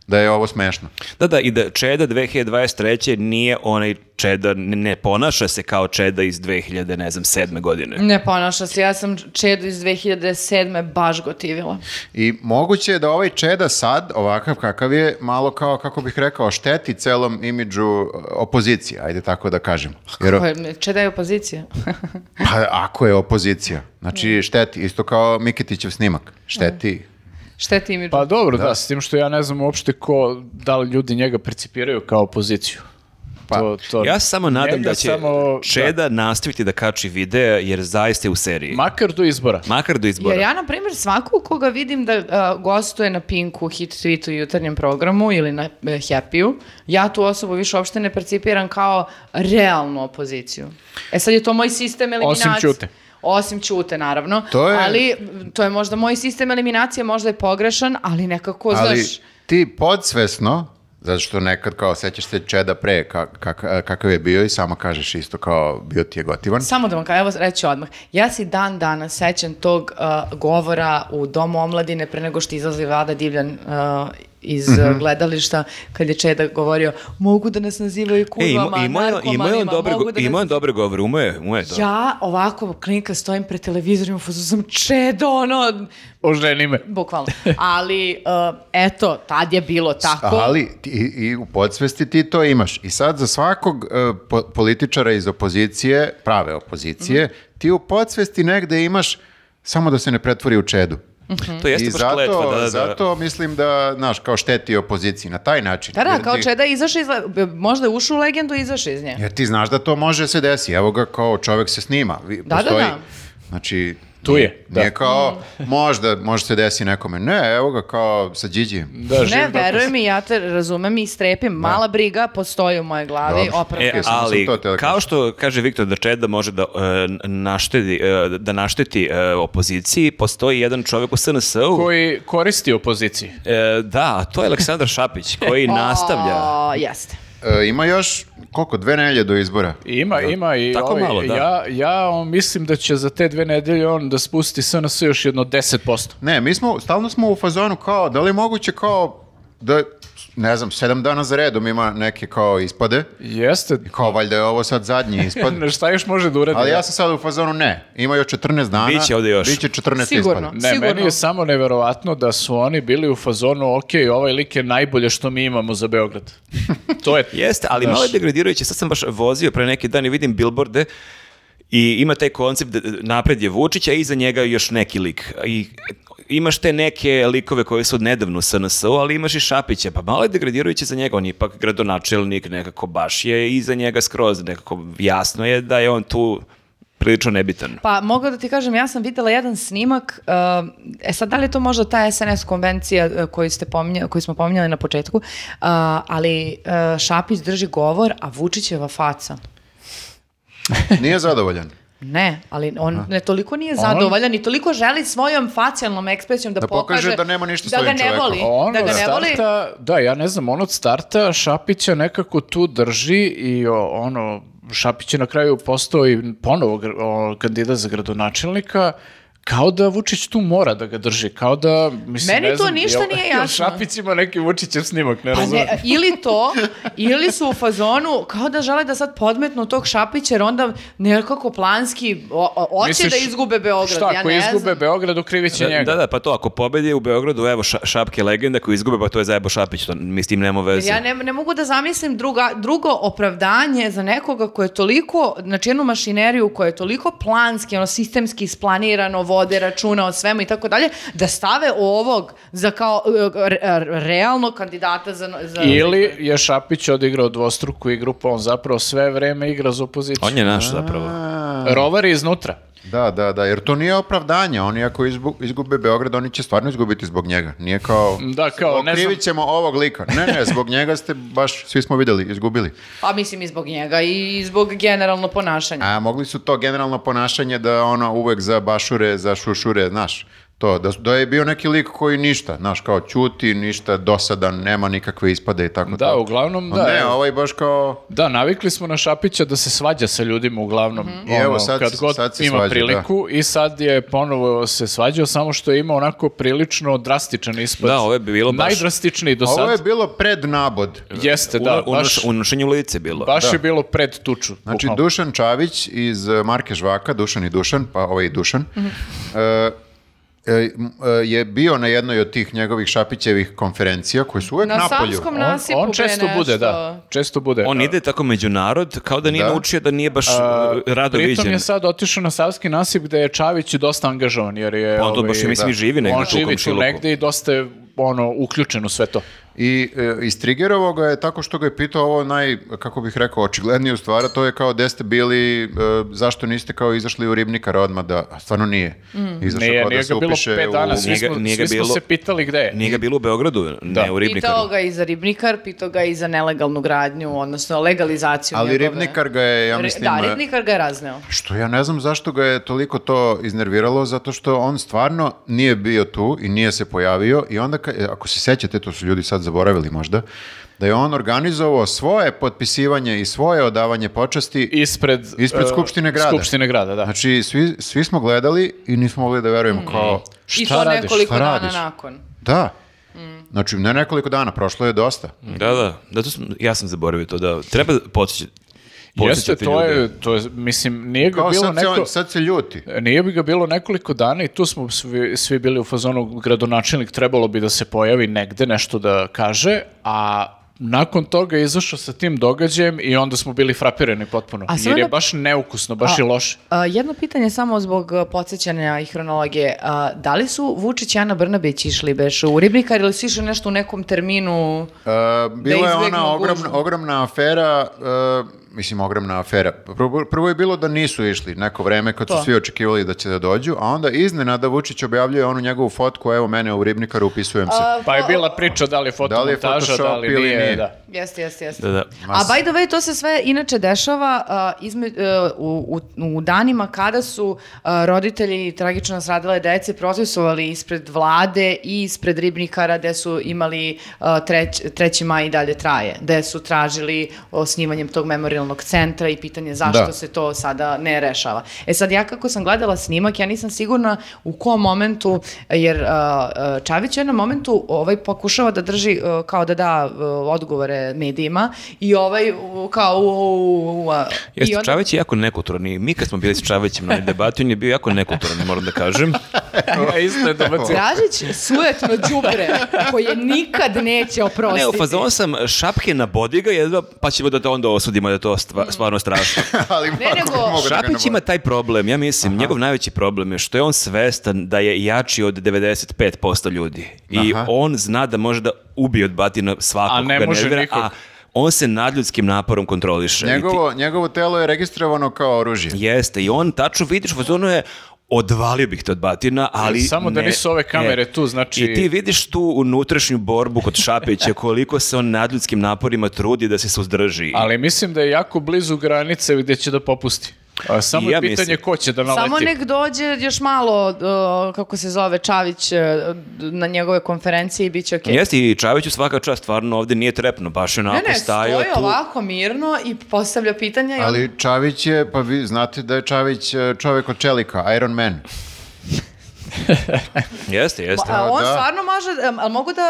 [SPEAKER 2] da je ovo smešno.
[SPEAKER 1] Da, da, i da Čeda 2023. nije onaj Čeda, ne, ne ponaša se kao Čeda iz 2000, ne znam, sedme godine.
[SPEAKER 4] Ne ponaša se, ja sam Čedu iz 2007. baš gotivila.
[SPEAKER 2] I moguće je da ovaj Čeda sad, ovakav kakav je, malo kao, kako bih rekao, šteti celom imidžu e, opozicije, ajde tako da kažem. Jer,
[SPEAKER 4] Koje- Čeda je opozicija.
[SPEAKER 2] pa ako je opozicija, znači šteti, isto kao Mikitićev snimak, šteti.
[SPEAKER 4] Šteti imidžu.
[SPEAKER 3] Pa dobro, da. s tim što ja ne znam uopšte ko, da li ljudi njega percipiraju kao opoziciju.
[SPEAKER 2] Pa,
[SPEAKER 3] to, to,
[SPEAKER 1] Ja se samo nadam
[SPEAKER 3] njega
[SPEAKER 1] da će
[SPEAKER 3] samo-
[SPEAKER 1] Čeda nastaviti da kači videa, jer zaista je u seriji.
[SPEAKER 3] Makar do izbora.
[SPEAKER 1] Makar do izbora.
[SPEAKER 4] Jer ja, na primjer, svakog koga vidim da a, gostuje na Pinku, Hit Tweetu, jutarnjem programu ili na e, Happy-u, ja tu osobu više uopšte ne percipiram kao realnu opoziciju. E sad je to moj sistem eliminacije.
[SPEAKER 3] Osim Ćute.
[SPEAKER 4] Osim Ćute, naravno.
[SPEAKER 2] To je-
[SPEAKER 4] Ali m, to je možda moj sistem eliminacije, možda je pogrešan, ali nekako,
[SPEAKER 2] Ali
[SPEAKER 4] Pa znaš...
[SPEAKER 2] ti podsvesno, zato što nekad kao sećaš se Čeda pre ka- kak- e, kakav je bio i samo kažeš isto kao bio ti je gotivan.
[SPEAKER 4] Samo da vam kažem, evo reći ću odmah. Ja si dan dana sećam tog uh, govora u Domu omladine pre nego što izlazi Vlada Divljan uh, iz
[SPEAKER 1] Mhm.
[SPEAKER 4] uh, gledališta kad je Čeda govorio mogu da nas nazivaju
[SPEAKER 1] E, ima-
[SPEAKER 4] kurvama,
[SPEAKER 1] ima je- ima je on
[SPEAKER 4] narkomanima,
[SPEAKER 1] dobre,
[SPEAKER 4] mogu
[SPEAKER 1] go-
[SPEAKER 4] da
[SPEAKER 1] ima
[SPEAKER 4] nas...
[SPEAKER 1] on dobre govore, ume je, ume je to.
[SPEAKER 4] Ja ovako klinika stojim pred televizorima, fuzu sam Čedo, ono,
[SPEAKER 3] Oženi me.
[SPEAKER 4] bukvalno. Ali, uh, eto, tad je bilo tako.
[SPEAKER 2] Ali ti- i, i u podsvesti ti to imaš. I sad za svakog e, po- političara iz opozicije, prave opozicije,
[SPEAKER 4] Mhm.
[SPEAKER 2] ti u podsvesti negde imaš samo da se ne pretvori u čedu.
[SPEAKER 4] Mhm.
[SPEAKER 1] To jeste
[SPEAKER 2] I
[SPEAKER 1] baš
[SPEAKER 2] zato,
[SPEAKER 1] kletva, da, da, da.
[SPEAKER 2] zato mislim da, znaš, kao šteti opoziciji na taj način.
[SPEAKER 4] Da, da,
[SPEAKER 2] Jer
[SPEAKER 4] kao
[SPEAKER 2] ti-
[SPEAKER 4] Čeda je izašao iz, le- možda je ušao u legendu i izašao iz nje.
[SPEAKER 2] Jer ti znaš da to može se desi. Evo ga kao čovek se snima. Vi-
[SPEAKER 4] Da, da,
[SPEAKER 2] postoji,
[SPEAKER 4] da. Mhm.
[SPEAKER 2] Znači,
[SPEAKER 3] Tu je, da.
[SPEAKER 2] Nije kao, možda, može se desi nekome. Ne, evo ga kao sa Điđijem.
[SPEAKER 3] Da,
[SPEAKER 4] Ne,
[SPEAKER 3] živim
[SPEAKER 4] veruj
[SPEAKER 3] dokaz.
[SPEAKER 4] mi, ja te razumem i strepim. Mala briga postoji u mojoj glavi,
[SPEAKER 2] Dobro.
[SPEAKER 4] opravka.
[SPEAKER 2] Samo
[SPEAKER 1] E,
[SPEAKER 2] sam
[SPEAKER 1] ali,
[SPEAKER 2] to teo da
[SPEAKER 1] kao
[SPEAKER 2] kažem.
[SPEAKER 1] što kaže Viktor da Čeda može da, e, naštedi, e, da našteti e, opoziciji, postoji jedan čovjek u SNS-u,
[SPEAKER 3] Koji koristi opoziciji.
[SPEAKER 1] e, da, a to je Aleksandar Šapić, koji nastavlja.
[SPEAKER 4] O, jeste.
[SPEAKER 2] E, ima još, koliko, dve nelje do izbora.
[SPEAKER 3] Ima, ima i
[SPEAKER 1] Tako
[SPEAKER 3] ovaj,
[SPEAKER 1] malo, da.
[SPEAKER 3] ja, ja on, mislim da će za te dve nedelje on da spusti SNS još jedno 10%.
[SPEAKER 2] Ne, mi smo, stalno smo u fazonu kao, da li je moguće kao, da, ne znam, sedam dana za redom ima neke kao ispade.
[SPEAKER 3] Jeste.
[SPEAKER 2] Kao, valjda je ovo sad zadnji ispad.
[SPEAKER 1] Pa-
[SPEAKER 3] Šta još može da uradi?
[SPEAKER 2] Ali ja sam sad u fazonu ne. Ima još 14 dana.
[SPEAKER 1] Biće ovdje još.
[SPEAKER 2] Biće 14
[SPEAKER 4] Sigurno.
[SPEAKER 2] ispada.
[SPEAKER 3] Ne,
[SPEAKER 4] Sigurno.
[SPEAKER 3] meni je samo neverovatno da su oni bili u fazonu, ok, ovaj lik je najbolje što mi imamo za Beograd. To je...
[SPEAKER 1] Jeste, ali
[SPEAKER 3] Znaš,
[SPEAKER 1] malo je degradirajuće. Sad sam baš vozio pre neki dan i vidim bilborde i ima taj koncept da napred je Vučić, a iza njega još neki lik. I imaš te neke likove koji su nedavno u SNS-u, ali imaš i Šapića. Pa malo je degradirajuće za njega. On je ipak gradonačelnik, nekako baš je iza njega skroz. Nekako jasno je da je on tu prilično nebitan.
[SPEAKER 4] Pa mogu da ti kažem, ja sam videla jedan snimak, uh, e sad da li je to možda ta SNS konvencija uh, koju, ste pominja, koju smo pominjali na početku, uh, ali uh, Šapić drži govor, a Vučićeva faca.
[SPEAKER 2] Nije zadovoljan.
[SPEAKER 4] Ne, ali on ne toliko nije zadovoljan i toliko želi svojom facijalnom ekspresijom da,
[SPEAKER 2] Da pokaže da nema ništa s
[SPEAKER 4] da ga
[SPEAKER 2] ovim
[SPEAKER 4] ne
[SPEAKER 2] čovekom.
[SPEAKER 4] voli,
[SPEAKER 3] On
[SPEAKER 4] da
[SPEAKER 3] od
[SPEAKER 4] ga ne voli.
[SPEAKER 3] ono starta, da, ja ne znam, on od starta Šapića nekako tu drži i o, ono, Šapić je na kraju postao i ponovo gr- o, kandidat za gradonačelnika, kao da Vučić tu mora da ga drži, kao da, mislim,
[SPEAKER 4] Meni
[SPEAKER 3] ne
[SPEAKER 4] to
[SPEAKER 3] znam,
[SPEAKER 4] ništa
[SPEAKER 3] jel-
[SPEAKER 4] nije
[SPEAKER 3] jel
[SPEAKER 4] jasno.
[SPEAKER 3] Šapić ima neki Vučićev snimak, ne
[SPEAKER 4] Pa
[SPEAKER 3] razumem.
[SPEAKER 4] ne, ili to, ili su u fazonu kao da žele da sad podmetnu tog Šapića jer onda nekako planski o, o- hoće
[SPEAKER 3] Misliš,
[SPEAKER 4] da izgube Beograd.
[SPEAKER 3] Šta,
[SPEAKER 4] ja
[SPEAKER 3] ako
[SPEAKER 4] ne
[SPEAKER 3] izgube
[SPEAKER 4] znam.
[SPEAKER 3] Beograd, okrivit
[SPEAKER 1] Da,
[SPEAKER 3] će njega.
[SPEAKER 1] da, da, pa to, ako pobedi u Beogradu, evo ša- šapke legenda, ako izgube, pa to je zajebo Šapić, to, mi s tim nemamo veze.
[SPEAKER 4] Ja ne, ne mogu da zamislim druga, drugo opravdanje za nekoga koje je toliko, znači jednu mašineriju koja je toliko planski, ono sistemski isplanirano, vode računa o svemu i tako dalje, da stave ovog za kao e, re- e, realnog kandidata za... za
[SPEAKER 3] Ili je Šapić odigrao dvostruku igru, pa on zapravo sve vreme igra za opoziciju.
[SPEAKER 1] On je naš zapravo.
[SPEAKER 3] Rovar je iznutra.
[SPEAKER 2] Da, da, da, jer to nije opravdanje. Oni ako izbu- izgube Beograd, oni će stvarno izgubiti zbog njega. Nije kao...
[SPEAKER 3] Da, kao, ne znam,
[SPEAKER 2] Okrivit ćemo ovog lika. Ne, ne, zbog njega ste baš, svi smo videli, izgubili.
[SPEAKER 4] Pa mislim i zbog njega i zbog generalno ponašanja.
[SPEAKER 2] A mogli su to generalno ponašanje da ono uvek za bašure, za šušure, znaš. To, da, da je bio neki lik koji ništa, znaš, kao ćuti, ništa, dosadan, nema nikakve ispade i tako
[SPEAKER 3] Da,
[SPEAKER 2] to.
[SPEAKER 3] uglavnom
[SPEAKER 2] A
[SPEAKER 3] da.
[SPEAKER 2] Ne,
[SPEAKER 3] evo.
[SPEAKER 2] ovaj baš kao...
[SPEAKER 3] Da, navikli smo na Šapića da se svađa sa ljudima uglavnom.
[SPEAKER 2] I
[SPEAKER 3] ono,
[SPEAKER 2] evo, sad
[SPEAKER 3] kad
[SPEAKER 2] se-
[SPEAKER 3] god
[SPEAKER 2] sad se
[SPEAKER 3] ima
[SPEAKER 2] svađa,
[SPEAKER 3] priliku i sad je ponovo se svađao, samo što je imao onako prilično drastičan ispad.
[SPEAKER 1] Da, ovo je bilo baš-
[SPEAKER 3] Najdrastičniji do sad.
[SPEAKER 2] Ovo je bilo pred nabod.
[SPEAKER 3] Jeste, da,
[SPEAKER 1] Uno-
[SPEAKER 3] baš,
[SPEAKER 1] unoš- unošenje u lice je bilo.
[SPEAKER 3] baš je bilo pred tuču.
[SPEAKER 2] Znači,
[SPEAKER 3] bukvalno.
[SPEAKER 2] Dušan Čavić iz e, Marke Žvaka, Dušan i Dušan, pa ovaj i Dušan,
[SPEAKER 4] Mhm.
[SPEAKER 2] e, e, m, e, je bio na jednoj od tih njegovih Šapićevih konferencija koje su uvek
[SPEAKER 4] Na
[SPEAKER 2] napolju.
[SPEAKER 4] Savskom
[SPEAKER 2] On-
[SPEAKER 4] nasipu
[SPEAKER 3] on
[SPEAKER 4] bre,
[SPEAKER 3] često bude, da.
[SPEAKER 4] nešto.
[SPEAKER 3] Često bude.
[SPEAKER 1] On ide tako među narod, kao da nije
[SPEAKER 2] Da.
[SPEAKER 1] naučio da nije baš uh, rado
[SPEAKER 3] Pritom
[SPEAKER 1] viđen.
[SPEAKER 3] je sad otišao na Savski nasip gde je Čavić dosta angažovan jer je...
[SPEAKER 1] Pa on to
[SPEAKER 3] ovaj,
[SPEAKER 1] baš, ja mislim,
[SPEAKER 3] da.
[SPEAKER 1] i živi negdje
[SPEAKER 3] On
[SPEAKER 1] tu u
[SPEAKER 3] živi tu
[SPEAKER 1] komšiluku.
[SPEAKER 3] negde i dosta je ono, uključen u sve to.
[SPEAKER 2] I e, istrigerovao ga je tako što ga je pitao ovo naj, kako bih rekao, očigledniju stvar, a to je kao gde ste bili, e, zašto niste kao izašli u Ribnikar odmah da, a stvarno nije. Izašao
[SPEAKER 3] Mm. Nije,
[SPEAKER 2] kao
[SPEAKER 3] nije
[SPEAKER 2] da se
[SPEAKER 3] ga bilo
[SPEAKER 2] upiše
[SPEAKER 3] pet dana, svi
[SPEAKER 1] Nije ga-
[SPEAKER 3] smo,
[SPEAKER 1] nije ga
[SPEAKER 3] svi smo
[SPEAKER 1] bilo-
[SPEAKER 3] se pitali gde je.
[SPEAKER 1] Nije ga bilo u Beogradu, ne u Ribnikaru.
[SPEAKER 4] Pitao ga i za ribnikar, pitao ga i za nelegalnu gradnju, odnosno legalizaciju
[SPEAKER 2] Ali
[SPEAKER 4] njegove.
[SPEAKER 2] Ribnikar ga je, ja
[SPEAKER 4] Ri-
[SPEAKER 2] mislim...
[SPEAKER 4] Da,
[SPEAKER 2] e,
[SPEAKER 4] ribnikar ga je razneo.
[SPEAKER 2] Što ja ne znam zašto ga je toliko to iznerviralo, zato što on stvarno nije bio tu i nije se pojavio i onda, ka- e, ako se sećate, to su ljudi sad zaboravili možda, da je on organizovao svoje potpisivanje i svoje odavanje počasti
[SPEAKER 3] Ispred,
[SPEAKER 2] Ispred
[SPEAKER 3] e,
[SPEAKER 2] Skupštine grada.
[SPEAKER 3] Skupštine grada, da.
[SPEAKER 2] Znači, svi, svi smo gledali i nismo mogli da
[SPEAKER 4] Mm.
[SPEAKER 2] verujemo kao...
[SPEAKER 4] I to
[SPEAKER 3] radiš?
[SPEAKER 4] nekoliko
[SPEAKER 2] Šta
[SPEAKER 4] dana
[SPEAKER 2] radiš?
[SPEAKER 4] nakon. E,
[SPEAKER 2] Da.
[SPEAKER 4] Mm.
[SPEAKER 2] Znači, ne nekoliko dana, prošlo je dosta.
[SPEAKER 1] Da, da, da to sam, ja sam zaboravio to, da treba podsjećati.
[SPEAKER 3] Jeste,
[SPEAKER 1] podsjećati
[SPEAKER 3] to
[SPEAKER 1] ljude.
[SPEAKER 3] je, to je, mislim, nije ga
[SPEAKER 2] Kao
[SPEAKER 3] bilo
[SPEAKER 2] sad, se,
[SPEAKER 3] neko...
[SPEAKER 2] on- sad se ljuti.
[SPEAKER 3] Nije bi ga bilo nekoliko dana i tu smo svi, svi bili u fazonu gradonačelnik trebalo bi da se pojavi negde nešto da kaže, a nakon toga je izašao sa tim događajem i onda smo bili frapirani potpuno.
[SPEAKER 4] A
[SPEAKER 3] jer
[SPEAKER 4] samo
[SPEAKER 3] je
[SPEAKER 4] da-
[SPEAKER 3] baš neukusno, baš
[SPEAKER 4] A-
[SPEAKER 3] je loše.
[SPEAKER 4] A, jedno pitanje samo zbog a, podsjećanja i hronologije. A, da li su Vučić i Ana Brnabić išli beš u Ribnikar ili su išli nešto u nekom terminu?
[SPEAKER 2] E, bila je
[SPEAKER 4] izbegnu
[SPEAKER 2] ona ogromna,
[SPEAKER 4] gužvu.
[SPEAKER 2] ogromna afera, e, mislim ogromna afera. Prvo, prvo je bilo da nisu išli neko vreme kad su
[SPEAKER 4] To.
[SPEAKER 2] svi očekivali da će da dođu, a onda iznenada Vučić objavljuje onu njegovu fotku, evo mene u Ribnikaru upisujem se.
[SPEAKER 3] Pa je bila priča da li je
[SPEAKER 2] Da li je
[SPEAKER 3] fotomontaža, da li,
[SPEAKER 2] Photoshop ili
[SPEAKER 3] nije,
[SPEAKER 2] nije.
[SPEAKER 3] da.
[SPEAKER 4] Jeste, jeste, jeste.
[SPEAKER 1] Da, da.
[SPEAKER 4] A by the way, to se sve inače dešava a, izme- e, u, u- u danima kada su a, roditelji tragično sradile dece protestovali ispred vlade i ispred ribnikara gde su imali a, treć- treći maj i dalje traje, gde su tražili osnivanjem tog memorialnog centra i pitanje zašto
[SPEAKER 2] Da.
[SPEAKER 4] se to sada ne rešava. E sad, ja kako sam gledala snimak, ja nisam sigurna u kom momentu, jer a, a, Čavić je na momentu ovaj pokušava da drži a, kao da da a, odgovore medijima i ovaj u, kao u, u, u, a,
[SPEAKER 1] Jeste,
[SPEAKER 4] i onda-
[SPEAKER 1] Čavić je jako nekulturan i mi kad smo bili s Čavićem na debati, on je bio jako nekulturan, moram da kažem.
[SPEAKER 3] Ja isto je dobacio.
[SPEAKER 4] Dražić sujetno đubre koje nikad neće oprostiti.
[SPEAKER 1] Ne, u fazonu sam šapke na bodiga, jedva, pa ćemo da to onda osudimo da je to stva- stvarno strašno.
[SPEAKER 2] Ali
[SPEAKER 4] Ne, nego-
[SPEAKER 2] mogu- mogu da ga
[SPEAKER 1] Šapić
[SPEAKER 2] ne
[SPEAKER 1] ima taj problem, ja mislim, njegov najveći problem je što je on svestan da je jači od 95% ljudi. I
[SPEAKER 2] Aha.
[SPEAKER 1] on zna da može da ubije od batina svakog
[SPEAKER 3] A ne
[SPEAKER 1] koga
[SPEAKER 3] može
[SPEAKER 1] nervira,
[SPEAKER 3] nikog.
[SPEAKER 1] a on se nadljudskim naporom kontroliše. I ti-
[SPEAKER 2] Njegovo, njegovo telo je registrovano kao oružje.
[SPEAKER 1] Jeste, i on tačno vidiš, u fazonu je, odvalio bih te od batina, ali...
[SPEAKER 3] Samo da
[SPEAKER 1] ne-
[SPEAKER 3] nisu ove kamere tu, znači-
[SPEAKER 1] I ti vidiš tu unutrašnju borbu kod Šapića, koliko se on nadljudskim naporima trudi da se suzdrži.
[SPEAKER 3] Ali mislim da je jako blizu granice gdje će da popusti. A, Samo
[SPEAKER 1] I ja
[SPEAKER 3] je pitanje
[SPEAKER 1] mislim.
[SPEAKER 3] ko će da naleti.
[SPEAKER 4] Samo nek dođe još malo, uh, kako se zove, Čavić uh, na njegove konferencije i bit će okej.
[SPEAKER 1] Jeste, i Čaviću svaka čast, stvarno ovdje nije trepno, baš je onako
[SPEAKER 4] Ne, ne, stoji
[SPEAKER 1] stajao tu.
[SPEAKER 4] ovako mirno i postavlja pitanja. i
[SPEAKER 2] Ali Čavić je, pa vi znate da je Čavić e, čovjek od čelika, Iron Man.
[SPEAKER 1] Jeste, jeste.
[SPEAKER 4] Pa, A on
[SPEAKER 2] da.
[SPEAKER 4] stvarno može, em, ali mogu da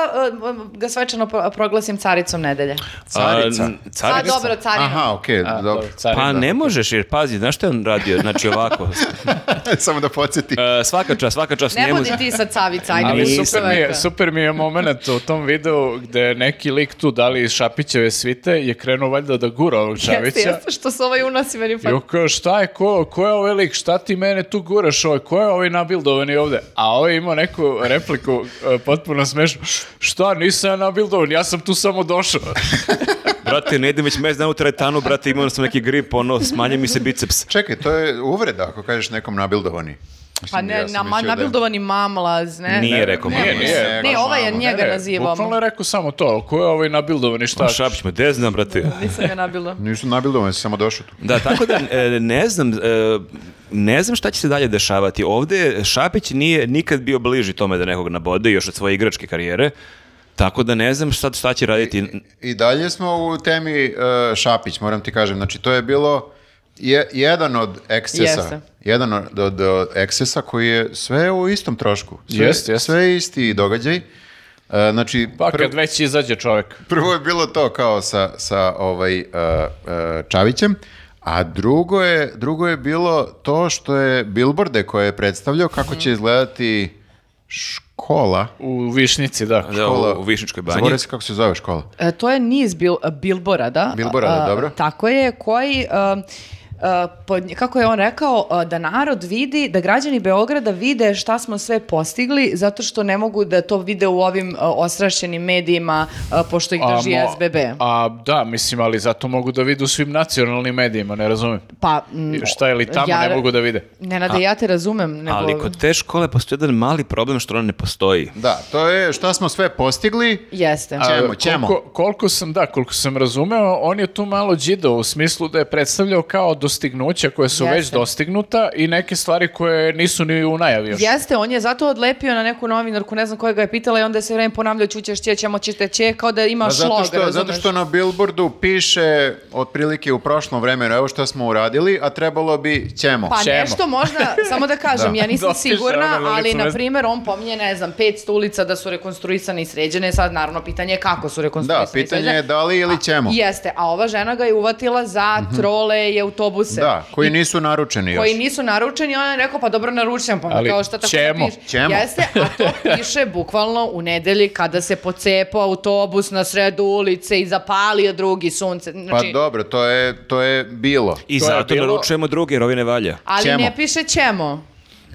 [SPEAKER 4] em, ga svečano pro- proglasim caricom nedelje?
[SPEAKER 2] Carica.
[SPEAKER 1] A, n- carica.
[SPEAKER 4] A Pa dobro, carina.
[SPEAKER 2] Aha, okej,
[SPEAKER 3] A,
[SPEAKER 2] dobro.
[SPEAKER 3] dobro, carina.
[SPEAKER 1] Pa ne možeš, jer pazi, znaš što je on radio? Znači ovako,
[SPEAKER 2] Samo da podsjeti.
[SPEAKER 1] e, svaka čast, svaka čast
[SPEAKER 4] Ne
[SPEAKER 1] njemu.
[SPEAKER 4] budi ti sad cavica, ajde.
[SPEAKER 3] Ali
[SPEAKER 4] budi
[SPEAKER 3] super mi, je,
[SPEAKER 4] čoveka.
[SPEAKER 3] super mi je moment u tom videu gde neki lik tu, da li iz Šapićeve svite, je krenuo valjda da gura ovog
[SPEAKER 4] Jeste,
[SPEAKER 3] Čavića.
[SPEAKER 4] jeste, što se ovaj unosi meni pa...
[SPEAKER 3] I on kao, šta je, ko, ko je ovaj lik, šta ti mene tu guraš ovaj, ko je ovaj nabildovani ovde? A ovaj je imao neku repliku e, potpuno smešnu, šta, nisam ja nabildovan, ja sam tu samo došao.
[SPEAKER 1] Brate, ne idem već mjesec dana u teretanu, brate, imao sam neki grip, ono, smanje mi se biceps.
[SPEAKER 2] Čekaj, to je uvreda ako kažeš nekom nabildovani. Mislim,
[SPEAKER 4] Pa ne,
[SPEAKER 2] ja sam
[SPEAKER 4] na, ma,
[SPEAKER 2] mislio da je-
[SPEAKER 4] nabildovani mamlaz, ne?
[SPEAKER 1] Nije rekao
[SPEAKER 3] nije,
[SPEAKER 1] mama.
[SPEAKER 3] nije.
[SPEAKER 4] Ne, ovaj je njega
[SPEAKER 3] Ne,
[SPEAKER 4] nazivao.
[SPEAKER 3] Bukvalno je rekao samo to, ko je ovaj nabildovani, šta?
[SPEAKER 1] Šapić me, gde znam, brate?
[SPEAKER 4] Nisam ga nabila.
[SPEAKER 2] Nisu nabildovani, samo došao tu.
[SPEAKER 1] Da, tako da e, ne znam, e, ne znam šta će se dalje dešavati. Ovde Šapić nije nikad bio bliži tome da nekog nabode, još od svoje igračke karijere, tako da ne znam šta, šta će raditi. e,
[SPEAKER 2] I dalje smo u temi e, Šapić, moram ti kažem. Znači, to je bilo je, jedan od ekscesa.
[SPEAKER 4] Jeste.
[SPEAKER 2] Jedan od, od, od ekscesa koji je sve u istom trošku. Sve,
[SPEAKER 3] Jeste, jeste.
[SPEAKER 2] sve isti događaj. E, znači,
[SPEAKER 3] Pa
[SPEAKER 2] prvo-
[SPEAKER 3] kad već izađe čovjek.
[SPEAKER 2] Prvo je bilo to kao sa, sa ovaj, uh, uh, Čavićem, a drugo je, drugo je bilo to što je Bilborde koje je predstavljao kako
[SPEAKER 4] Mhm.
[SPEAKER 2] će izgledati škola.
[SPEAKER 3] U višnici, da.
[SPEAKER 1] Da,
[SPEAKER 2] škola
[SPEAKER 1] u, u Višničkoj banji.
[SPEAKER 2] Zaboravio sam kako se zove škola.
[SPEAKER 4] E, To je niz bil, Bilbora, da?
[SPEAKER 2] Bilborada,
[SPEAKER 4] A,
[SPEAKER 2] dobro.
[SPEAKER 4] Tako je, koji... um, a, pod- kako je on rekao, a, da narod vidi, da građani Beograda vide šta smo sve postigli, zato što ne mogu da to vide u ovim a, ostrašćenim medijima, a, pošto ih drži
[SPEAKER 3] mo-
[SPEAKER 4] SBB.
[SPEAKER 3] A, da, mislim, ali zato mogu da vide u svim nacionalnim medijima, ne razumem.
[SPEAKER 4] pa, mm,
[SPEAKER 3] Šta je li tamo,
[SPEAKER 4] ja-
[SPEAKER 3] ne mogu da vide.
[SPEAKER 4] Nenade, ja te razumem. Nego...
[SPEAKER 1] Ali kod te škole postoji jedan mali problem što ona ne postoji.
[SPEAKER 2] Da, to je šta smo sve postigli.
[SPEAKER 4] Jeste.
[SPEAKER 2] A- Ćemo,
[SPEAKER 3] A,
[SPEAKER 2] ćemo.
[SPEAKER 3] E, Koliko, koliko sam, da, koliko sam razumeo, on je tu malo džidao u smislu da je predstavljao kao dostignuća koje su već
[SPEAKER 4] Jeste.
[SPEAKER 3] dostignuta i neke stvari koje nisu ni u najavi još.
[SPEAKER 4] Jeste, on je zato odlepio na neku novinarku, ne znam koja ga je pitala i onda je sve vreme ponavljao ćućeš će, ćemo ćete će, kao da ima
[SPEAKER 2] Pa
[SPEAKER 4] šlog,
[SPEAKER 2] zato, što, zato
[SPEAKER 4] razumeš?
[SPEAKER 2] što na Billboardu piše otprilike u prošlom vremenu evo šta smo uradili, a trebalo bi ćemo.
[SPEAKER 4] Pa
[SPEAKER 3] Ćemo.
[SPEAKER 4] nešto možda, samo da kažem, ja nisam
[SPEAKER 3] Dotišao je
[SPEAKER 4] sigurna,
[SPEAKER 3] na ulicu,
[SPEAKER 4] ali
[SPEAKER 3] ne
[SPEAKER 4] na
[SPEAKER 3] znam.
[SPEAKER 4] primjer on pominje, ne znam, 500 ulica da su rekonstruisane i sređene, sad naravno pitanje je kako su rekonstruisane
[SPEAKER 2] da,
[SPEAKER 4] i
[SPEAKER 2] pitanje
[SPEAKER 4] sređene.
[SPEAKER 2] je da li ili ćemo. Mhm.
[SPEAKER 4] Jeste, a ova žena ga je uvatila za trole i autobuse.
[SPEAKER 2] Da, koji nisu naručeni još.
[SPEAKER 4] koji nisu naručeni, on je rekao, pa dobro naručujem, pa ono
[SPEAKER 3] Ali
[SPEAKER 4] kao šta tako
[SPEAKER 3] ćemo.
[SPEAKER 4] piše.
[SPEAKER 2] Ćemo.
[SPEAKER 4] Jeste, a to piše bukvalno u nedelji kada se pocepao autobus na sredu ulice i zapalio drugi sunce.
[SPEAKER 2] Pa
[SPEAKER 4] Znači,
[SPEAKER 2] dobro, to je, to je bilo.
[SPEAKER 1] I
[SPEAKER 3] To je
[SPEAKER 1] zato
[SPEAKER 3] bilo-
[SPEAKER 1] naručujemo druge, jer ovi ne valja.
[SPEAKER 4] ali
[SPEAKER 2] ćemo.
[SPEAKER 4] ne piše ćemo.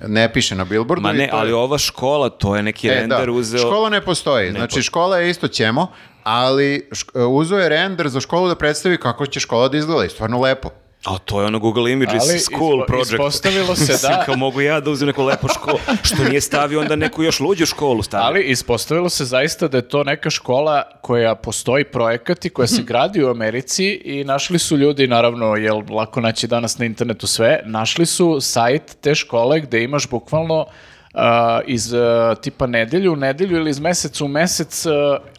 [SPEAKER 2] Ne piše na billboardu.
[SPEAKER 1] Ma
[SPEAKER 2] i
[SPEAKER 1] ne,
[SPEAKER 2] to je-
[SPEAKER 1] ali ova škola, to je neki
[SPEAKER 2] E,
[SPEAKER 1] render
[SPEAKER 2] da.
[SPEAKER 1] uzeo...
[SPEAKER 2] Škola ne postoji. znači, škola je isto ćemo, ali šk- uzeo je render za školu da predstavi kako će škola da izgleda. I stvarno lepo.
[SPEAKER 1] A to je ono Google Images
[SPEAKER 3] Ali
[SPEAKER 1] School
[SPEAKER 3] ispo-
[SPEAKER 1] Project.
[SPEAKER 3] ispostavilo se
[SPEAKER 1] Mislim,
[SPEAKER 3] da-
[SPEAKER 1] Kao mogu ja da uzem neku lepu školu, što nije stavio onda neku još luđu školu stavio.
[SPEAKER 3] Ali ispostavilo se zaista da je to neka škola koja postoji projekat i koja
[SPEAKER 1] Mhm.
[SPEAKER 3] se gradi u Americi i našli su ljudi, naravno, jel lako naći danas na internetu sve, našli su sajt te škole gde imaš bukvalno a, iz a, tipa nedelju u nedelju ili iz meseca u mesec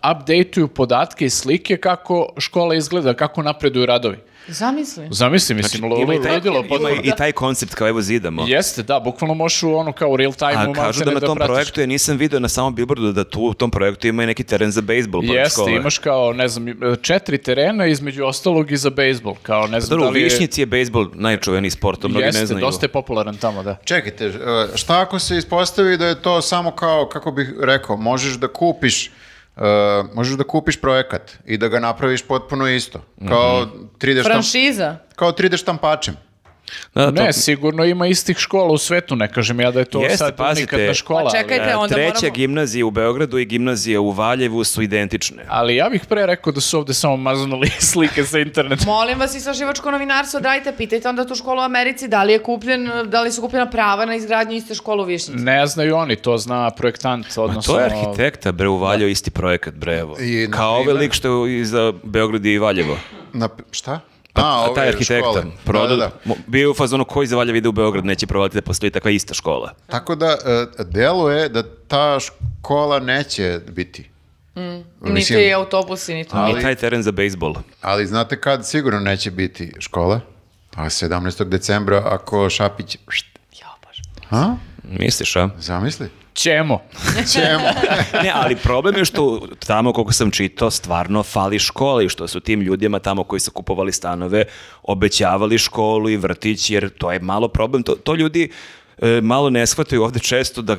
[SPEAKER 3] a, updateuju podatke i slike kako škola izgleda, kako napreduju radovi.
[SPEAKER 4] Zamisli.
[SPEAKER 3] Zamisli, mislim,
[SPEAKER 1] Znači, ima i taj,
[SPEAKER 3] ludilo
[SPEAKER 1] ima
[SPEAKER 3] potpuno.
[SPEAKER 1] i taj koncept kao evo zidamo.
[SPEAKER 3] Jeste, da, bukvalno možeš u ono kao u real time
[SPEAKER 1] A kažu da na tom projektu, ja nisam video na samom billboardu da tu u tom projektu ima i neki teren za bejsbol. pored
[SPEAKER 3] Jeste,
[SPEAKER 1] škole.
[SPEAKER 3] imaš kao, ne znam, četiri terena, između ostalog i za bejsbol, kao ne znam
[SPEAKER 1] Pa Dobro,
[SPEAKER 3] da
[SPEAKER 1] u
[SPEAKER 3] li je...
[SPEAKER 1] Višnjici je bejsbol najčuveniji sport, to mnogi ne
[SPEAKER 3] Jeste,
[SPEAKER 1] znaju.
[SPEAKER 3] dosta je popularan tamo, da.
[SPEAKER 2] Čekajte, e, šta ako se ispostavi da je to samo kao, kako bih rekao, možeš da kupiš e, možeš da kupiš projekat i da ga napraviš potpuno isto.
[SPEAKER 1] Mhm.
[SPEAKER 2] Kao 3D, štamp-
[SPEAKER 4] Franšiza.
[SPEAKER 2] kao 3D štampačem.
[SPEAKER 1] Da, to-
[SPEAKER 3] Ne, sigurno ima istih škola u svetu, ne kažem ja da je to
[SPEAKER 1] Jeste,
[SPEAKER 3] sad
[SPEAKER 1] pazite.
[SPEAKER 3] unikatna škola.
[SPEAKER 4] Pa čekaj,
[SPEAKER 3] ali-
[SPEAKER 4] E, onda
[SPEAKER 1] treća
[SPEAKER 4] moramo-
[SPEAKER 1] gimnazija u Beogradu i gimnazija u Valjevu su identične.
[SPEAKER 3] Ali ja bih pre rekao da su ovde samo maznuli slike sa interneta.
[SPEAKER 4] Molim vas, istraživačko novinarstvo, dajte, pitajte onda tu školu u Americi da li je kupljen, da li su kupljena prava na izgradnju iste škole u Višnjici.
[SPEAKER 3] Ne znaju oni, to zna projektant,
[SPEAKER 1] Ma
[SPEAKER 3] odnosno...
[SPEAKER 1] to je arhitekta, bre, u Valjevo isti projekat, bre, evo.
[SPEAKER 2] I, na
[SPEAKER 1] Kao ovaj
[SPEAKER 2] primer-
[SPEAKER 1] lik što je iza Beograda i Valjevo.
[SPEAKER 2] Na, šta?
[SPEAKER 1] A,
[SPEAKER 2] ove
[SPEAKER 1] Pa taj arhitekta
[SPEAKER 2] škole. Da, da,
[SPEAKER 1] prodao,
[SPEAKER 2] da.
[SPEAKER 1] mo- bio je u fazonu koji za Valjevo ide u Beograd, neće provaliti da postoji takva ista škola.
[SPEAKER 2] Tako da, e, deluje da ta škola neće biti.
[SPEAKER 4] Mm, Niti
[SPEAKER 2] Mislim,
[SPEAKER 4] je autobusi, niti...
[SPEAKER 1] I taj teren za bejsbol.
[SPEAKER 2] Ali znate kad sigurno neće biti škola? A 17. decembra ako Šapić... št,
[SPEAKER 4] Ja, baš.
[SPEAKER 2] Ha?
[SPEAKER 1] Misliš, a?
[SPEAKER 2] Zamisli?
[SPEAKER 3] Ćemo.
[SPEAKER 2] Čemu?
[SPEAKER 1] Ne, ali problem je što tamo, koliko sam čitao, stvarno fali škole i što su tim ljudima tamo koji su kupovali stanove obećavali školu i vrtić, jer to je malo problem. To, to ljudi e, malo ne shvataju ovde često da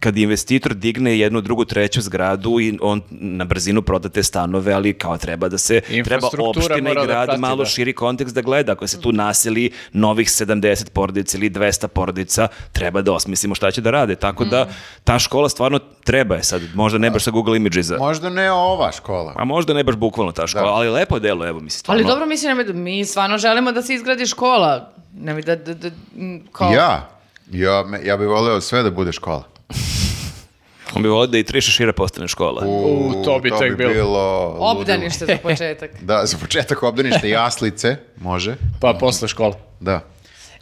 [SPEAKER 1] kad investitor digne jednu, drugu, treću zgradu i on na brzinu proda te stanove, ali kao treba da se, treba
[SPEAKER 3] Infrastruktura
[SPEAKER 1] opština i
[SPEAKER 3] mora da
[SPEAKER 1] grad
[SPEAKER 3] prati,
[SPEAKER 1] malo
[SPEAKER 3] da.
[SPEAKER 1] širi kontekst da gleda. Ako se tu naseli novih 70 porodica ili 200 porodica, treba da osmislimo šta će da rade. Tako da
[SPEAKER 4] Mhm.
[SPEAKER 1] ta škola stvarno treba je sad. Možda ne baš sa Google Images-a.
[SPEAKER 2] Možda ne ova škola.
[SPEAKER 1] A možda ne baš bukvalno ta škola, ali lepo delo, evo mi se stvarno.
[SPEAKER 4] Ali dobro, mislim, nemoj da- mi stvarno želimo da se izgradi škola. Ne mi da, da, da, m, kao...
[SPEAKER 2] Ja? Ja, me- ja bih voleo sve da bude škola.
[SPEAKER 1] On bi volio da i triše šira postane škola.
[SPEAKER 3] U, to bi tek bilo.
[SPEAKER 2] ludilo.
[SPEAKER 4] Obdanište za početak.
[SPEAKER 2] Da, za početak obdanište jaslice, može,
[SPEAKER 3] Pa posle škole.
[SPEAKER 2] da.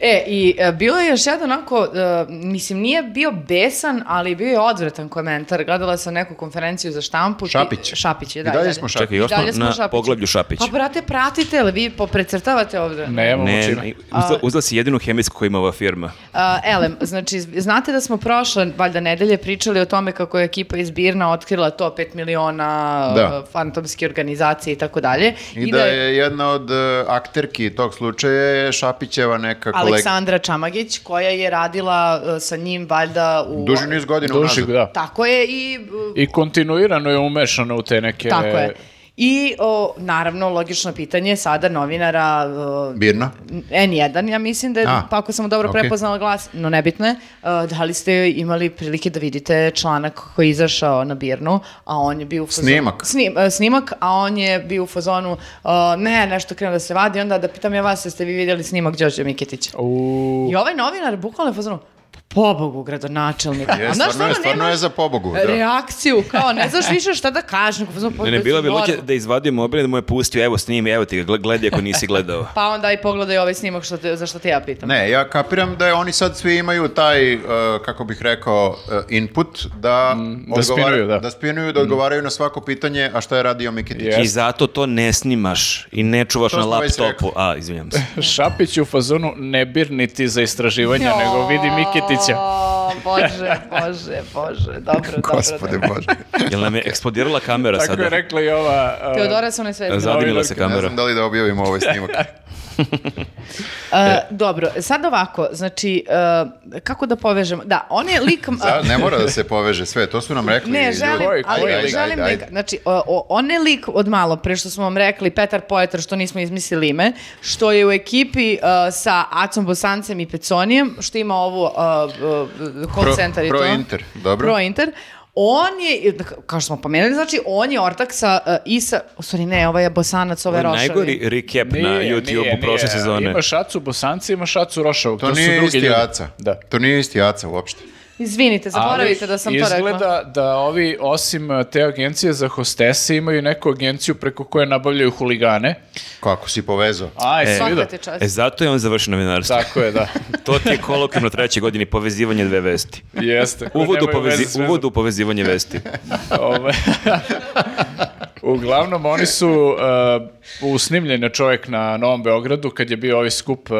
[SPEAKER 4] E, i e, bilo je još jedan onako, e, mislim, nije bio besan, ali bio je odvratan komentar. Gledala sam neku konferenciju za štampu. ti-
[SPEAKER 2] Šapić.
[SPEAKER 4] Šapić, je, da.
[SPEAKER 2] I dalje
[SPEAKER 4] i
[SPEAKER 2] smo Šapić.
[SPEAKER 1] Čekaj, još
[SPEAKER 4] I
[SPEAKER 1] smo
[SPEAKER 4] dalje smo
[SPEAKER 1] na
[SPEAKER 4] Šapiću.
[SPEAKER 1] poglavlju Šapić.
[SPEAKER 4] Pa, brate, pratite, ali vi poprecrtavate ovde.
[SPEAKER 3] Nemamo
[SPEAKER 1] Ne,
[SPEAKER 3] čime.
[SPEAKER 1] ne, uzela, uzela si jedinu hemijsku koju ima ova firma.
[SPEAKER 4] A, elem, znači, znate da smo prošle, valjda nedelje, pričali o tome kako je ekipa iz Birna otkrila to 5 miliona
[SPEAKER 2] Da.
[SPEAKER 4] e, fantomske organizacije i tako dalje.
[SPEAKER 2] I, da je jedna od e, akterki tog slučaja je Šapićeva neka kolega.
[SPEAKER 4] Aleksandra Čamagić, koja je radila e, sa njim valjda u...
[SPEAKER 2] Duži niz godina
[SPEAKER 3] Duži,
[SPEAKER 2] unazad.
[SPEAKER 3] da.
[SPEAKER 4] Tako je i... e,
[SPEAKER 3] I kontinuirano je umešano u te neke...
[SPEAKER 4] Tako je. I, o, naravno, logično pitanje sada novinara e,
[SPEAKER 2] Birna.
[SPEAKER 4] N1, ja mislim da je,
[SPEAKER 2] A,
[SPEAKER 4] pa ako sam dobro
[SPEAKER 2] ok.
[SPEAKER 4] prepoznala glas, no nebitno je, uh, da li ste imali prilike da vidite članak koji je izašao na Birnu, a on je bio u fazonu...
[SPEAKER 2] Snimak.
[SPEAKER 4] Snim, uh, snimak, a on je bio u fazonu, uh, ne, nešto krenuo da se vadi, onda da pitam ja vas, jeste vi vidjeli snimak Đorđe Miketića?
[SPEAKER 3] U...
[SPEAKER 4] I ovaj novinar bukvalno je u fazonu, "Pa pobogu, gradonačelnik.
[SPEAKER 2] Je,
[SPEAKER 4] A znaš,
[SPEAKER 2] stvarno, je,
[SPEAKER 4] ono,
[SPEAKER 2] stvarno
[SPEAKER 4] nemaš
[SPEAKER 2] je za pobogu. Da.
[SPEAKER 4] reakciju, kao ne znaš više šta da kažem. u fazonu, "Pa
[SPEAKER 1] Ne, ne, bilo bi
[SPEAKER 4] "Pobogu,
[SPEAKER 1] lođe
[SPEAKER 4] normal."
[SPEAKER 1] da izvadio mobil i da mu je pustio, evo snimi, evo ti ga, gle- gledaj ako nisi gledao.
[SPEAKER 4] Pa onda i pogledaj ovaj snimak što te, za što te ja pitam.
[SPEAKER 2] Ne, ja kapiram da je, oni sad svi imaju taj, e, kako bih rekao, e, input da, odgovara-
[SPEAKER 3] spinuju, Mm, da. Mm.
[SPEAKER 2] spinuju, da odgovaraju na svako pitanje, a šta je radio Mikitić.
[SPEAKER 3] Jeste.
[SPEAKER 1] I zato to ne snimaš i ne čuvaš
[SPEAKER 2] To
[SPEAKER 1] na
[SPEAKER 2] smo već
[SPEAKER 1] laptopu. A, izvinjam se.
[SPEAKER 3] Šapić je u fazonu ne birni ti za istraživanja, nego vidi
[SPEAKER 1] E,
[SPEAKER 3] Mikitića.
[SPEAKER 4] O, Bože, bože, bože, dobro, dobro.
[SPEAKER 2] Gospode
[SPEAKER 4] dobro.
[SPEAKER 2] Bože.
[SPEAKER 1] Jel nam je eksplodirala kamera
[SPEAKER 3] Tako
[SPEAKER 1] sada?
[SPEAKER 3] je rekla i ova... uh,
[SPEAKER 4] Teodora su ne sve znali.
[SPEAKER 1] Zadimila se
[SPEAKER 2] Ne
[SPEAKER 1] kamera.
[SPEAKER 2] znam da li da objavimo ovaj snimak.
[SPEAKER 4] E, dobro, sad ovako, znači, e, kako da povežem? Da, on je lik...
[SPEAKER 2] Za- ne mora da se poveže sve, to su nam rekli.
[SPEAKER 4] Ne,
[SPEAKER 2] ljudi.
[SPEAKER 4] želim,
[SPEAKER 3] Koji,
[SPEAKER 4] ali
[SPEAKER 3] koji
[SPEAKER 2] Ajde,
[SPEAKER 3] lik?
[SPEAKER 4] želim
[SPEAKER 2] ajde, ajde.
[SPEAKER 4] neka- znači, o, o, on je lik od malo pre što smo vam rekli, Petar Poetar, što nismo izmislili ime, što je u ekipi e, sa Acom Bosancem i Peconijem, što ima ovu e, e, call
[SPEAKER 2] Pro-
[SPEAKER 4] center i to.
[SPEAKER 2] Pro-Inter, dobro.
[SPEAKER 4] Pro-Inter. On je, kao što smo pomenuli, znači, on je ortak sa, e, i sa, u stvari ne, ovaj je Bosanac, ovaj
[SPEAKER 1] Ovo
[SPEAKER 4] je
[SPEAKER 1] je
[SPEAKER 4] Rošavi.
[SPEAKER 1] najgori recap na
[SPEAKER 3] Nije, nije,
[SPEAKER 1] YouTube-u prošle
[SPEAKER 3] nije.
[SPEAKER 1] sezone.
[SPEAKER 3] Ima šacu Bosanci, ima šacu Rošavog.
[SPEAKER 2] To,
[SPEAKER 3] su
[SPEAKER 2] nije
[SPEAKER 3] drugi
[SPEAKER 2] isti
[SPEAKER 3] ljudi.
[SPEAKER 2] Aca.
[SPEAKER 3] Da.
[SPEAKER 2] To nije isti Aca uopšte.
[SPEAKER 4] Izvinite, zaboravite
[SPEAKER 3] Ali
[SPEAKER 4] da sam to rekla.
[SPEAKER 3] Izgleda da ovi, osim uh, te agencije za hostese, imaju neku agenciju preko koje nabavljaju huligane.
[SPEAKER 2] Kako si povezao?
[SPEAKER 3] Aj, e,
[SPEAKER 4] E. Svaka ti čast.
[SPEAKER 1] E, zato je on završio novinarstvo.
[SPEAKER 3] Tako je, da.
[SPEAKER 1] To ti je kolokvim na trećoj godini povezivanje dve vesti.
[SPEAKER 3] Jeste. koje
[SPEAKER 1] Uvodu,
[SPEAKER 3] nemaju veze s
[SPEAKER 1] povezi,
[SPEAKER 3] vezom.
[SPEAKER 1] uvodu u povezivanje vesti.
[SPEAKER 3] Ove- Uglavnom, oni su uh, usnimljen je čovjek na Novom Beogradu kad je bio ovaj skup uh,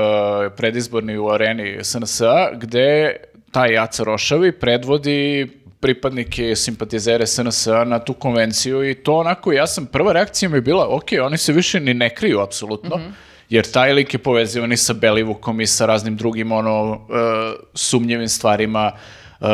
[SPEAKER 3] predizborni u areni SNS-a, gde taj Aca Rošavi predvodi pripadnike simpatizere SNS-a na tu konvenciju i to onako, ja sam, prva reakcija mi je bila, ok, oni se više ni ne kriju, apsolutno, jer taj lik je povezivan i sa Belivukom i sa raznim drugim ono, e, sumnjivim stvarima, e,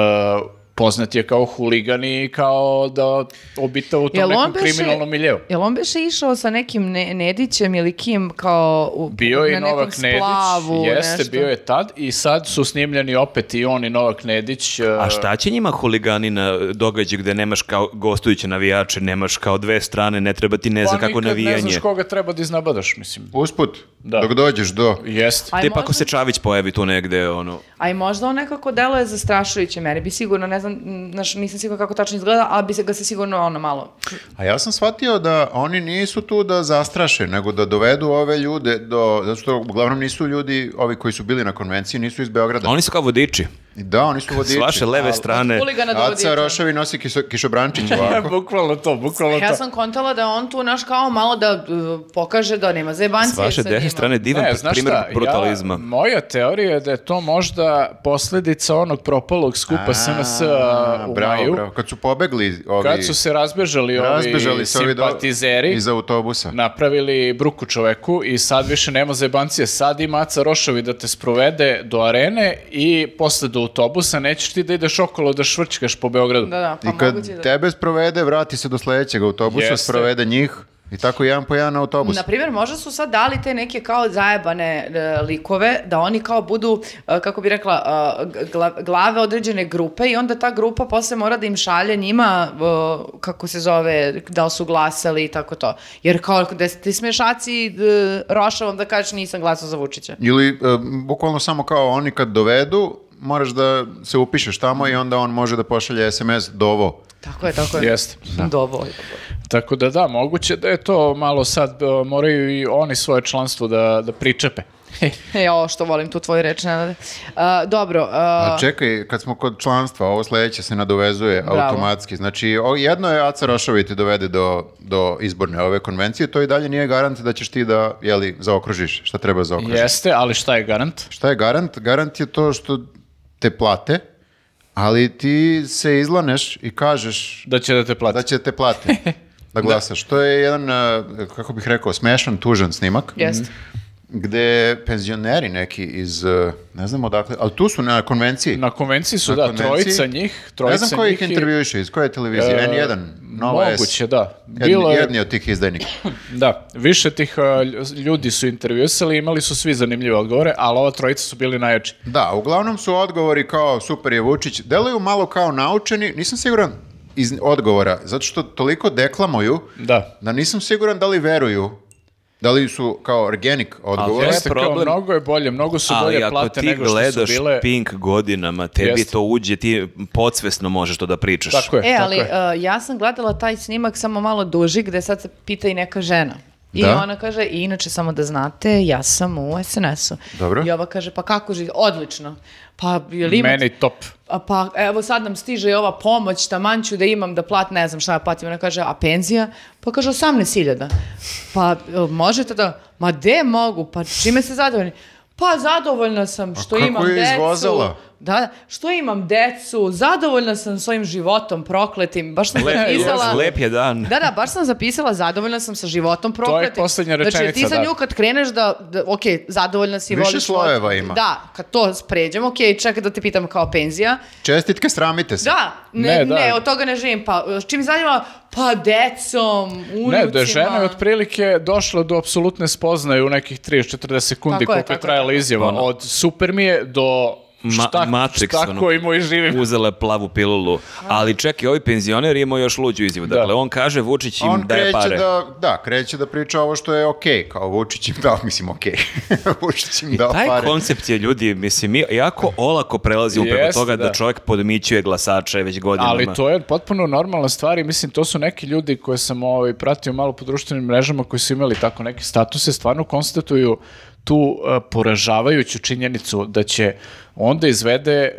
[SPEAKER 3] poznat je kao huligan i kao da obitao u tom
[SPEAKER 4] Jel on
[SPEAKER 3] nekom
[SPEAKER 4] beše-
[SPEAKER 3] kriminalnom miljeu.
[SPEAKER 4] Jel on beše išao sa nekim ne, Nedićem ili kim kao u,
[SPEAKER 3] Bio je i
[SPEAKER 4] na nekom
[SPEAKER 3] Novak
[SPEAKER 4] splavu,
[SPEAKER 3] Nedić, jeste,
[SPEAKER 4] nešto?
[SPEAKER 3] bio je tad i sad su snimljeni opet i on i Novak Nedić. e,
[SPEAKER 1] A šta će njima huligani na događaju gde nemaš kao gostujuće navijače, nemaš kao dve strane, ne treba ti ne
[SPEAKER 3] pa
[SPEAKER 1] znam kako
[SPEAKER 3] nikad
[SPEAKER 1] navijanje.
[SPEAKER 3] Ne znaš koga treba da iznabadaš, mislim.
[SPEAKER 2] Usput,
[SPEAKER 3] Da.
[SPEAKER 2] dok dođeš do...
[SPEAKER 3] Jeste.
[SPEAKER 4] Aj,
[SPEAKER 1] Te pa ako
[SPEAKER 4] možda-
[SPEAKER 1] se Čavić pojavi tu negde, ono...
[SPEAKER 4] A i možda on nekako deluje zastrašujuće meni, bi sigurno, ne znam, m, znaš, nisam sigurno kako tačno izgleda, ali bi se ga se sigurno ono malo...
[SPEAKER 2] A ja sam shvatio da oni nisu tu da zastraše, nego da dovedu ove ljude do... Zato što uglavnom nisu ljudi, ovi koji su bili na konvenciji, nisu iz Beograda.
[SPEAKER 1] Oni su kao vodiči.
[SPEAKER 2] Da, oni su vodiči.
[SPEAKER 1] S vaše leve strane.
[SPEAKER 4] Huligana do
[SPEAKER 2] Aca
[SPEAKER 4] vodiča.
[SPEAKER 2] Rošavi nosi kiso- kišobrančić ovako.
[SPEAKER 3] bukvalno to, bukvalno
[SPEAKER 4] E, Ja
[SPEAKER 3] to.
[SPEAKER 4] sam kontala da je on tu, naš, kao malo da uh, pokaže da nema zajebancije
[SPEAKER 1] S vaše
[SPEAKER 4] sa
[SPEAKER 1] desne
[SPEAKER 4] njima.
[SPEAKER 1] strane divan
[SPEAKER 3] Ne, znaš
[SPEAKER 1] primjer
[SPEAKER 3] šta,
[SPEAKER 1] brutalizma.
[SPEAKER 3] Ja, moja teorija je da je to možda posljedica onog propalog skupa SNS uh,
[SPEAKER 2] A,
[SPEAKER 3] u
[SPEAKER 2] bravo,
[SPEAKER 3] maju.
[SPEAKER 2] bravo. Kad su pobegli ovi...
[SPEAKER 3] Kad su se razbežali, ovi
[SPEAKER 2] razbežali se ovi do-
[SPEAKER 3] simpatizeri,
[SPEAKER 2] iz autobusa.
[SPEAKER 3] napravili bruku čoveku i sad više nema zajebancije. Sad ima Aca Rošovi da te sprovede do arene i posle do autobusa nećeš ti da ideš okolo da švrčkaš po Beogradu.
[SPEAKER 4] Da, da, pa
[SPEAKER 2] I kad
[SPEAKER 4] moguće da...
[SPEAKER 2] tebe sprovede, vrati se do sledećeg autobusa,
[SPEAKER 3] Jeste.
[SPEAKER 2] sprovede njih i tako jedan po jedan autobus.
[SPEAKER 4] Na primjer, možda su sad dali te neke kao zajebane e, likove, da oni kao budu, e, kako bi rekla, e, gla- glave određene grupe i onda ta grupa posle mora da im šalje njima, e, kako se zove, da li su glasali i tako to. Jer kao, da ti smešaci e, Rošavom da kažeš nisam glasao za Vučića.
[SPEAKER 2] Ili e, bukvalno samo kao oni kad dovedu, moraš da se upišeš tamo i onda on može da pošalje SMS do ovo.
[SPEAKER 4] Tako je, tako je.
[SPEAKER 3] Jeste.
[SPEAKER 4] Dovoljno.
[SPEAKER 3] Tako da da, moguće da je to malo sad, e, moraju i oni svoje članstvo da, da pričepe.
[SPEAKER 4] Jo, što volim tu tvoju reč, Nenade. A, E, dobro, a,
[SPEAKER 2] A čekaj, kad smo kod članstva, ovo sledeće se nadovezuje
[SPEAKER 4] Bravo.
[SPEAKER 2] automatski. Znači, o, jedno je Aca Rašovi te dovede do, do izborne ove konvencije, to i dalje nije garant da ćeš ti da, jeli, zaokružiš. Šta treba zaokružiti?
[SPEAKER 3] Jeste, ali šta je garant?
[SPEAKER 2] Šta je garant? Garant je to što te plate, ali ti se izlaneš i kažeš
[SPEAKER 3] Da će da te plati.
[SPEAKER 2] Pa da će te plate da glasaš. To je jedan, eh, kako bih rekao, smešan, tužan snimak.
[SPEAKER 4] jeste.
[SPEAKER 2] gde penzioneri neki iz, eh, ne znam odakle, ali tu su na konvenciji.
[SPEAKER 3] Na konvenciji su,
[SPEAKER 2] Na
[SPEAKER 3] da,
[SPEAKER 2] konvenciji.
[SPEAKER 3] trojica njih. Trojica
[SPEAKER 2] ne znam koji ih
[SPEAKER 3] njih i-
[SPEAKER 2] intervjuiše, iz koje televizije,
[SPEAKER 3] E,
[SPEAKER 2] N1, Nova S.
[SPEAKER 3] Moguće, da.
[SPEAKER 2] Jedni,
[SPEAKER 3] Bilo je,
[SPEAKER 2] jedni od tih izdajnika.
[SPEAKER 3] da, više tih a, lj- ljudi su intervjusali, imali su svi zanimljive odgovore, ali ova trojica su bili najjači.
[SPEAKER 2] Da, uglavnom su odgovori kao super je Vučić, deluju malo kao naučeni, nisam siguran iz odgovora, zato što toliko deklamuju
[SPEAKER 3] Da.
[SPEAKER 2] da nisam siguran da li veruju, da li su kao organic odgovori.
[SPEAKER 1] To je
[SPEAKER 3] Jeste, kao,
[SPEAKER 1] problem.
[SPEAKER 3] mnogo je bolje, mnogo su
[SPEAKER 1] Ali
[SPEAKER 3] bolje
[SPEAKER 1] ako
[SPEAKER 3] plate
[SPEAKER 1] ti
[SPEAKER 3] nego što su
[SPEAKER 1] gledaš
[SPEAKER 3] bile.
[SPEAKER 1] Pink godinama, tebi
[SPEAKER 3] Jeste.
[SPEAKER 1] to uđe, ti podsvesno možeš to da pričaš.
[SPEAKER 3] Tako je,
[SPEAKER 4] E,
[SPEAKER 3] tako
[SPEAKER 4] ali
[SPEAKER 3] je.
[SPEAKER 4] uh, ja sam gledala taj snimak samo malo duži gde sad se pita i neka žena. I
[SPEAKER 2] Da.
[SPEAKER 4] ona kaže, i inače samo da znate, ja sam u SNS-u.
[SPEAKER 2] Dobro.
[SPEAKER 4] I ova kaže, pa kako živi? Odlično. Pa, je li imate-
[SPEAKER 3] Meni top.
[SPEAKER 4] A pa, evo sad nam stiže i ova pomoć, taman ću da imam da plat, ne znam šta ja platim. Ona kaže, a penzija? Pa kaže, 18.000. Pa, e, možete da, ma de mogu, pa čime se zadovoljni? Pa zadovoljna sam što
[SPEAKER 2] kako
[SPEAKER 4] imam
[SPEAKER 2] je
[SPEAKER 4] decu.
[SPEAKER 2] izvozala?
[SPEAKER 4] Da, da, što imam decu, zadovoljna sam svojim životom prokletim. Baš sam
[SPEAKER 2] E,
[SPEAKER 1] Lep,
[SPEAKER 4] zapisala...
[SPEAKER 1] lep je dan.
[SPEAKER 4] Da, da, baš sam zapisala, zadovoljna sam sa životom prokletim.
[SPEAKER 3] poslednja
[SPEAKER 4] Znači, ti
[SPEAKER 3] rečenica,
[SPEAKER 4] sa
[SPEAKER 3] da.
[SPEAKER 4] nju kad kreneš da, da ok, zadovoljna si,
[SPEAKER 2] Više
[SPEAKER 4] voliš...
[SPEAKER 2] slojeva
[SPEAKER 4] život.
[SPEAKER 2] ima.
[SPEAKER 4] Da, kad to pređemo, ok, čekaj da te pitam kao penzija,
[SPEAKER 2] Čestitke, sramite se.
[SPEAKER 4] da, ne,
[SPEAKER 3] Ne,
[SPEAKER 4] ne,
[SPEAKER 3] da.
[SPEAKER 4] od toga ne živim. Pa, čim zanima, pa decom, unucima.
[SPEAKER 3] Ne, da je žena je otprilike došla do apsolutne spoznaje u nekih 30-40 sekundi
[SPEAKER 4] Tako je,
[SPEAKER 3] koliko je
[SPEAKER 4] tako
[SPEAKER 3] trajala izjava.
[SPEAKER 1] Ono.
[SPEAKER 3] Od super mi je do
[SPEAKER 1] Ma-
[SPEAKER 3] šta,
[SPEAKER 1] Matrix,
[SPEAKER 3] šta
[SPEAKER 1] ono.
[SPEAKER 3] koji moj živim.
[SPEAKER 1] uzela je plavu pilulu. Ali čak i ovi penzioneri imaju još luđu izjavu. Dakle, on kaže Vučić im
[SPEAKER 2] On
[SPEAKER 1] daje
[SPEAKER 2] kreće
[SPEAKER 1] pare.
[SPEAKER 2] da, da, kreće da priča ovo što je okej, kao Vučić im dao, mislim okej, Vučić im dao
[SPEAKER 1] Taj
[SPEAKER 2] pare.
[SPEAKER 1] koncept je ljudi, mislim, mi- jako olako prelazimo preko
[SPEAKER 3] Jeste,
[SPEAKER 1] toga da.
[SPEAKER 3] da.
[SPEAKER 1] čovjek podmićuje glasače već godinama.
[SPEAKER 3] Ali to je potpuno normalna stvar i mislim to su neki ljudi koje sam ovaj, pratio malo po društvenim mrežama koji su imali tako neke statuse, stvarno konstatuju tu eh, poražavajuću činjenicu da će onda izvede eh,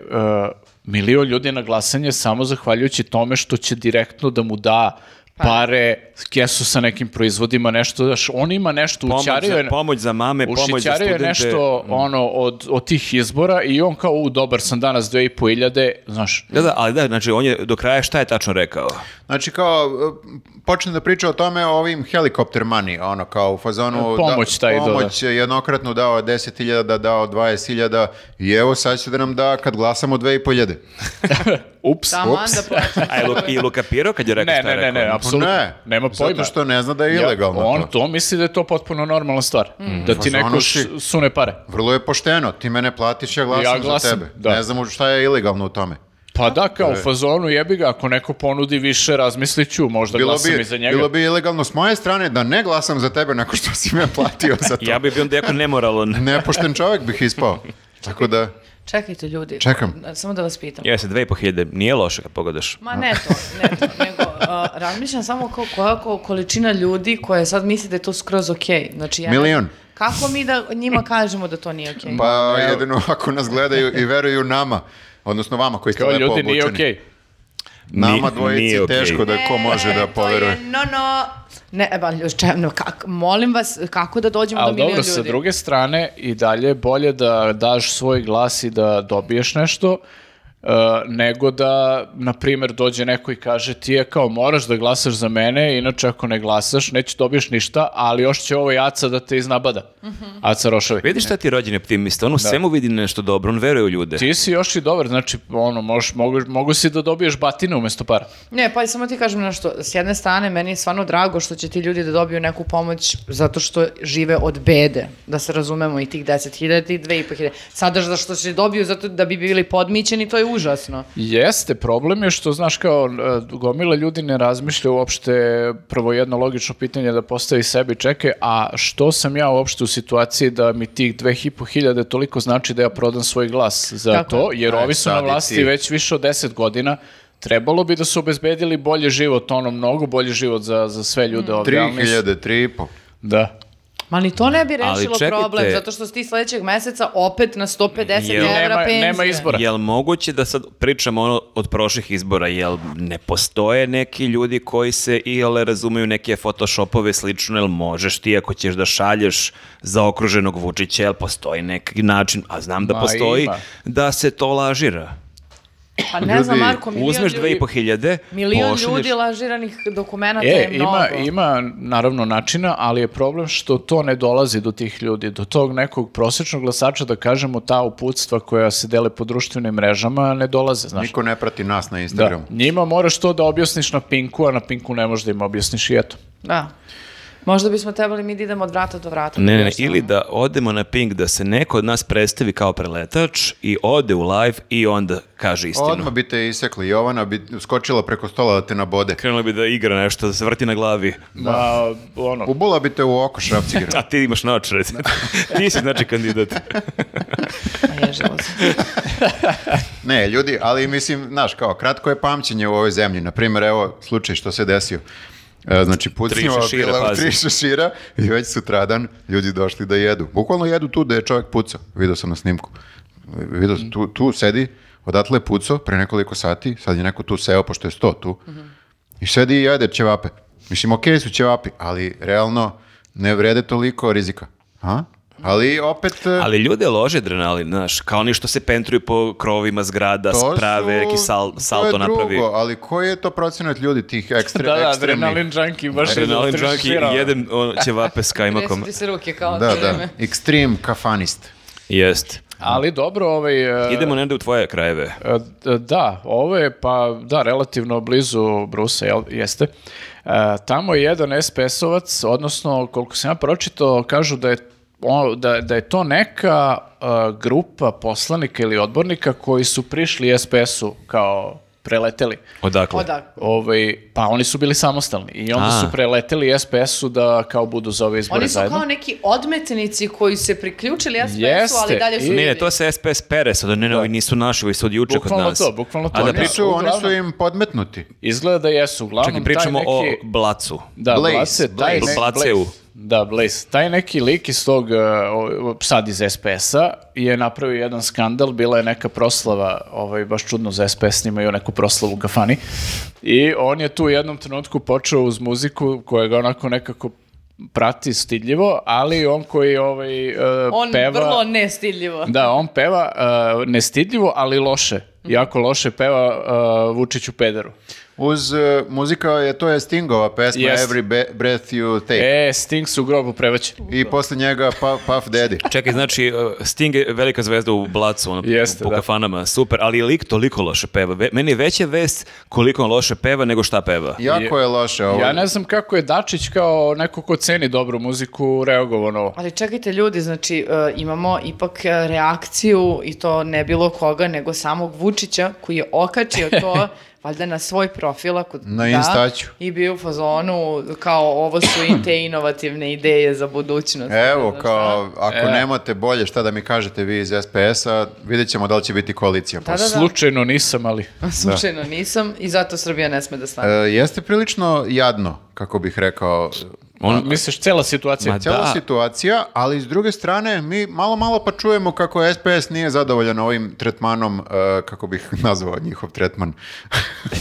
[SPEAKER 3] milion ljudi na glasanje samo zahvaljujući tome što će direktno da mu da pare, kesu sa nekim proizvodima, nešto, znaš, on ima nešto u
[SPEAKER 1] Pomoć za-
[SPEAKER 3] ćariju je-
[SPEAKER 1] pomoć za mame, pomoć za
[SPEAKER 3] Ušićario je
[SPEAKER 1] studente. Mm.
[SPEAKER 3] nešto ono, od, od tih izbora i on kao, u, dobar sam danas, 2,5 hiljade, znaš,
[SPEAKER 1] Da, da, ali da, znači on je do kraja šta je tačno rekao?
[SPEAKER 2] Znači kao, e, počne da priča o tome o ovim helikopter money, ono kao u fazonu...
[SPEAKER 3] E, Pomoć taj doda.
[SPEAKER 2] Pomoć je jednokratno dao 10.000, da dao 20.000 i evo sad će da nam da kad glasamo 2.500.
[SPEAKER 3] ups,
[SPEAKER 4] Taman
[SPEAKER 3] ups.
[SPEAKER 4] da plaćam.
[SPEAKER 1] A je lu- i lukapirao kad je rekao
[SPEAKER 3] Ne,
[SPEAKER 1] šta je
[SPEAKER 3] ne, ne,
[SPEAKER 1] rekao? ono.
[SPEAKER 3] ne, apsolutno.
[SPEAKER 2] Ne,
[SPEAKER 3] Nema pojma.
[SPEAKER 2] zato što ne zna da je
[SPEAKER 3] Ja-
[SPEAKER 2] ilegalno
[SPEAKER 3] on
[SPEAKER 2] to.
[SPEAKER 3] to misli da je to potpuno normalna stvar. Da ti
[SPEAKER 2] Pa
[SPEAKER 3] neko
[SPEAKER 2] ono
[SPEAKER 3] s-
[SPEAKER 2] si-
[SPEAKER 3] sune pare.
[SPEAKER 2] Vrlo je pošteno, ti mene platiš, ja glasam,
[SPEAKER 3] Ja glasam,
[SPEAKER 2] za tebe.
[SPEAKER 3] da.
[SPEAKER 2] Ne znam šta je ilegalno u tome.
[SPEAKER 3] Pa da, kao u fazonu jebi ga, ako neko ponudi više, razmislit ću, možda
[SPEAKER 2] Bilo
[SPEAKER 3] glasam i
[SPEAKER 2] bi,
[SPEAKER 3] za njega.
[SPEAKER 2] bilo bi ilegalno s moje strane da ne glasam za tebe nakon što si me platio za to.
[SPEAKER 1] Ja bih bio onda jako nemoralan.
[SPEAKER 2] Nepošten čovjek bih ispao. Tako da,
[SPEAKER 4] Čekajte, ljudi.
[SPEAKER 2] Čekam.
[SPEAKER 4] Samo da vas pitam.
[SPEAKER 1] Jeste, dve i po hiljade, nije loše kad pogledaš.
[SPEAKER 4] Ma ne to, ne to, nego a, razmišljam samo ko- koja ko- količina ljudi koja sad misli da je to skroz okej. Znači, ja ne-
[SPEAKER 2] Milion.
[SPEAKER 4] Kako mi da njima kažemo da to nije okej?
[SPEAKER 2] pa jedino ako nas gledaju i veruju nama, odnosno vama koji ste
[SPEAKER 3] Kao
[SPEAKER 2] lepo
[SPEAKER 3] ljudi,
[SPEAKER 2] obučeni.
[SPEAKER 3] nije okej.
[SPEAKER 2] Nama
[SPEAKER 1] Ni-
[SPEAKER 2] dvojici
[SPEAKER 1] nije okej.
[SPEAKER 2] teško da ko može da
[SPEAKER 4] E,
[SPEAKER 2] poveruje.
[SPEAKER 4] To je no, no. Ne, e, ba, čevno, kak, molim vas, kako da dođemo do
[SPEAKER 3] Ali
[SPEAKER 4] milion
[SPEAKER 3] dobro,
[SPEAKER 4] ljudi?
[SPEAKER 3] sa druge strane, i dalje je bolje da daš svoj glas i da dobiješ nešto, e, nego da, na primjer, dođe neko i kaže ti je kao moraš da glasaš za mene, inače ako ne glasaš neće dobiješ ništa, ali još će ovo jaca da te iznabada. Aca Rošovi.
[SPEAKER 1] Vidiš šta ti je rođeni optimista, on u svemu vidi nešto dobro, on veruje u ljude.
[SPEAKER 3] Ti si još i dobar, znači, ono, moš, mogu, mogu si da dobiješ batine umjesto para.
[SPEAKER 4] Ne, pa samo ti kažem nešto, s jedne strane meni je stvarno drago što će ti ljudi da dobiju neku pomoć zato što žive od bede, da se razumemo i tih 10.000 i 2.500. Sada za što će dobiju zato da bi bili podmićeni, to je užasno.
[SPEAKER 3] Jeste, problem je što, znaš, kao e, gomila ljudi ne razmišlja uopšte prvo jedno logično pitanje da postavi sebi čeke, a što sam ja uopšte u situaciji da mi tih 2500 toliko znači da ja prodam svoj glas za
[SPEAKER 4] Tako
[SPEAKER 3] to, jer
[SPEAKER 2] Aj,
[SPEAKER 3] ovi su na
[SPEAKER 2] E, sad i ti.
[SPEAKER 3] vlasti već više od 10 godina, Trebalo bi da su obezbedili
[SPEAKER 2] Mm.
[SPEAKER 3] bolji život, ono mnogo bolji život za, za sve ljude ovdje. ali nisu.
[SPEAKER 2] 3000, 3,5.
[SPEAKER 3] Da.
[SPEAKER 4] Ma ni to ne bi
[SPEAKER 1] Ali
[SPEAKER 4] rešilo
[SPEAKER 1] čekajte.
[SPEAKER 4] problem, zato što si ti sledećeg meseca opet na 150
[SPEAKER 1] Jel-
[SPEAKER 4] evra
[SPEAKER 3] Nema-
[SPEAKER 4] penzije.
[SPEAKER 3] nema izbora.
[SPEAKER 1] Jel moguće da sad pričamo ono od prošlih izbora, jel ne postoje neki ljudi koji se i ale razumeju neke photoshopove i slično, jel možeš ti ako ćeš da šalješ zaokruženog Vučića, jel postoji neki način, a znam da
[SPEAKER 3] Ma,
[SPEAKER 1] postoji,
[SPEAKER 3] ima.
[SPEAKER 1] da se to lažira.
[SPEAKER 4] Pa ne znam,
[SPEAKER 2] Ljudi,
[SPEAKER 4] Marko, milion
[SPEAKER 1] Uzmeš
[SPEAKER 4] ljudi...
[SPEAKER 1] 2500,
[SPEAKER 4] Milion
[SPEAKER 1] pošalješ-
[SPEAKER 4] ljudi lažiranih dokumenta
[SPEAKER 3] E,
[SPEAKER 4] je mnogo.
[SPEAKER 3] ima, ima naravno načina, ali je problem što to ne dolazi do tih ljudi, do tog nekog prosječnog glasača, da kažemo, ta uputstva koja se dele po društvenim mrežama ne dolaze, znaš.
[SPEAKER 2] Niko ne prati nas na
[SPEAKER 3] Da.
[SPEAKER 2] Instagramu.
[SPEAKER 3] Njima moraš to da objasniš na Pinku, a na Pinku ne možeš da im objasniš i eto.
[SPEAKER 4] Da. Možda bismo trebali mi da idemo od vrata do vrata.
[SPEAKER 1] Ne, ne, ne,
[SPEAKER 4] Jednostavno.
[SPEAKER 1] ili da odemo na ping da se neko od nas predstavi kao preletač i ode u live i onda kaže istinu.
[SPEAKER 2] Odmah bi te isekli. Jovana bi skočila preko stola da te nabode.
[SPEAKER 1] Krenula bi da igra nešto, da se vrti na glavi.
[SPEAKER 3] Da. ono,
[SPEAKER 2] Ubola bi te u oko šrapcigir.
[SPEAKER 1] A ti imaš naočare. ti si znači kandidat.
[SPEAKER 4] Ma, ježila sam.
[SPEAKER 2] Ne, ljudi, ali mislim, znaš, kao, kratko je pamćenje u ovoj zemlji. Naprimjer, evo, slučaj što se desio. E, Znači, pucnjava
[SPEAKER 1] šešira,
[SPEAKER 2] bila u
[SPEAKER 1] pazi.
[SPEAKER 2] tri šešira i već sutradan ljudi došli da jedu. Bukvalno jedu tu da je čovjek pucao. Video sam na snimku. Video sam, tu, tu sedi, odatle je pucao pre nekoliko sati, sad je neko tu seo, pošto je sto tu. I sedi i jede ćevape. Mislim, okej su ćevapi, ali realno ne vrede toliko rizika. A? Ali opet... e,
[SPEAKER 1] Ali ljude lože adrenalin, znaš, kao oni što se pentruju po krovima zgrada,
[SPEAKER 2] To
[SPEAKER 1] sprave,
[SPEAKER 2] Pa su-
[SPEAKER 1] neki sal,
[SPEAKER 2] to je
[SPEAKER 1] salto napravi.
[SPEAKER 2] drugo, ali koji je to procenat ljudi tih ekstre,
[SPEAKER 3] da, da,
[SPEAKER 2] ekstremnih?
[SPEAKER 3] adrenalin junkie, baš je
[SPEAKER 1] Adrenalin
[SPEAKER 3] da
[SPEAKER 1] junkie i
[SPEAKER 3] trešira.
[SPEAKER 1] jedem on, ćevape s kajmakom.
[SPEAKER 4] Tresu ti se ruke kao
[SPEAKER 2] Da,
[SPEAKER 4] to
[SPEAKER 2] da,
[SPEAKER 4] vreme.
[SPEAKER 2] ekstrem kafanist.
[SPEAKER 1] Jest.
[SPEAKER 3] Ali dobro, ovaj... e,
[SPEAKER 1] Idemo negde u tvoje krajeve.
[SPEAKER 3] E, d- Da, ovo je pa, da, relativno blizu Brusa, jel, jeste. E, tamo je jedan SPS-ovac, odnosno, koliko sam ja pročitao, kažu da je, o- da, da je to neka e, grupa poslanika ili odbornika koji su prišli SPS-u kao preleteli.
[SPEAKER 1] Odakle?
[SPEAKER 4] Odak.
[SPEAKER 3] Ovaj, pa oni su bili samostalni i onda
[SPEAKER 1] A.
[SPEAKER 3] su preleteli SPS-u da kao budu za ove izbore
[SPEAKER 4] Oni su
[SPEAKER 3] zajedno.
[SPEAKER 4] kao neki odmetnici koji su se priključili SPS-u, ali
[SPEAKER 3] Jeste,
[SPEAKER 4] dalje su...
[SPEAKER 3] i-
[SPEAKER 4] ljudi.
[SPEAKER 1] Ne, to se SPS pere, sad ne, ne, ovi nisu naši, ovi su od juče kod
[SPEAKER 3] Bukvalno
[SPEAKER 1] nas.
[SPEAKER 3] to, bukvalno to.
[SPEAKER 1] A da
[SPEAKER 3] Oni
[SPEAKER 1] pri-
[SPEAKER 2] Oni su, oni su
[SPEAKER 3] uglavnom-
[SPEAKER 2] im podmetnuti.
[SPEAKER 3] Izgleda da jesu, uglavnom
[SPEAKER 1] Čekaj,
[SPEAKER 3] taj
[SPEAKER 1] pričamo o
[SPEAKER 3] neki-
[SPEAKER 1] Blacu.
[SPEAKER 3] Da,
[SPEAKER 2] Blaze,
[SPEAKER 3] Blaze, taj
[SPEAKER 2] Blaze.
[SPEAKER 3] ne-
[SPEAKER 1] Blaceu.
[SPEAKER 3] Da, Blaze. Taj neki lik iz tog, uh, o- o- sad iz SPS-a, je napravio jedan skandal, bila je neka proslava, ovaj, baš čudno za SPS, imaju neku proslavu u kafani, i on je tu u jednom trenutku počeo uz muziku koja ga onako nekako prati stidljivo, ali on koji ovaj, uh,
[SPEAKER 4] On
[SPEAKER 3] peva...
[SPEAKER 4] vrlo nestidljivo.
[SPEAKER 3] Da, on peva uh, nestidljivo, ali loše. Jako loše peva uh, Vučiću Pederu.
[SPEAKER 2] Uz e, muzika je, to je Stingova pesma
[SPEAKER 3] Jest.
[SPEAKER 2] Every Be- Breath You Take.
[SPEAKER 3] E, Sting su u grobu prevaći.
[SPEAKER 2] I posle njega Puff, Puff Daddy.
[SPEAKER 1] Čekaj, znači, uh, Sting je velika zvezda u Blacu, ono,
[SPEAKER 3] Jeste,
[SPEAKER 1] po
[SPEAKER 3] da.
[SPEAKER 1] kafanama, super, ali je lik toliko loše peva. Ve- Meni je veća vest koliko on loše peva nego šta peva.
[SPEAKER 2] Jako je loše ovo.
[SPEAKER 1] ovaj-
[SPEAKER 3] Ja ne znam kako je Dačić kao neko ko ceni dobru muziku ono, reagovan ovo.
[SPEAKER 4] Ali čekajte ljudi, znači e, imamo ipak e, reakciju i to ne bilo koga, nego samog Vučića koji je okačio to valjda na svoj profil ako
[SPEAKER 2] Na Instaću.
[SPEAKER 4] i bio u fazonu kao ovo su i te inovativne ideje za budućnost.
[SPEAKER 2] Evo,
[SPEAKER 4] Znaš šta?
[SPEAKER 2] kao, ako
[SPEAKER 3] E.
[SPEAKER 2] nemate bolje šta da mi kažete vi iz SPS-a, vidjet ćemo da li će biti koalicija.
[SPEAKER 4] Da, da, da.
[SPEAKER 3] Slučajno nisam, ali...
[SPEAKER 4] Slučajno nisam i zato Srbija ne sme da
[SPEAKER 2] E,
[SPEAKER 4] stane.
[SPEAKER 2] jeste prilično jadno, kako bih rekao,
[SPEAKER 1] On,
[SPEAKER 3] Misliš, cela situacija?
[SPEAKER 1] Ma
[SPEAKER 2] cijela
[SPEAKER 1] Da.
[SPEAKER 2] situacija, ali s druge strane mi malo malo pa čujemo kako SPS nije zadovoljan ovim tretmanom, e, kako bih nazvao njihov tretman,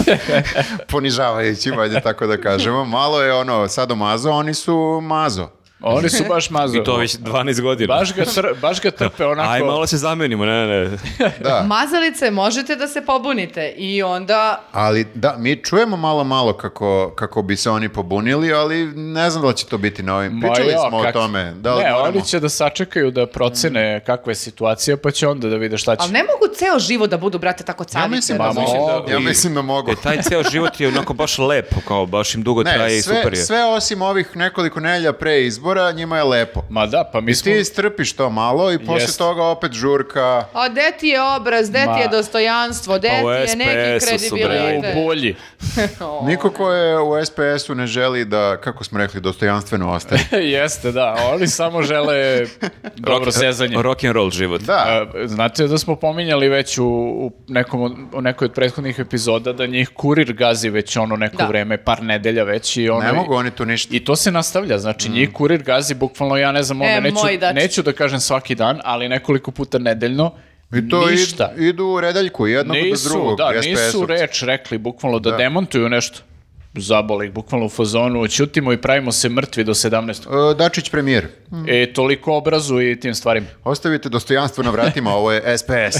[SPEAKER 2] ponižavajućim, ajde tako da kažemo. Malo je ono, sad mazo, oni su mazo.
[SPEAKER 3] Oni su baš mazo.
[SPEAKER 1] I to već 12 godina.
[SPEAKER 3] Baš ga, tr- baš ga trpe onako...
[SPEAKER 1] Aj, malo se zamenimo, ne, ne.
[SPEAKER 2] Da,
[SPEAKER 4] Mazalice, možete da se pobunite i onda
[SPEAKER 2] ali da, mi čujemo malo malo kako, kako bi se oni pobunili, ali ne znam da li će to biti na ovim.
[SPEAKER 3] Ma
[SPEAKER 2] Pričali
[SPEAKER 3] jo,
[SPEAKER 2] smo o
[SPEAKER 3] kak-
[SPEAKER 2] tome. Da li
[SPEAKER 3] ne,
[SPEAKER 2] moramo?
[SPEAKER 3] oni će da sačekaju da procene kakva je situacija, pa će onda da vide šta će.
[SPEAKER 4] Mm. Ali ne mogu ceo život da budu, brate, tako
[SPEAKER 2] Ja
[SPEAKER 4] carice.
[SPEAKER 2] mislim, da,
[SPEAKER 4] razumeš?
[SPEAKER 3] razumiješ?
[SPEAKER 2] mogu. ja mislim da mogu.
[SPEAKER 1] E, taj ceo život je onako baš lep, kao baš im dugo traje
[SPEAKER 2] Ne,
[SPEAKER 1] i super
[SPEAKER 2] sve,
[SPEAKER 1] je.
[SPEAKER 2] sve osim ovih nekoliko nelja pre izbora, njima je lepo.
[SPEAKER 3] Ma da, pa mi smo...
[SPEAKER 2] Ti strpiš to malo i posle
[SPEAKER 3] Jest.
[SPEAKER 2] toga opet žurka.
[SPEAKER 4] A gde ti je obraz, gde ti je
[SPEAKER 3] Ma.
[SPEAKER 4] dostojanstvo, gde
[SPEAKER 1] Pa u
[SPEAKER 4] ti je neki
[SPEAKER 1] SPS-u su, bre,
[SPEAKER 3] U
[SPEAKER 1] ajde.
[SPEAKER 4] kredibilitet?
[SPEAKER 3] bolji.
[SPEAKER 4] O,
[SPEAKER 2] Niko ko je u SPS-u ne želi da, kako smo rekli, dostojanstveno ostaje.
[SPEAKER 3] Jeste, da. Oni samo žele dobro zezanje.
[SPEAKER 1] Rock and roll život.
[SPEAKER 2] Da,
[SPEAKER 3] A, E, Znate da smo pominjali već u, u, nekom, od- u nekoj od prethodnih epizoda da njih kurir gazi već ono neko
[SPEAKER 4] Da.
[SPEAKER 3] vreme, par nedelja već i ono...
[SPEAKER 2] ne mogu Mm. oni tu ništa.
[SPEAKER 3] I to se nastavlja, znači njih kurir kurir gazi, bukvalno ja ne znam, ono,
[SPEAKER 4] E,
[SPEAKER 3] neću,
[SPEAKER 4] moj dački.
[SPEAKER 3] neću da kažem svaki dan, ali nekoliko puta nedeljno,
[SPEAKER 2] I to id-
[SPEAKER 3] ništa.
[SPEAKER 2] idu u redaljku jednog do
[SPEAKER 3] Nisu,
[SPEAKER 2] drugog.
[SPEAKER 3] da,
[SPEAKER 2] SPS-ovci.
[SPEAKER 3] nisu reč rekli, bukvalno da, demontuju nešto. Zaboli, ih, bukvalno u fazonu, ćutimo i pravimo se mrtvi do 17.
[SPEAKER 2] E, Dačić premijer,
[SPEAKER 4] Mm.
[SPEAKER 3] E, toliko obrazu i tim stvarima.
[SPEAKER 2] ostavite dostojanstvo na vratima, ovo je SPS.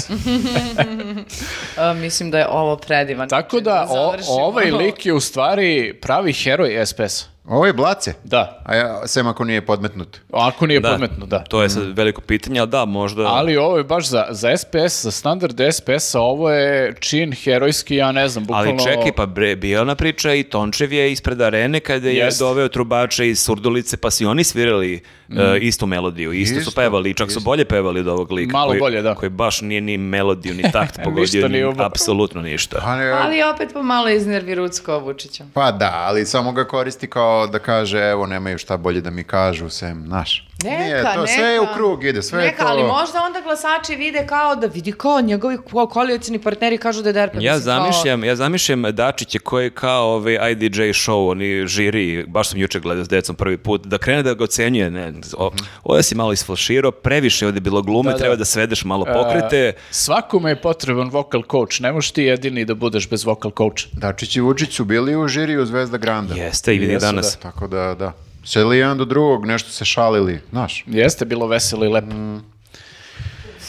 [SPEAKER 4] A, mislim da je ovo predivan.
[SPEAKER 3] Tako
[SPEAKER 4] način
[SPEAKER 3] da, o-
[SPEAKER 4] Znači, završimo. ono-
[SPEAKER 3] ovaj lik je u stvari pravi heroj SPS-a.
[SPEAKER 2] Ovo je Blace.
[SPEAKER 3] Da,
[SPEAKER 2] A ja, sem ako nije podmetnut.
[SPEAKER 3] ako nije podmetno, da. Mhm.
[SPEAKER 1] To je sad veliko pitanje, ali da, možda...
[SPEAKER 3] Ali ovo je baš za, za SPS, za standard SPS-a, ovo je čin herojski, ja ne znam,
[SPEAKER 1] Ali
[SPEAKER 3] bukvalno...
[SPEAKER 1] čekaj, pa bre, bila ona priča i Tončev je ispred arene kada je
[SPEAKER 3] Jest. Mm.
[SPEAKER 1] doveo trubače iz Surdulice, pa su i oni svirali e, istu melodiju, isto,
[SPEAKER 2] Isto,
[SPEAKER 1] su pevali, čak su bolje pevali od ovog lika.
[SPEAKER 3] Malo
[SPEAKER 1] koji,
[SPEAKER 3] bolje, da.
[SPEAKER 1] Koji baš nije ni melodiju, ni takt
[SPEAKER 3] Ništa
[SPEAKER 1] pogodio,
[SPEAKER 3] nije
[SPEAKER 1] ni
[SPEAKER 3] obo-
[SPEAKER 1] apsolutno ništa.
[SPEAKER 2] Pa, ne-
[SPEAKER 4] Ali opet pomalo iznervi Rucko Vučića.
[SPEAKER 2] pa da, ali samo ga koristi kao da kaže, evo, nemaju šta bolje da mi kažu, sem naš.
[SPEAKER 4] Neka,
[SPEAKER 2] Nije to,
[SPEAKER 4] neka.
[SPEAKER 2] Sve je u krug, ide, sve je
[SPEAKER 4] neka,
[SPEAKER 2] to...
[SPEAKER 4] ali možda onda glasači vide kao da vidi kao njegovi ko- koalicijni partneri kažu da je DRP.
[SPEAKER 1] Ja
[SPEAKER 4] mislim, kao-
[SPEAKER 1] zamišljam, ja zamišljam Dačiće koji je kao ovaj IDJ show, oni žiri, baš sam juče gledao s decom prvi put, da krene da ga ocenjuje, ne, o, ovdje si malo isflaširao, previše je ovdje bilo glume,
[SPEAKER 3] Mhm. Da, da.
[SPEAKER 1] treba da svedeš malo
[SPEAKER 3] e,
[SPEAKER 1] pokrete,
[SPEAKER 3] svakome je potreban vokal coach, ne možeš ti jedini da budeš bez vokal coacha.
[SPEAKER 2] Dačić i Vučić su bili u žiriju Zvezda Granda.
[SPEAKER 1] jeste i vidi
[SPEAKER 3] jesu,
[SPEAKER 1] danas.
[SPEAKER 2] Tako da, da. Seli jedan do drugog, nešto se šalili, znaš.
[SPEAKER 3] Jeste bilo veselo i lepo.
[SPEAKER 1] Mm.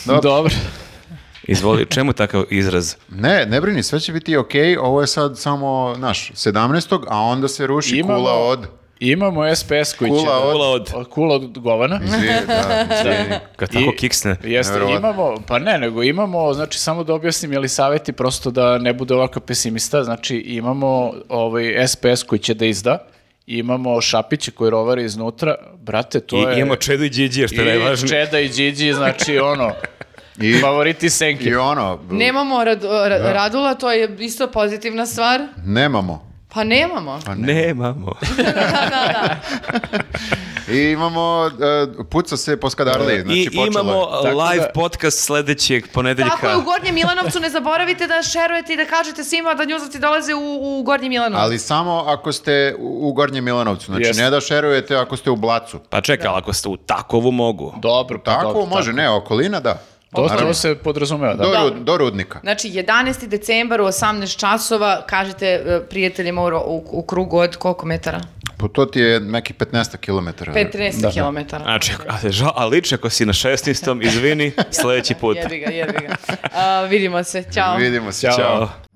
[SPEAKER 2] Dobro.
[SPEAKER 3] Dobro.
[SPEAKER 1] Izvoli, čemu takav izraz?
[SPEAKER 2] Ne, ne brini, sve će biti okej, ovo je sad samo, znaš, 17. a onda se ruši
[SPEAKER 3] Imamo-
[SPEAKER 2] kula od...
[SPEAKER 3] Imamo SPS koji će...
[SPEAKER 2] Kula od-
[SPEAKER 1] Kula od...
[SPEAKER 3] Kula od govana.
[SPEAKER 2] Izvini, da, izvini.
[SPEAKER 1] Kad tako
[SPEAKER 3] I-
[SPEAKER 1] kiksne.
[SPEAKER 3] Jeste,
[SPEAKER 2] Neverovatno.
[SPEAKER 3] imamo, pa ne, nego imamo, znači samo da objasnim, jeli savjeti prosto da ne bude ovako pesimista, znači imamo ovaj SPS koji će da izda, imamo Šapića koji rovari iznutra, brate, to je...
[SPEAKER 1] I imamo Čedu i Điđije, što je najvažnije.
[SPEAKER 3] I Čeda i Điđi, znači ono,
[SPEAKER 2] I,
[SPEAKER 3] favoriti Senke.
[SPEAKER 2] I ono,
[SPEAKER 4] Nemamo rad- ra- Radula, to je isto pozitivna stvar.
[SPEAKER 2] nemamo.
[SPEAKER 4] Pa nemamo.
[SPEAKER 1] Nemamo.
[SPEAKER 4] da, da, da.
[SPEAKER 2] I imamo, e, puca se po skadarli, znači
[SPEAKER 1] I
[SPEAKER 2] počelo je.
[SPEAKER 1] imamo
[SPEAKER 3] Tako
[SPEAKER 1] live
[SPEAKER 3] da-
[SPEAKER 1] podcast sledećeg ponedeljka.
[SPEAKER 4] Tako je u Gornjem Milanovcu, ne zaboravite da šerujete i da kažete svima da njuzovci dolaze u, u Gornji Milanovac.
[SPEAKER 2] Ali samo ako ste u, u Gornjem Milanovcu, znači
[SPEAKER 3] Jeste.
[SPEAKER 2] ne da šerujete ako ste u Blacu.
[SPEAKER 1] Pa čekaj, ali ako ste u takovu mogu.
[SPEAKER 3] Dobro, pa
[SPEAKER 2] Tako
[SPEAKER 3] dobro,
[SPEAKER 2] može, ne, okolina da.
[SPEAKER 3] Tako. Dosta
[SPEAKER 2] Naravno.
[SPEAKER 3] ovo se podrazumeva, da.
[SPEAKER 2] Do, ru- do rudnika.
[SPEAKER 4] Znači, 11. decembar u 18 časova kažete e, prijateljima u, ro- u, u krugu od koliko metara?
[SPEAKER 2] Po to ti je nekih 15 km.
[SPEAKER 4] 15 kilometara.
[SPEAKER 1] Znači, ali, žal, ali liči ako si na 16. izvini, sledeći put.
[SPEAKER 4] Jebi ga, jebi ga. A, vidimo se, ćao.
[SPEAKER 2] Vidimo se,
[SPEAKER 3] Ćao.
[SPEAKER 2] ćao.
[SPEAKER 1] Ćao.